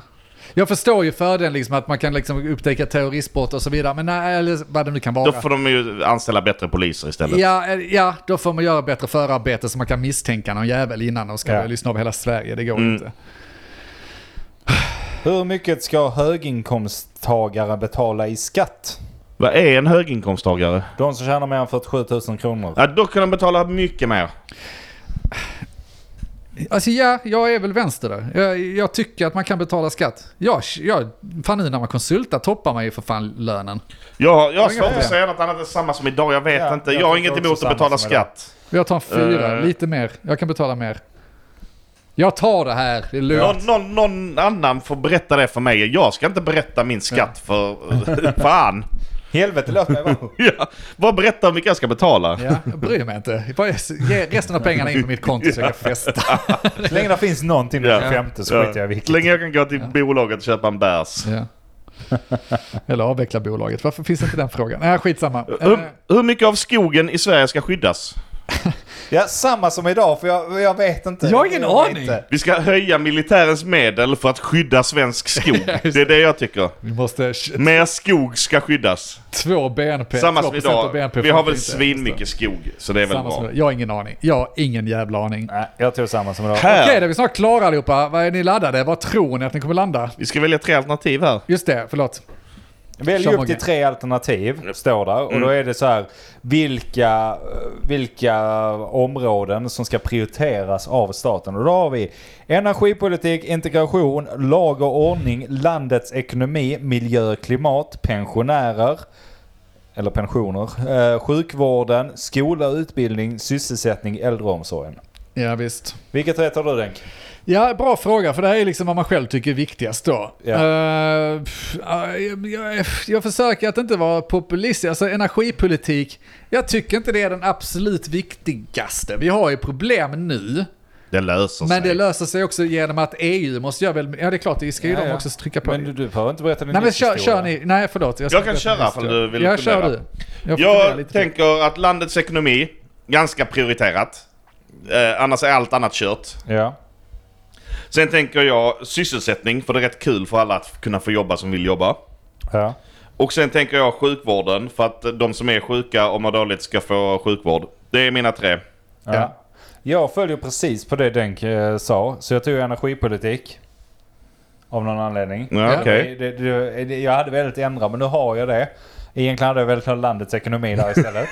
Speaker 2: Jag förstår ju fördelen liksom att man kan liksom upptäcka terroristbrott och så vidare, men nej, eller vad det nu kan vara.
Speaker 3: Då får de ju anställa bättre poliser istället.
Speaker 2: Ja, eh, ja, då får man göra bättre förarbete så man kan misstänka någon jävel innan de ska
Speaker 1: Ja.
Speaker 2: börja lyssna av hela Sverige. Det går inte.
Speaker 1: Hur mycket ska höginkomsttagare betala i skatt?
Speaker 3: Vad är en höginkomsttagare?
Speaker 1: De som tjänar mer än 47 000 kronor.
Speaker 3: Ja, då kan de betala mycket mer.
Speaker 2: Alltså ja, jag är väl vänster där. Jag, jag tycker att man kan betala skatt. Jag, jag, fan nu när man konsultar toppar man ju för fan lönen.
Speaker 3: Jag, jag har svårt
Speaker 2: problem.
Speaker 3: att säga något annat än samma som idag, jag vet
Speaker 1: Ja,
Speaker 3: inte.
Speaker 1: jag
Speaker 3: Jag har
Speaker 1: tycker
Speaker 3: inget
Speaker 1: också
Speaker 3: emot att
Speaker 1: samma
Speaker 3: betala
Speaker 1: som idag.
Speaker 3: skatt.
Speaker 2: Jag tar en fyra,
Speaker 3: Eh.
Speaker 2: lite mer. Jag kan betala mer. Jag tar det här, det är lugnt.
Speaker 3: Någon,
Speaker 2: <laughs>
Speaker 3: någon, någon annan får berätta det för mig. Jag ska inte berätta min skatt för... Fan!
Speaker 1: Helvete, låt
Speaker 3: <laughs>
Speaker 1: mig vara.
Speaker 3: Ja, vad berätta om vilka jag ska betala.
Speaker 2: Ja, jag bryr mig inte. Jag bara Ge resten av pengarna in på mitt konto så jag kan festa.
Speaker 1: Så länge det finns någonting den
Speaker 3: Ja.
Speaker 1: 25 så
Speaker 3: Ja.
Speaker 1: skiter jag i vilket.
Speaker 3: Så länge jag kan gå till bolaget och köpa en bärs.
Speaker 2: Ja. Eller avveckla bolaget. Varför finns inte den frågan? Nej, skitsamma. Eh,
Speaker 3: Hur, hur mycket av skogen i Sverige ska skyddas?
Speaker 1: Ja, samma som idag för jag, jag vet inte.
Speaker 2: Jag har ingen
Speaker 1: vet
Speaker 2: aning.
Speaker 1: inte.
Speaker 3: Vi ska höja militärens medel för att
Speaker 2: <laughs>
Speaker 3: skydda svensk skog.
Speaker 2: just
Speaker 3: Det är det jag tycker.
Speaker 2: Vi måste... sh-
Speaker 3: Mer skog ska skyddas.
Speaker 2: Två BNP.
Speaker 3: Samma som
Speaker 2: 2% av
Speaker 3: idag.
Speaker 2: BNP
Speaker 3: Vi har väl
Speaker 2: funkar inte.
Speaker 3: svinmycket skog, så det är väl
Speaker 2: Samma som
Speaker 3: bra.
Speaker 2: idag. Jag har ingen aning. Jag har ingen jävla aning.
Speaker 1: Nej, jag tror samma som idag.
Speaker 2: Okej,
Speaker 3: Här!
Speaker 2: då är vi snart klara allihopa. Vad är ni laddade? Vad tror ni att ni kommer landa?
Speaker 3: Vi ska välja tre alternativ här.
Speaker 2: Just det, förlåt.
Speaker 1: Välj
Speaker 2: Som
Speaker 1: upp till
Speaker 2: många.
Speaker 1: tre alternativ, står där. Och då är det så här, vilka, vilka områden som ska prioriteras av staten. Och då har vi energipolitik, integration, lag och ordning, landets ekonomi, miljö, klimat, pensionärer, eller pensioner, eh, sjukvården, skola, utbildning, sysselsättning, äldreomsorgen.
Speaker 2: Ja, visst.
Speaker 1: Vilket rätt har du Denk?
Speaker 2: Ja, bra fråga, för det här är liksom vad man själv tycker är viktigast då.
Speaker 1: Ja.
Speaker 2: Eh, pff, eh, jag, jag försöker att inte vara populist, alltså energipolitik, jag tycker inte det är den absolut viktigaste. Vi har ju problem nu,
Speaker 3: Det löser sig.
Speaker 2: men det löser sig också genom att EU måste göra väl, ja det är klart, det ska ju
Speaker 1: Ja,
Speaker 2: de
Speaker 1: ja.
Speaker 2: också trycka på.
Speaker 1: Men du, du behöver inte berätta din
Speaker 2: nej men kör,
Speaker 1: livshistoria.
Speaker 2: kör ni, nej förlåt. ska
Speaker 3: Jag kan
Speaker 2: inte
Speaker 3: köra
Speaker 2: berätta
Speaker 3: ifall
Speaker 2: historia.
Speaker 3: du vill
Speaker 2: Ja, kör
Speaker 3: fundera.
Speaker 2: du. Jag, funderar
Speaker 3: Jag
Speaker 2: lite till.
Speaker 3: tänker att landets ekonomi, ganska prioriterat. Eh, annars är allt annat kört.
Speaker 1: Ja.
Speaker 3: Sen tänker jag sysselsättning, för det är rätt kul för alla att kunna få jobba som vill jobba.
Speaker 1: ja.
Speaker 3: Och sen tänker jag sjukvården, för att de som är sjuka och mår dåligt ska få sjukvård. Det är mina tre.
Speaker 1: Ja. Jag följer precis på det Denk eh, sa, så jag tog energipolitik. Av någon anledning.
Speaker 3: Ja, okej.
Speaker 1: Det, det, det, jag hade velat ändra, men nu har jag det. Egentligen hade jag velat ha landets ekonomi där istället.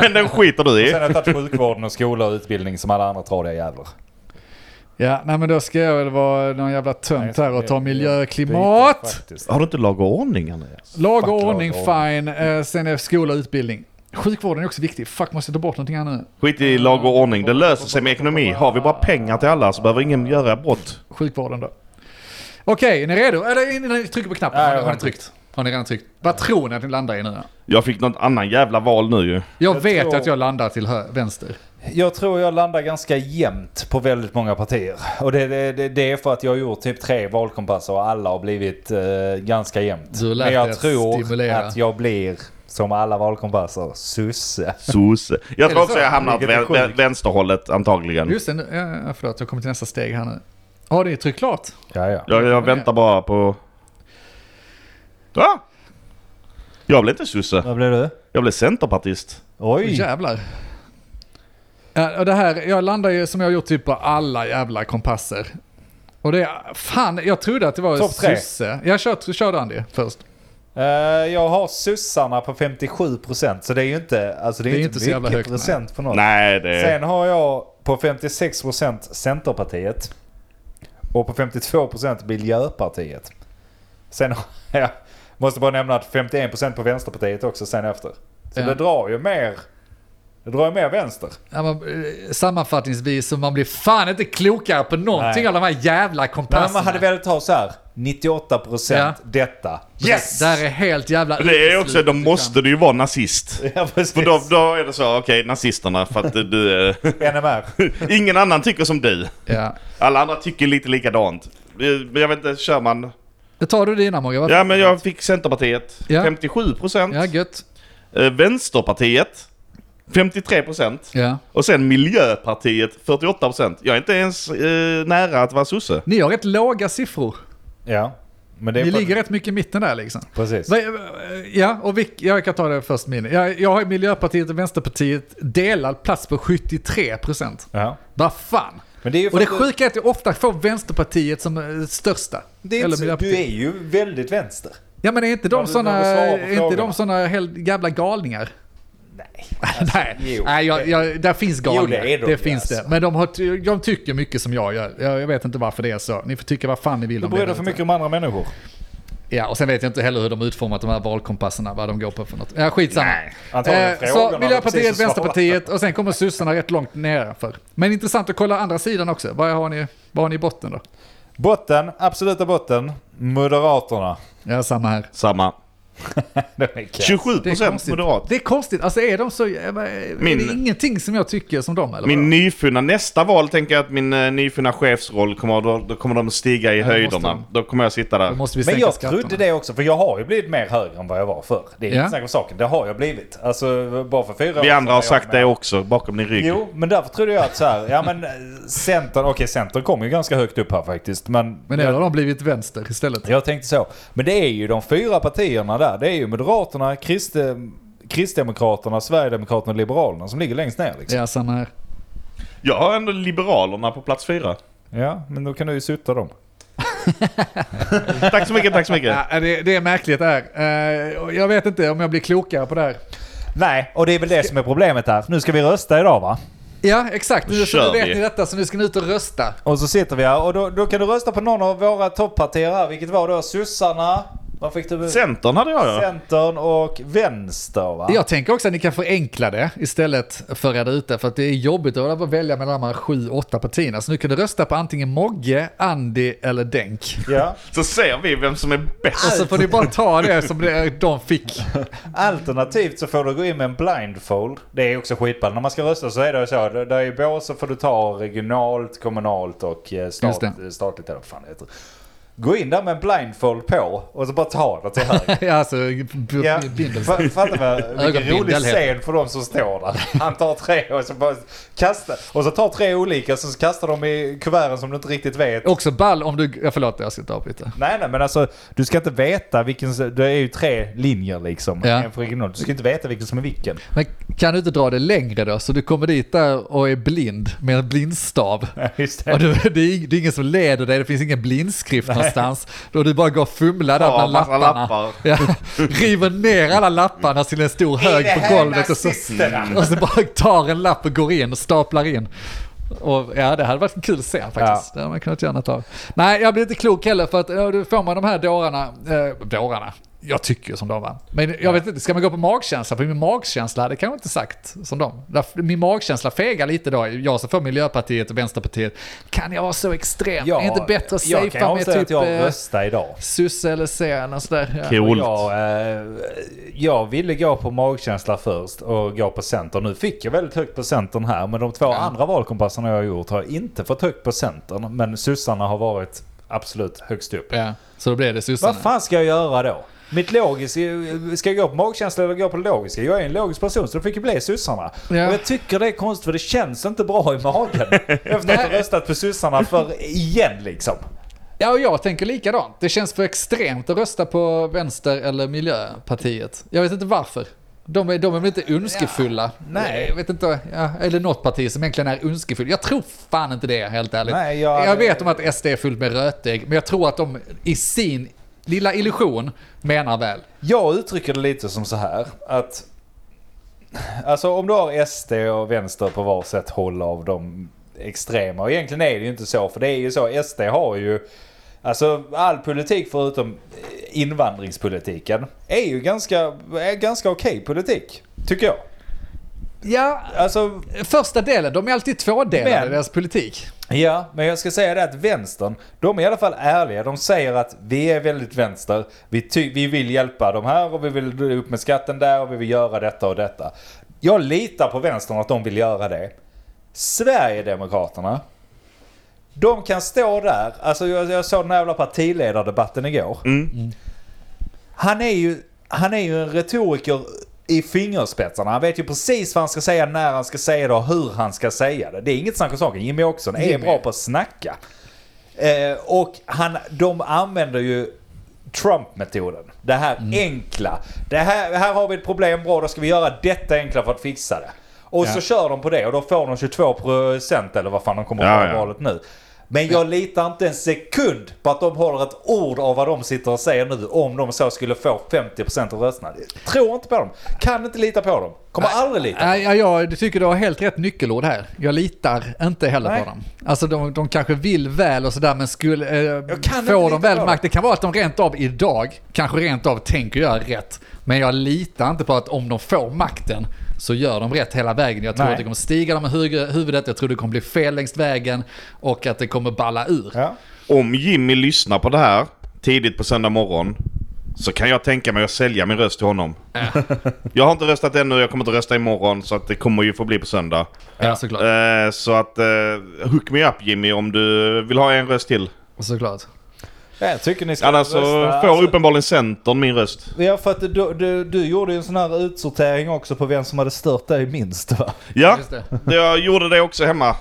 Speaker 3: Men den skiter du
Speaker 1: Sen
Speaker 3: i.
Speaker 1: har jag tagit sjukvården och skola och utbildning som alla andra tradiga jävlar.
Speaker 2: Ja, nej men då ska jag väl vara någon jävla
Speaker 1: Nej,
Speaker 2: tönt här och ta
Speaker 1: jag-
Speaker 2: miljö,
Speaker 1: jag
Speaker 2: klimat.
Speaker 1: byter faktiskt.
Speaker 3: Har du inte lag och ordning, Andreas?
Speaker 2: Lag och
Speaker 1: Fuck
Speaker 2: ordning,
Speaker 1: lag och
Speaker 2: fine. Eh, sen är skola och utbildning. Sjukvården är också viktig. Fuck, måste jag ta bort någonting här nu?
Speaker 3: Skit i lag och ordning, det löser sig med ekonomi. Har vi bara pengar till alla så behöver ingen göra brott.
Speaker 2: Sjukvården då. Okej, är ni redo? Eller innan ni trycker på knappen.
Speaker 1: Nej,
Speaker 2: har,
Speaker 1: jag
Speaker 2: ni,
Speaker 1: har
Speaker 2: har ni tryckt? Har ni redan tryckt? Vad tror ni att ni landar i nu? då?
Speaker 3: Jag fick något annan jävla val nu ju.
Speaker 2: Jag,
Speaker 1: Jag
Speaker 2: vet
Speaker 1: tror-
Speaker 2: att jag landar till hö- vänster.
Speaker 1: Jag tror jag landar ganska jämnt på väldigt många partier. Och det, det, det, det är för att jag har gjort typ tre valkompasser och alla har blivit eh, ganska jämnt.
Speaker 2: Du lät
Speaker 1: Men
Speaker 2: det
Speaker 1: jag tror
Speaker 2: stimulera.
Speaker 1: att jag blir, som alla valkompasser, sosse.
Speaker 3: Sosse. Jag tror
Speaker 2: det
Speaker 3: också
Speaker 2: så?
Speaker 3: jag hamnar åt
Speaker 1: Vilket är
Speaker 3: vän- vän-
Speaker 1: sjukt.
Speaker 3: vänsterhållet antagligen.
Speaker 2: Just det, nu, ja, förlåt. Jag kommer till nästa steg här nu. Har ni tryckt klart?
Speaker 1: Ja, ja.
Speaker 3: Jag, jag väntar bara på... Ja. Jag blev inte sosse.
Speaker 1: Vad blev du?
Speaker 3: Jag blev centerpartist.
Speaker 1: Oj!
Speaker 2: Jävlar. Ja, och det här, jag landar ju som jag har gjort typ på alla jävla kompasser. Och det är, fan, jag trodde att det var
Speaker 1: Topp tre.
Speaker 2: sosse. Jag kör, kör du Andy först.
Speaker 1: Eh, jag har sossarna på 57% så det är ju inte, alltså det är
Speaker 2: Det är
Speaker 1: inte,
Speaker 2: inte så
Speaker 1: mycket
Speaker 2: jävla högt, nej.
Speaker 1: procent på något.
Speaker 3: Nej,
Speaker 2: Eh.
Speaker 3: det...
Speaker 1: Sen har jag på 56% Centerpartiet. Och på 52% Miljöpartiet. Sen har <laughs> jag, måste bara nämna att 51% på Vänsterpartiet också sen efter. Så
Speaker 2: Ja.
Speaker 1: det drar ju mer, det drar ju mer vänster.
Speaker 2: Ja, man, eh, sammanfattningsvis så man blir fan inte klokare på någonting
Speaker 1: Nej.
Speaker 2: av de här jävla
Speaker 1: Nej, men
Speaker 2: kompasserna.
Speaker 1: man hade velat ha så här 98%
Speaker 2: Ja.
Speaker 1: detta.
Speaker 2: Yes! Alltså, Det där är helt jävla...
Speaker 3: Det är också,
Speaker 2: uteslutet,
Speaker 3: då
Speaker 2: liksom.
Speaker 3: måste du ju vara nazist.
Speaker 1: <laughs> Ja, precis.
Speaker 3: För då, då är det så, okej, nazisterna, för att du... eh,
Speaker 1: <laughs> NMR.
Speaker 3: Ingen annan tycker som du.
Speaker 2: Ja.
Speaker 3: Alla andra tycker lite likadant. Eh, Jag vet inte, kör man...
Speaker 2: Då tar du dina Mogge.
Speaker 3: Ja, men jag fick Centerpartiet.
Speaker 2: Ja.
Speaker 3: 57 procent.
Speaker 2: ja, gött.
Speaker 3: Eh, Vänsterpartiet. 53 procent.
Speaker 2: Ja.
Speaker 3: Och sen Miljöpartiet 48 procent. Jag är inte ens eh, nära att vara sosse.
Speaker 2: Ni har rätt låga siffror.
Speaker 1: Ja. Men det är
Speaker 2: Ni
Speaker 1: för-
Speaker 2: ligger rätt mycket i mitten där liksom.
Speaker 1: Precis.
Speaker 2: Va- eh, Ja, och vilk, jag kan ta det först min. Jag, jag har Miljöpartiet och Vänsterpartiet delad plats på 73%.
Speaker 1: Ja.
Speaker 2: Vad fan?
Speaker 1: Men det är ju för
Speaker 2: Och det
Speaker 1: att du-
Speaker 2: sjuka är att jag ofta får Vänsterpartiet som eh, största.
Speaker 1: Det är
Speaker 2: Eller
Speaker 1: inte, så- du
Speaker 2: Miljöpartiet.
Speaker 1: är ju väldigt vänster.
Speaker 2: Ja men är inte
Speaker 1: Har du
Speaker 2: de
Speaker 1: något svar
Speaker 2: sådana,
Speaker 1: på
Speaker 2: är inte de
Speaker 1: frågorna?
Speaker 2: såna hel- jävla galningar?
Speaker 1: Nej.
Speaker 2: <laughs>
Speaker 1: Alltså,
Speaker 2: Nej,
Speaker 1: jo.
Speaker 2: Nej jag, jag, där finns
Speaker 1: Jo,
Speaker 2: galningar.
Speaker 1: det är
Speaker 2: det
Speaker 1: de, ja,
Speaker 2: finns det.
Speaker 1: alltså.
Speaker 2: Men de, har, ty- de tycker mycket som jag gör. Jag, jag vet inte varför det är så. Ni får tycka vad fan ni vill
Speaker 1: Du
Speaker 2: om
Speaker 1: bryr dig
Speaker 2: där
Speaker 1: för
Speaker 2: ute.
Speaker 1: mycket om andra människor.
Speaker 2: Ja, och sen vet jag inte heller hur de utformat de här valkompassarna, vad de går på för något. Ja, skitsamma.
Speaker 1: Antagligen
Speaker 2: Eh,
Speaker 1: frågorna
Speaker 2: så
Speaker 1: har
Speaker 2: Miljöpartiet,
Speaker 1: precis svarat.
Speaker 2: Vänsterpartiet och sen kommer sossarna rätt långt nedanför. Men intressant att kolla andra sidan också. Vad har ni, vad har ni i botten då?
Speaker 1: Botten, absoluta botten, Moderaterna.
Speaker 2: Ja, samma här.
Speaker 3: Samma.
Speaker 1: Det är kass.
Speaker 3: 27
Speaker 2: Det är
Speaker 3: procent
Speaker 2: konstigt.
Speaker 3: moderat.
Speaker 2: Det är konstigt. Alltså är de så... Min... Är
Speaker 3: Min-
Speaker 2: det ingenting som jag tycker som dem eller?
Speaker 3: Min
Speaker 2: vadå?
Speaker 3: nyfunna, nästa val tänker jag att min eh, nyfunna chefsroll kommer, då, då kommer de stiga i
Speaker 2: det
Speaker 3: höjderna.
Speaker 2: måste
Speaker 3: Då kommer jag sitta
Speaker 2: Då
Speaker 3: där.
Speaker 2: måste vi
Speaker 1: Men
Speaker 2: sänka
Speaker 1: jag
Speaker 2: skatterna.
Speaker 1: trodde det också, för jag har ju blivit mer höger än vad jag var förr. Det är
Speaker 2: Ja.
Speaker 1: inget snack om saken, det har jag blivit. Alltså bara för fyra år
Speaker 3: Vi
Speaker 1: sedan
Speaker 3: andra
Speaker 1: var
Speaker 3: har
Speaker 1: jag
Speaker 3: sagt
Speaker 1: med.
Speaker 3: det också, bakom din rygg.
Speaker 1: Jo, men därför trodde jag att så här, ja men eh, Centern, okej Centern kom ju ganska högt upp här faktiskt. Men,
Speaker 2: Men nu har de blivit vänster istället.
Speaker 1: jag tänkte så. Men det är ju de fyra partierna där. Det är ju Moderaterna, Kriste, Kristdemokraterna, Sverigedemokraterna och Liberalerna som ligger längst ner liksom.
Speaker 2: Ja, samma här.
Speaker 3: Jag har ändå Liberalerna på plats fyra.
Speaker 1: Ja, men då kan du ju sutta dem.
Speaker 3: Tack så mycket, tack så mycket.
Speaker 2: Ja, det, det är märkligt det här. Eh, och Jag vet inte om jag blir klokare på det här.
Speaker 1: Nej, och det är väl det som är problemet här. Nu ska vi rösta idag va?
Speaker 2: Ja, exakt. Nu så nu
Speaker 3: kör
Speaker 2: vet
Speaker 3: vi.
Speaker 2: ni detta, så nu ska ni ut och rösta.
Speaker 1: Och så sitter vi här och då, då kan du rösta på någon av våra topppartier här, vilket var då sossarna, vad fick du?
Speaker 3: Centern hade jag ja.
Speaker 1: Centern och vänster va?
Speaker 2: Jag tänker också att ni kan förenkla det istället för att reda ut det, för att det är jobbigt att behöva välja mellan de här sju, åtta partierna. Så nu kan du rösta på antingen Mogge, Andy eller Denk.
Speaker 1: Ja.
Speaker 3: Så ser vi vem som är
Speaker 2: Och
Speaker 3: bäst.
Speaker 2: så får ni bara ta det som det- de fick. <laughs>
Speaker 1: Alternativt så får du gå in med en blindfold. Det är också skitball. När man ska rösta så är det så. Där är bås så får du ta regionalt, kommunalt och eh,
Speaker 2: Just
Speaker 1: stat,
Speaker 2: det.
Speaker 1: statligt eller vad fan det heter. Gå in där med en blindfold på och så bara ta det till höger.
Speaker 2: Ja, alltså, b-
Speaker 1: Ja,
Speaker 2: bindel.
Speaker 1: fa- fattar
Speaker 2: <laughs>
Speaker 1: vad, vilken
Speaker 2: Ögonbindel
Speaker 1: rolig
Speaker 2: heter
Speaker 1: scen för de som står där. Han tar tre och så bara kastar, och så tar tre olika och så kastar de i kuverten som du inte riktigt vet.
Speaker 2: Också ball om du... Ja, förlåt, jag ska inte avbryta.
Speaker 1: Nej, nej, men alltså du ska inte veta vilken, det är ju tre linjer liksom.
Speaker 2: Ja.
Speaker 1: En för regionalt. Du ska inte veta vilken som är vilken.
Speaker 2: Men kan du inte dra det längre då? Så du kommer dit där och är blind med en blindstav.
Speaker 1: <laughs> Just
Speaker 2: Och du, det, är, det är ingen som leder dig, det finns ingen blindskrift någonstans. Då du bara går och fumlar där
Speaker 3: Ja,
Speaker 2: bland
Speaker 3: massa
Speaker 2: lapparna.
Speaker 3: lappar.
Speaker 2: Ja, river ner alla lapparna till en stor hög på golvet och så, <laughs> och så bara tar en lapp och går in och staplar in. Och ja, det hade varit en kul scen faktiskt. Det hade man kunnat göra något av. Nej, jag blir inte klok heller för att ja, då får man de här dårarna, eh, dårarna, jag tycker ju som de va. Men jag vet inte, ska man gå på magkänsla? För min magkänsla hade kanske inte sagt som de. Därför- Min magkänsla fegar lite då. Jag som för Miljöpartiet och Vänsterpartiet. Kan jag vara så extrem? är det inte bättre att
Speaker 1: jag kan
Speaker 2: safea med
Speaker 1: avslöja
Speaker 2: typ
Speaker 1: att jag
Speaker 2: eh,
Speaker 1: röstade idag.
Speaker 2: Susse eller Sen och sådär? Ja.
Speaker 3: Coolt.
Speaker 1: Jag, eh, jag ville gå på magkänsla först och gå på Centern. Nu fick jag väldigt högt på Centern här, men de två andra valkompasserna jag har gjort har jag inte fått högt på Centern. Men sossarna har varit absolut högst upp.
Speaker 2: Ja, så då blev det sossarna.
Speaker 1: Vad fan ska jag göra då? Mitt logiska, ska jag gå på magkänsla eller gå på det logiska? Jag är en logisk person så det fick ju bli sossarna.
Speaker 2: Ja.
Speaker 1: Och jag tycker det är konstigt för det känns inte bra i
Speaker 2: <laughs>
Speaker 1: magen. Efter att ha röstat på sossarna för igen liksom.
Speaker 2: Ja, och jag tänker likadant. Det känns för extremt att rösta på vänster eller miljöpartiet. Jag vet inte varför. De är, de är väl inte önskefulla?
Speaker 1: nej.
Speaker 2: Jag vet inte, ja, eller något parti som egentligen är önskefull. Jag tror fan inte det, helt ärligt.
Speaker 1: Nej, jag-
Speaker 2: vet om att SD är fullt med rötägg, men jag tror att de i sin lilla illusion menar väl.
Speaker 1: Jag uttrycker det lite som så här att alltså om du har SD och vänster på var sätt håll av de extrema och egentligen är det ju inte så för det är ju så SD har ju alltså all politik förutom invandringspolitiken är ju ganska är ganska okej politik tycker jag.
Speaker 2: Ja,
Speaker 1: Alltså
Speaker 2: första delen, de är alltid tvådelade
Speaker 1: Men-
Speaker 2: i deras politik.
Speaker 1: Ja, men jag ska säga det att vänstern, de är i alla fall ärliga. De säger att vi är väldigt vänster. Vi, ty- vi vill hjälpa de här och vi vill dra upp med skatten där och vi vill göra detta och detta. Jag litar på vänstern att de vill göra det. Sverigedemokraterna, de kan stå där. Alltså jag, jag såg den här jävla partiledardebatten igår.
Speaker 3: Mm.
Speaker 1: Han är ju, han är ju en retoriker i fingerspetsarna. Han vet ju precis vad han ska säga, när han ska säga det och hur han ska säga det. Det är inget snack om saken. Jimmy Åkesson är
Speaker 2: Jimmy.
Speaker 1: bra på att snacka. Eh, och han, de använder ju Trump-metoden. Det här
Speaker 3: Mm.
Speaker 1: enkla. Det här, här har vi ett problem, bra då ska vi göra detta enkla för att fixa det. Och så kör de på det och då får de 22% eller vad fan de kommer att
Speaker 3: Ja,
Speaker 1: ha i
Speaker 3: ja.
Speaker 1: valet nu. Men jag litar inte en sekund på att de håller ett ord av vad de sitter och säger nu om de så skulle få 50% av rösterna. Tror inte på dem. Kan inte lita på dem. Kommer aldrig lita.
Speaker 2: Nej, ja, jag tycker du har helt rätt nyckelord här. Jag litar inte heller
Speaker 1: Nej.
Speaker 2: på dem. Alltså de, de kanske vill väl och sådär men skulle... Eh,
Speaker 1: kan inte
Speaker 2: får
Speaker 1: lita
Speaker 2: de väl
Speaker 1: på dem.
Speaker 2: makt, det kan vara att de rent av idag kanske rent av tänker göra rätt. Men jag litar inte på att om de får makten så gör de rätt hela vägen. Jag tror
Speaker 1: Nej.
Speaker 2: att det kommer stiga dem i hu- huvudet, jag tror det kommer bli fel längs vägen och att det kommer balla ur.
Speaker 1: Ja.
Speaker 3: Om Jimmy lyssnar på det här tidigt på söndag morgon så kan jag tänka mig att sälja min röst till honom. jag har inte röstat ännu, jag kommer inte rösta imorgon så att det kommer ju få bli på söndag.
Speaker 2: Ja, såklart.
Speaker 3: Eh, så att eh, hook me up Jimmy om du vill ha en röst till.
Speaker 2: såklart.
Speaker 1: Jag tycker ni ska
Speaker 3: Annars så
Speaker 1: rösta.
Speaker 3: får
Speaker 1: Alltså,
Speaker 3: uppenbarligen Centern min röst.
Speaker 1: Ja för att du, du, du gjorde ju en sån här utsortering också på vem som hade stört dig minst <laughs> va?
Speaker 3: Ja,
Speaker 2: Just det.
Speaker 3: jag gjorde det också hemma.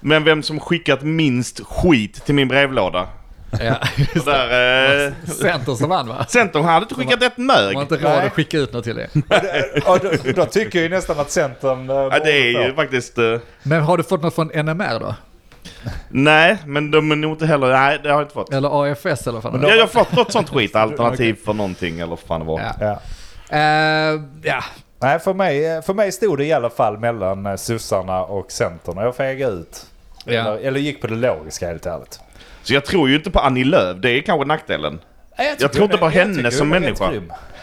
Speaker 3: Men vem som skickat minst skit till min brevlåda.
Speaker 2: Ja, <laughs> just det.
Speaker 3: Där, eh,
Speaker 2: Centern som vann va?
Speaker 3: Centern hade inte skickat ett
Speaker 2: De
Speaker 3: mög.
Speaker 2: har inte råd
Speaker 1: Nej.
Speaker 2: att skicka ut något till er.
Speaker 1: Ja, då, då tycker jag ju nästan att Centern... eh,
Speaker 3: Ja, det
Speaker 1: borde få.
Speaker 3: är ju faktiskt... eh,
Speaker 2: Men har du fått något från NMR då?
Speaker 3: Nej, men de är nog inte heller... Nej, det har jag inte fått.
Speaker 2: Eller AFS eller vad fan det
Speaker 3: Ja, jag har fått något sånt
Speaker 2: <laughs>
Speaker 3: skit. Alternativ för någonting eller vad fan det var.
Speaker 2: Ja.
Speaker 1: Ja.
Speaker 2: Eh, ja.
Speaker 1: Nej, för mig, eh, för mig stod det i alla fall mellan eh, sossarna och Centern och jag fegade ut.
Speaker 2: Ja.
Speaker 1: Eller, eller gick på det logiska helt ärligt.
Speaker 3: Så jag tror ju inte på Annie Lööf. Det är kanske nackdelen. Jag tror inte på henne som människa.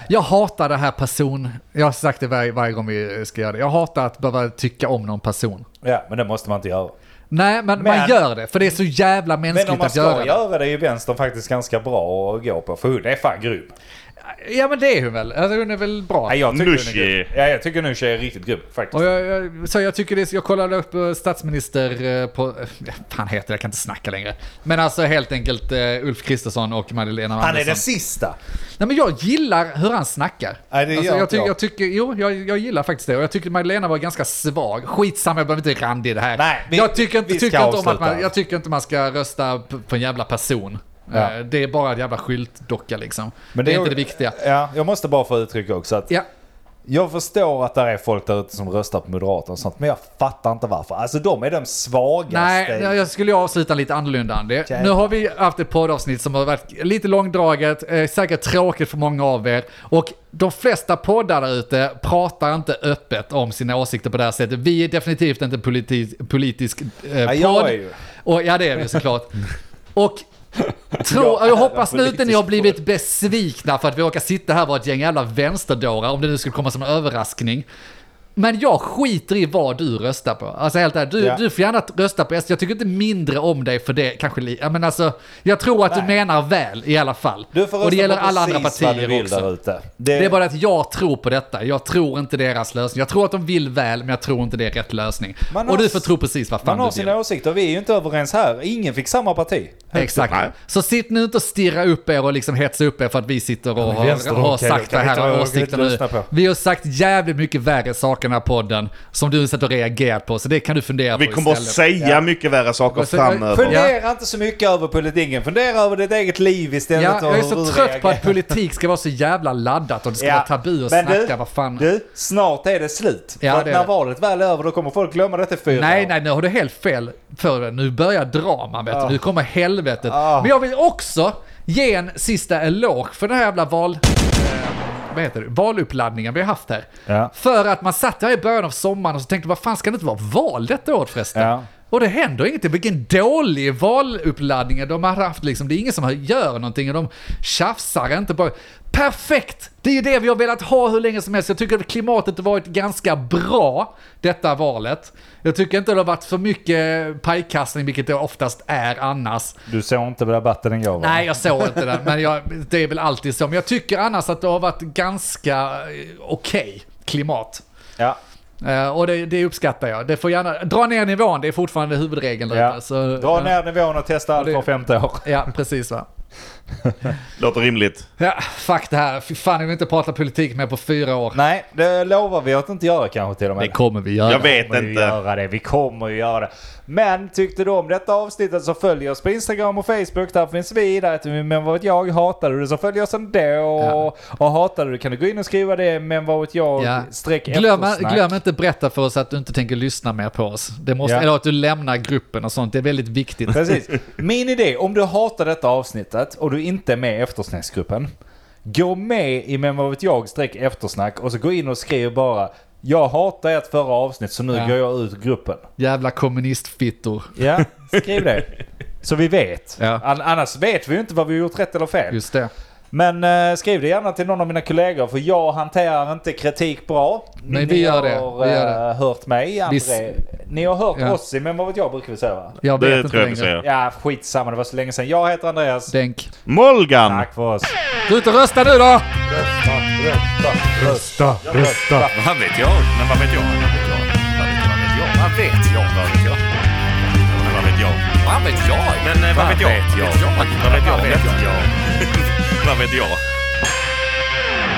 Speaker 2: Jag hatar det här person... Jag har sagt det varje, varje gång vi ska göra det. Jag hatar att behöva tycka om någon person.
Speaker 1: Ja, men det måste man inte göra.
Speaker 2: Nej, men, man
Speaker 1: Men-
Speaker 2: gör det. För det är så
Speaker 1: Men
Speaker 2: jävla
Speaker 1: om
Speaker 2: mänskligt
Speaker 1: man
Speaker 2: att
Speaker 1: ska
Speaker 2: göra
Speaker 1: göra,
Speaker 2: det.
Speaker 1: det är ju vänstern faktiskt ganska bra att gå på. För hon är fan grym.
Speaker 2: Ja, men det är hon väl. Alltså, hon är väl bra.
Speaker 1: Nej, jag tycker hon är
Speaker 3: Nooshi.
Speaker 1: grym. Ja, jag tycker Nooshi är riktigt grym faktiskt.
Speaker 2: Och jag, jag, så jag tycker det, jag kollade upp eh, statsminister eh, på, eh, fan heter det, jag kan inte snacka längre. Men alltså helt enkelt eh, Ulf Kristersson och Magdalena
Speaker 1: Han är
Speaker 2: Andersson.
Speaker 1: den sista.
Speaker 2: Nej men jag gillar hur han snackar. Alltså,
Speaker 1: Nej, det gör
Speaker 2: jag,
Speaker 1: inte
Speaker 2: ty-
Speaker 1: jag.
Speaker 2: jag tycker, jo jag, jag gillar faktiskt det. Och jag tycker Magdalena var ganska svag. Skitsamma, jag behöver inte randig det här.
Speaker 1: Nej, vi-
Speaker 2: jag, tycker inte,
Speaker 1: vi ska
Speaker 2: tycker inte om att
Speaker 1: avsluta.
Speaker 2: man, jag tycker inte man ska rösta p- på en jävla person.
Speaker 1: Ja.
Speaker 2: Eh, Det är bara en jävla skyltdocka liksom.
Speaker 1: Men
Speaker 2: det, är inte det viktiga.
Speaker 1: Ja, jag måste bara få uttrycka också att
Speaker 2: Ja,
Speaker 1: Jag förstår att det är folk där ute som röstar på Moderaterna och sånt, men jag fattar inte varför. Alltså de är de svagaste.
Speaker 2: Nej, jag jag skulle ju avsluta lite annorlunda Andy.
Speaker 1: Jävlar.
Speaker 2: Nu har vi haft ett poddavsnitt som har varit lite långdraget, eh, säkert tråkigt för många av er. Och de flesta poddar där ute pratar inte öppet om sina åsikter på det här sättet. Vi är definitivt inte en politi- politisk eh,
Speaker 1: Ja,
Speaker 2: podd.
Speaker 1: jag är ju.
Speaker 2: Och, ja, det är vi såklart.
Speaker 1: <laughs>
Speaker 2: Och Tro,
Speaker 1: Jag
Speaker 2: jag,
Speaker 1: är
Speaker 2: hoppas nu inte ni har
Speaker 1: politisk
Speaker 2: blivit besvikna för att vi råkar sitta här och vara ett gäng jävla vänsterdårar, om det nu skulle komma som en överraskning. Men jag skiter i vad du röstar på. Alltså helt ärligt, du,
Speaker 1: Ja.
Speaker 2: du får gärna rösta på SD. Jag tycker inte mindre om dig för det kanske. li- ja, Men alltså, jag tror att du menar väl i alla fall.
Speaker 1: Du får
Speaker 2: och det
Speaker 1: rösta
Speaker 2: gäller
Speaker 1: på
Speaker 2: alla andra
Speaker 1: precis vad du
Speaker 2: partier
Speaker 1: vill
Speaker 2: också.
Speaker 1: Där ute.
Speaker 2: Det är bara att jag tror på detta. Jag tror inte deras lösning. Jag tror att de vill väl, men jag tror inte det är rätt lösning.
Speaker 1: Man
Speaker 2: och
Speaker 1: har-
Speaker 2: du får tro precis vad fan
Speaker 1: man
Speaker 2: du
Speaker 1: har
Speaker 2: vill.
Speaker 1: sina åsikter, vi är ju inte överens här. Ingen fick samma parti.
Speaker 2: Exakt.
Speaker 3: Nej.
Speaker 2: Så sitt nu inte och stirra upp er och liksom hetsa upp er för att vi sitter och har,
Speaker 1: vänster-
Speaker 2: har
Speaker 1: okej,
Speaker 2: sagt
Speaker 1: okej,
Speaker 2: det här
Speaker 1: jag orkar
Speaker 2: och
Speaker 1: inte
Speaker 2: åsikter nu.
Speaker 1: lyssna på.
Speaker 2: Vi har sagt jävligt mycket värre saker i den här podden som du satt och reagerat på, så det kan du fundera
Speaker 3: Vi
Speaker 2: på
Speaker 3: kommer att
Speaker 2: istället.
Speaker 3: säga mycket värre saker
Speaker 2: Alltså,
Speaker 3: framöver.
Speaker 2: för-
Speaker 1: Fundera inte så mycket över politiken, fundera över ditt eget liv istället.
Speaker 2: Ja,
Speaker 1: och
Speaker 2: jag är
Speaker 1: hur
Speaker 2: så
Speaker 1: du
Speaker 2: trött på
Speaker 1: reagerar.
Speaker 2: att politik ska vara så jävla laddat och det ska
Speaker 1: Ja.
Speaker 2: vara tabu att
Speaker 1: Men
Speaker 2: snacka,
Speaker 1: du,
Speaker 2: vad fan.
Speaker 1: Du, snart är det slut.
Speaker 2: Ja,
Speaker 1: För att
Speaker 2: det är
Speaker 1: när
Speaker 2: det.
Speaker 1: valet väl är över då kommer folk glömma detta i fyra
Speaker 2: Nej,
Speaker 1: år.
Speaker 2: nej, nu har du helt fel för det. Nu börjar draman, vet du. Nu kommer helvetet.
Speaker 1: Ah.
Speaker 2: Men jag vill också ge en sista eloge för den här jävla val... eh, Vad heter det? Valuppladdningen vi har haft här.
Speaker 1: Ja.
Speaker 2: För att man satt här i början av sommaren och så tänkte vad fan ska det inte vara val detta år förresten?
Speaker 1: Ja.
Speaker 2: Och det händer ingenting. Vilken dålig valuppladdning de har haft liksom. Det är ingen som gör någonting och de tjafsar inte bara. Perfekt! Det är ju det vi har velat ha hur länge som helst. Jag tycker att klimatet har varit ganska bra detta valet. Jag tycker inte det har varit för mycket pajkastning, vilket det oftast är annars.
Speaker 1: Du såg inte debatten en gång va?
Speaker 2: Nej, jag såg inte den, men jag, det är väl alltid så. Men jag tycker annars att det har varit ganska eh, okej klimat.
Speaker 1: Ja.
Speaker 2: Eh, och det, det uppskattar jag. Det får gärna, dra ner nivån, det är fortfarande huvudregeln. där
Speaker 1: ja.
Speaker 2: ute, så-
Speaker 1: Dra ner nivån och testa allt
Speaker 2: alltså, det-
Speaker 1: var femte år.
Speaker 2: Ja, precis va.
Speaker 3: Låter rimligt.
Speaker 2: Ja, fuck det här. Fy fan, jag vill inte prata politik med på fyra år.
Speaker 1: Nej, det lovar vi att inte göra kanske till och med.
Speaker 2: Det kommer vi göra.
Speaker 3: Jag vet
Speaker 1: kommer ju
Speaker 3: inte.
Speaker 1: göra det. Vi kommer ju göra det. Men tyckte du om detta avsnittet så följ oss på Instagram och Facebook. Där finns vi. Där heter vi Men vad vet jag. Hatade du det så följ oss ändå. Och hatade du det kan du gå in och skriva det. Men vad vet jag.
Speaker 2: Ja.
Speaker 1: Streck
Speaker 2: Glöm,
Speaker 1: eftersnack.
Speaker 2: glöm inte berätta för oss att du inte tänker lyssna mer på oss. Det måste,
Speaker 1: Ja.
Speaker 2: Eller att du lämnar gruppen och sånt. Det är väldigt viktigt. <laughs>
Speaker 1: Precis. Min idé, om du hatar detta avsnittet och du inte är med i eftersnacksgruppen. Gå med i Men vad vet jag streck eftersnack och så gå in och skriv bara jag hatar ert förra avsnitt så nu
Speaker 2: Ja.
Speaker 1: går jag ut ur gruppen.
Speaker 2: Jävla kommunistfittor.
Speaker 1: Ja, skriv det. Så vi vet.
Speaker 2: Ja.
Speaker 1: An- annars vet vi ju inte vad vi har gjort rätt eller fel.
Speaker 2: Just det.
Speaker 1: Men eh, skriv det gärna till någon av mina kollegor för jag hanterar inte kritik bra.
Speaker 2: Nej, vi gör det.
Speaker 1: Har,
Speaker 2: Vi gör det.
Speaker 1: eh, hört mig. André
Speaker 2: Vi s-
Speaker 1: Ni har hört
Speaker 2: Ja.
Speaker 1: Ossi, men vad vet jag brukar vi säga va?
Speaker 2: Jag vet
Speaker 3: Det
Speaker 2: inte
Speaker 3: tror jag vi
Speaker 2: längre.
Speaker 3: säger.
Speaker 1: Ja, skitsamma. Det var så länge sedan. Jag heter Andreas.
Speaker 2: Denk.
Speaker 3: Molgan!
Speaker 1: Tack för oss.
Speaker 2: Gå ut och rösta nu då!
Speaker 1: Rösta, rösta.
Speaker 4: Vad vet jag? Men vad vet jag? Vad vet jag? Vad vet jag? Vad vet jag? Vad vet jag? Men vad vet jag? Vad vet jag? Men eh, vad vet jag? Vad vet jag? Vad vet jag? Vad vet jag?